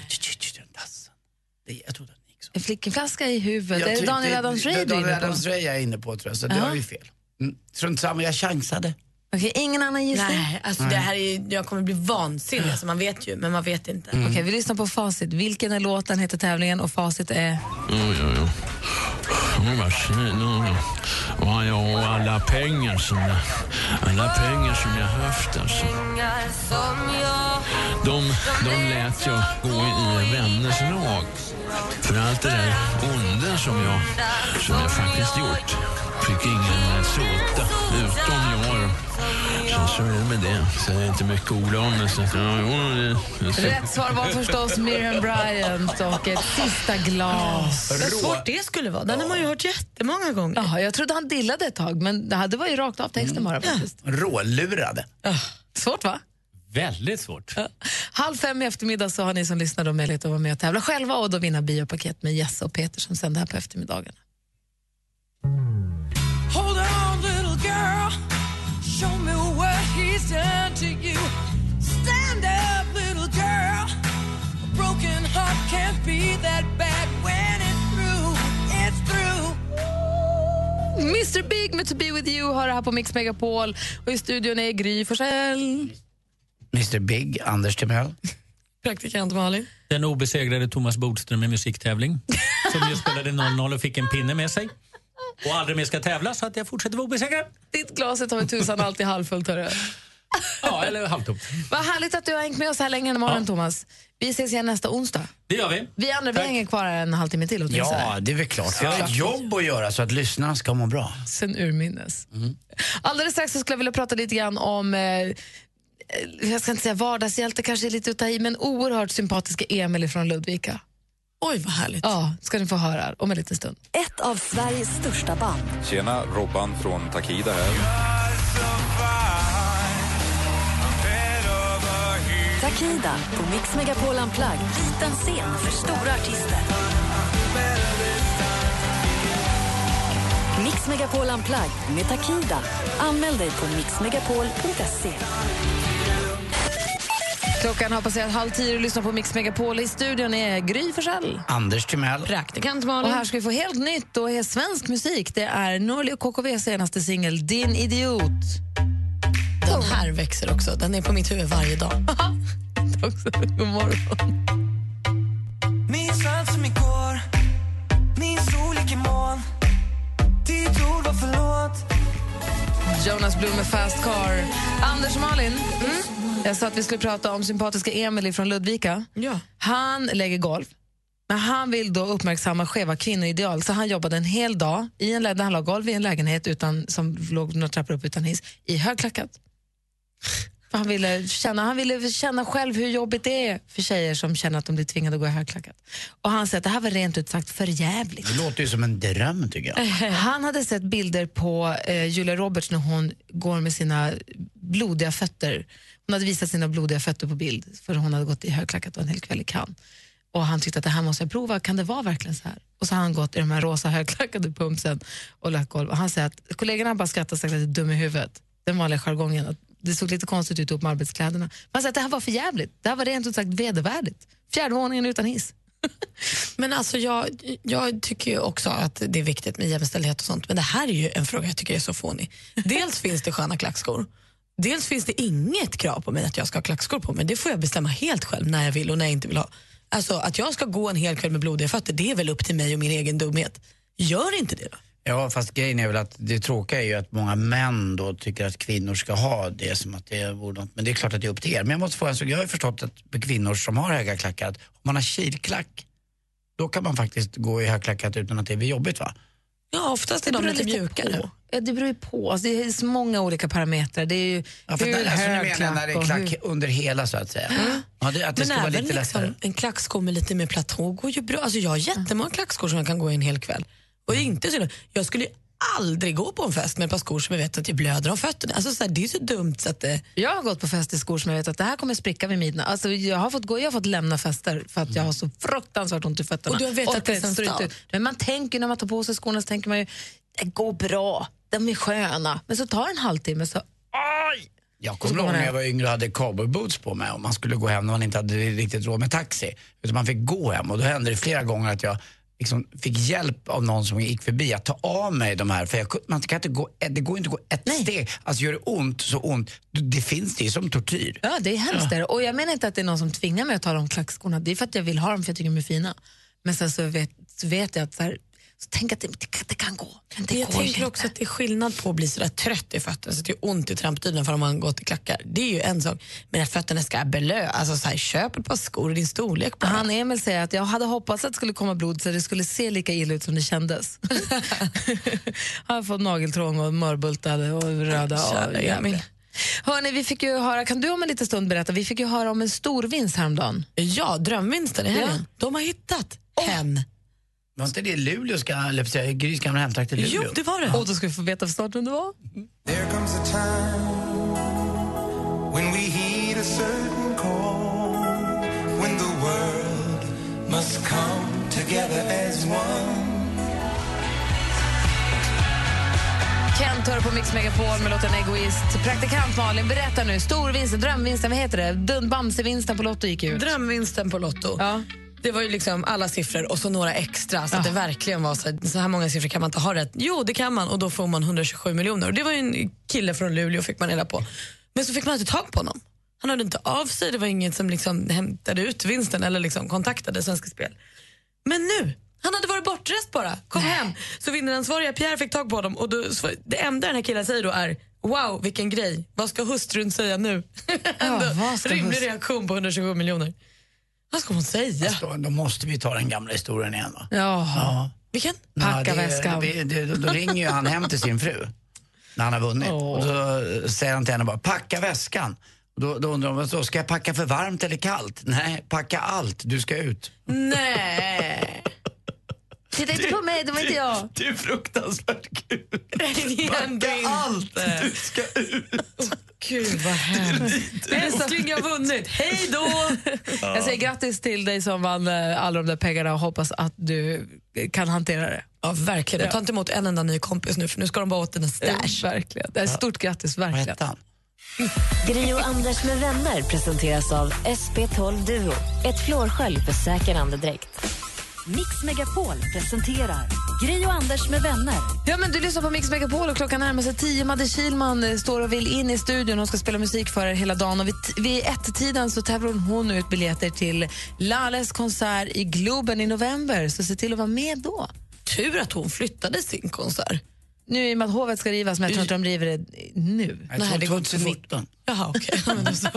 Det- Jag trodde
En flickenflaska i
Jag
huvudet. Är det
tyckte-
Daniel Adams-Ray du
det-
är
Daniel
inne på?
Adams-Ray jag är inne på tror jag, så det
Ja.
var ju fel. Mm. Strunt samma, jag chansade.
Okej, ingen annan gissning?
Nej, alltså det här är, ju- jag kommer bli vansinnig. Alltså man vet ju, men man vet inte.
Okej, vi lyssnar på facit. Vilken är låten, heter tävlingen och facit är...
Oj, oj, oj. Oj, vad fin. Oj, oj. Oj, oj, alla pengar som jag, alla pengar som jag haft alltså. De, de lät jag gå i vänners lag för allt det där onda som jag, som jag faktiskt gjort. Fick ingen såta, utom jag. då. Så, så är det med det. Så det är inte mycket ord om det. Så, att, ja, jo, det, det så.
Rätt svar var förstås Miriam Bryant och ett sista glas.
Vad svårt det skulle vara. Den har man ju hört jättemånga gånger.
Ja, jag trodde han dillade ett tag, men det hade var ju rakt av texten bara. Faktiskt.
Rålurade.
Svårt va?
Väldigt svårt.
Halv fem i eftermiddag så har ni som lyssnar då möjlighet att vara med och tävla själva och då vinna biopaket med Jesse och Peter som sänder här på eftermiddagen.
Hold on, little girl. Show me what he's done to you. Stand up, little girl. A broken heart can't be that bad when it's through. It's through.
Mr Big med To Be With You har det här på Mix Megapol och i studion är Gry Forssell.
Mr Big, Anders Timell.
Praktikant Malin.
Den obesegrade Thomas Bodström i musiktävling. som ju spelade 0-0 och fick en pinne med sig. Och aldrig mer ska tävla så att jag fortsätter vara obesegrad.
Ditt glaset har ju tusan alltid halvfullt, hörru.
Ja, eller halvtomt.
Vad härligt att du har hängt med oss här länge i morgon, Thomas. Vi ses igen nästa onsdag.
Det gör vi.
Vi andra vi hänger kvar här en halvtimme till åtminstone.
Ja, det är väl klart. Vi har ett
Såklart.
jobb att göra så att lyssnarna ska må bra. Mm.
Sen urminnes. Alldeles strax så skulle jag vilja prata lite grann om eh, eh, jag ska inte säga vardagshjälte, kanske är lite att ta i, men oerhört sympatiska Emil från Ludvika.
Oj, vad härligt.
Ja, ska ni få höra om en liten stund.
Ett av Sveriges största band.
Tjena, Robban från Takida här.
Takida på Mix Megapol Unplugged. Liten scen för stora artister. Mix Megapol Unplugged med Takida. Anmäl dig på mixmegapol.se.
Klockan har passerat halv tio och lyssnar på Mix Megapol. I studion är Gry Forssell.
Anders Timell.
Praktikant Och här ska vi få helt nytt och helt svensk musik. Det är Norli och KKVs senaste singel Din idiot.
Den här växer också. Den är på mitt huvud varje dag.
[laughs] God morgon.
Minns allt som igår Minns olika mån Ditt ord var förlåt
Jonas Blum med Fast Car. Anders och Malin, Mm. jag sa att vi skulle prata om sympatiska Emil från Ludvika. Han lägger golv, men han vill då uppmärksamma skeva kvinnoideal så han jobbade en hel dag i en, lä- när han la golv i en lägenhet utan, som låg några trappor upp utan hiss i högklackat. För Han ville, känna, han ville känna själv hur jobbigt det är för tjejer som känner att de blir tvingade att gå i högklackat. Och han säger att det här var rent ut sagt för jävligt.
Det låter ju som en dröm tycker jag.
[laughs] Han hade sett bilder på eh, Julia Roberts när hon går med sina blodiga fötter. Hon hade visat sina blodiga fötter på bild för hon hade gått i högklackat och en hel kväll i Cannes. Och han tyckte att det här måste jag prova, kan det vara verkligen så här? Och så har han gått i de här rosa högklackade pumpsen och lagt golv. Och han säger att kollegorna bara skrattar och sagt att det är dum i huvudet. Den vanliga jargongen. Att det såg lite konstigt ut ihop med arbetskläderna. Men han säger att det här var för jävligt. Det här var rent ut sagt vedervärdigt. Fjärde våningen utan hiss.
[laughs] Men alltså jag, jag tycker ju också att det är viktigt med jämställdhet och sånt, men det här är ju en fråga jag tycker är så fånig. Dels finns det sköna klackskor, dels finns det inget krav på mig att jag ska ha klackskor på mig. Det får jag bestämma helt själv när jag vill och när jag inte vill ha. Alltså att jag ska gå en hel kväll med blodiga fötter, det är väl upp till mig och min egen dumhet. Gör inte det då.
Ja, fast grejen är väl att det tråkiga är ju att många män då tycker att kvinnor ska ha det som att det vore något. Men det är klart att det är upp till er. Men jag måste få en sak. Jag har ju förstått att för kvinnor som har höga klackar, att om man har kilklack, då kan man faktiskt gå i högklackat utan att det blir jobbigt va?
Ja, oftast är
Det
de
beror
lite
lite
mjukare.
på. Ja, det beror ju på. Alltså, det är så många olika parametrar. Det är ju
Ja, för
hur
när, alltså, nu
hög
menar jag när det
klack
är
och
klack
hur...
under hela så att säga. Ja, det, att det
Men
ska vara
även
lite lättare.
liksom, en klacksko med lite mer platå går ju bra. Alltså jag har jättemånga klackskor som jag kan gå i en hel kväll. Och det är inte så, jag skulle ju aldrig gå på en fest med ett par skor som jag vet att jag blöder om fötterna. Alltså så här, det är ju så dumt så att det...
Jag har gått på fest i skor som jag vet att det här kommer spricka vid midnatt. Alltså, jag, har fått gå, jag har fått lämna fester för att jag har så fruktansvärt ont i fötterna.
Och du har vetat
Orkar
det
inte,
sen
står inte
start.
ut. Men man tänker när man tar på sig skorna så tänker man ju det går bra, de är sköna. Men så tar det en halvtimme så aj!
Jag kommer ihåg när jag var yngre och hade cowboyboots på mig och man skulle gå hem när man inte hade riktigt råd med taxi. Utan man fick gå hem och då hände det flera gånger att jag liksom fick hjälp av någon som gick förbi att ta av mig de här. För jag, kunde- man kan inte gå, ett- det går inte att gå ett steg. Alltså gör det ont så ont. Det- Det finns det är som tortyr.
Ja, det är hemskt.
Ja.
det. Och jag menar inte att det är någon som tvingar mig att ta de klackskorna. Det är för att jag vill ha dem för jag tycker de är fina. Men sen så vet, så vet jag att så här, så tänk att det, det kan gå. Men det
Men jag
går
tänker också att det är skillnad på att bli sådär trött i fötterna så att det är ont i trampdynorna för om man gått i klackar. Det är ju en sak. Men att fötterna ska blöda, alltså så här, köp ett par skor i din storlek bara.
Han Emil säger att jag hade hoppats att det skulle komma blod så det skulle se lika illa ut som det
[laughs]
kändes. Han har fått nageltrång och mörbultade och röda.
Kära
Och
Emil.
Hörrni, vi fick ju höra, kan du om en liten stund berätta, vi fick ju höra om en stor vinst häromdagen.
Ja, drömvinsten i helgen. De har hittat hem.
Var inte det Luleås gamla, eller säga, Grys gamla hemtrakt i Luleå?
Jo, det var det.
Och då ska vi få veta för snart vem det var.
There comes a time when we heed a certain call, when the world must come together as one.
Kent hör på Mix Megapol med låten Egoist. Praktikant Malin, berätta nu, storvinsten, drömvinsten, vad heter det? Dun- Bamsevinsten på Lotto gick
Mm.
ut.
Drömvinsten på Lotto. Det var ju liksom alla siffror och så några extra. Så att det verkligen var så här, så här många siffror kan man inte ha rätt. Jo, det kan man och då får man 127 miljoner. Och det var ju en kille från Luleå fick man reda på. Men så fick man inte tag på honom. Han hörde inte av sig, det var ingen som liksom hämtade ut vinsten eller liksom kontaktade Svenska Spel. Men nu Han hade varit bortrest bara. Kom hem. Så vinnaransvariga Pierre fick tag på honom och då, så- det enda den här killen säger då är Wow, vilken grej. Vad ska hustrun säga nu? [laughs] Ändå
ska
rimlig
hustru-
reaktion på 127 miljoner. Vad ska hon säga?
Alltså, Då måste vi ta den gamla historien igen va?
Ja.
Vilken?
Packa
det-
väskan.
Det, det, då, då ringer ju han hem till sin fru när han har vunnit. Och då eh, säger han till henne bara, packa väskan. Och Då, då undrar hon, "Vadå, ska jag packa för varmt eller kallt? Nej, packa allt, du ska ut.
Nej. Titta inte på mig, det var inte jag.
Det är fruktansvärt
kul. Packa allt, du
ska ut.
Gud vad hemskt.
Älskling, jag har vunnit. Hej då!
Jag säger grattis till dig som vann eh, alla de där pengarna och hoppas att du eh, kan hantera det.
Ja, verkligen. Men ta inte emot en enda ny kompis nu för nu ska de bara åt dina stash.
Verkligen. Det är stort grattis, verkligen.
Gri och Anders med vänner presenteras av SP12 Duo. Ett flårskölj för säker andedräkt. Mix Megapol presenterar Gri och Anders med vänner.
Ja, men du lyssnar på Mix Megapol och klockan närmar sig tio. Madde Kilman eh, står och vill in i studion. Hon ska spela musik för er hela dagen. Och vid, t- vid ett-tiden så tävlar hon ut biljetter till Lales konsert i Globen i november. Så se till att vara med då.
Tur att hon flyttade sin konsert.
Nu i och med att hovet ska rivas, men jag tror inte de river det nu.
Jag tror 2019. Jaha, okej. [laughs] Ja, men då så.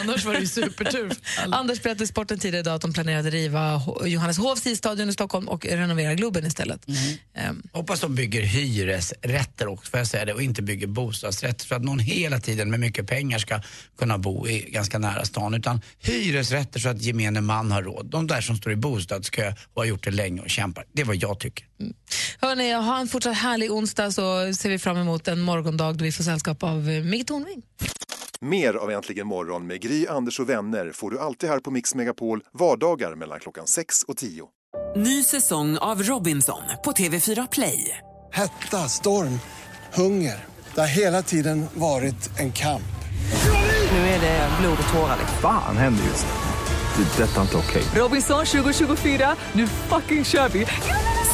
Annars var det ju supertur.
[laughs] Anders berättade i sporten tidigare idag att de planerade riva Ho- Johannes Hovs isstadion i Stockholm och renovera Globen istället.
Mm. Hoppas de bygger hyresrätter också, får jag säga det, och inte bygger bostadsrätter. Så att någon hela tiden med mycket pengar ska kunna bo i ganska nära stan. Utan hyresrätter så att gemene man har råd. De där som står i bostadskö och har gjort det länge och kämpar. Det är vad jag tycker.
Hörni, ha en fortsatt härlig onsdag så ser vi fram emot en morgondag då vi får sällskap av eh, Micke Tornving.
Mer av Äntligen morgon med Gry, Anders och vänner får du alltid här på Mix Megapol vardagar mellan klockan 6 och 10.
Ny säsong av Robinson på TV4 Play.
Hetta, storm, hunger. Det har hela tiden varit en kamp.
Nu är det blod och tårar.
Fan händer just nu. Det. är Detta är inte okej.
Robinson 2024, nu fucking kör vi!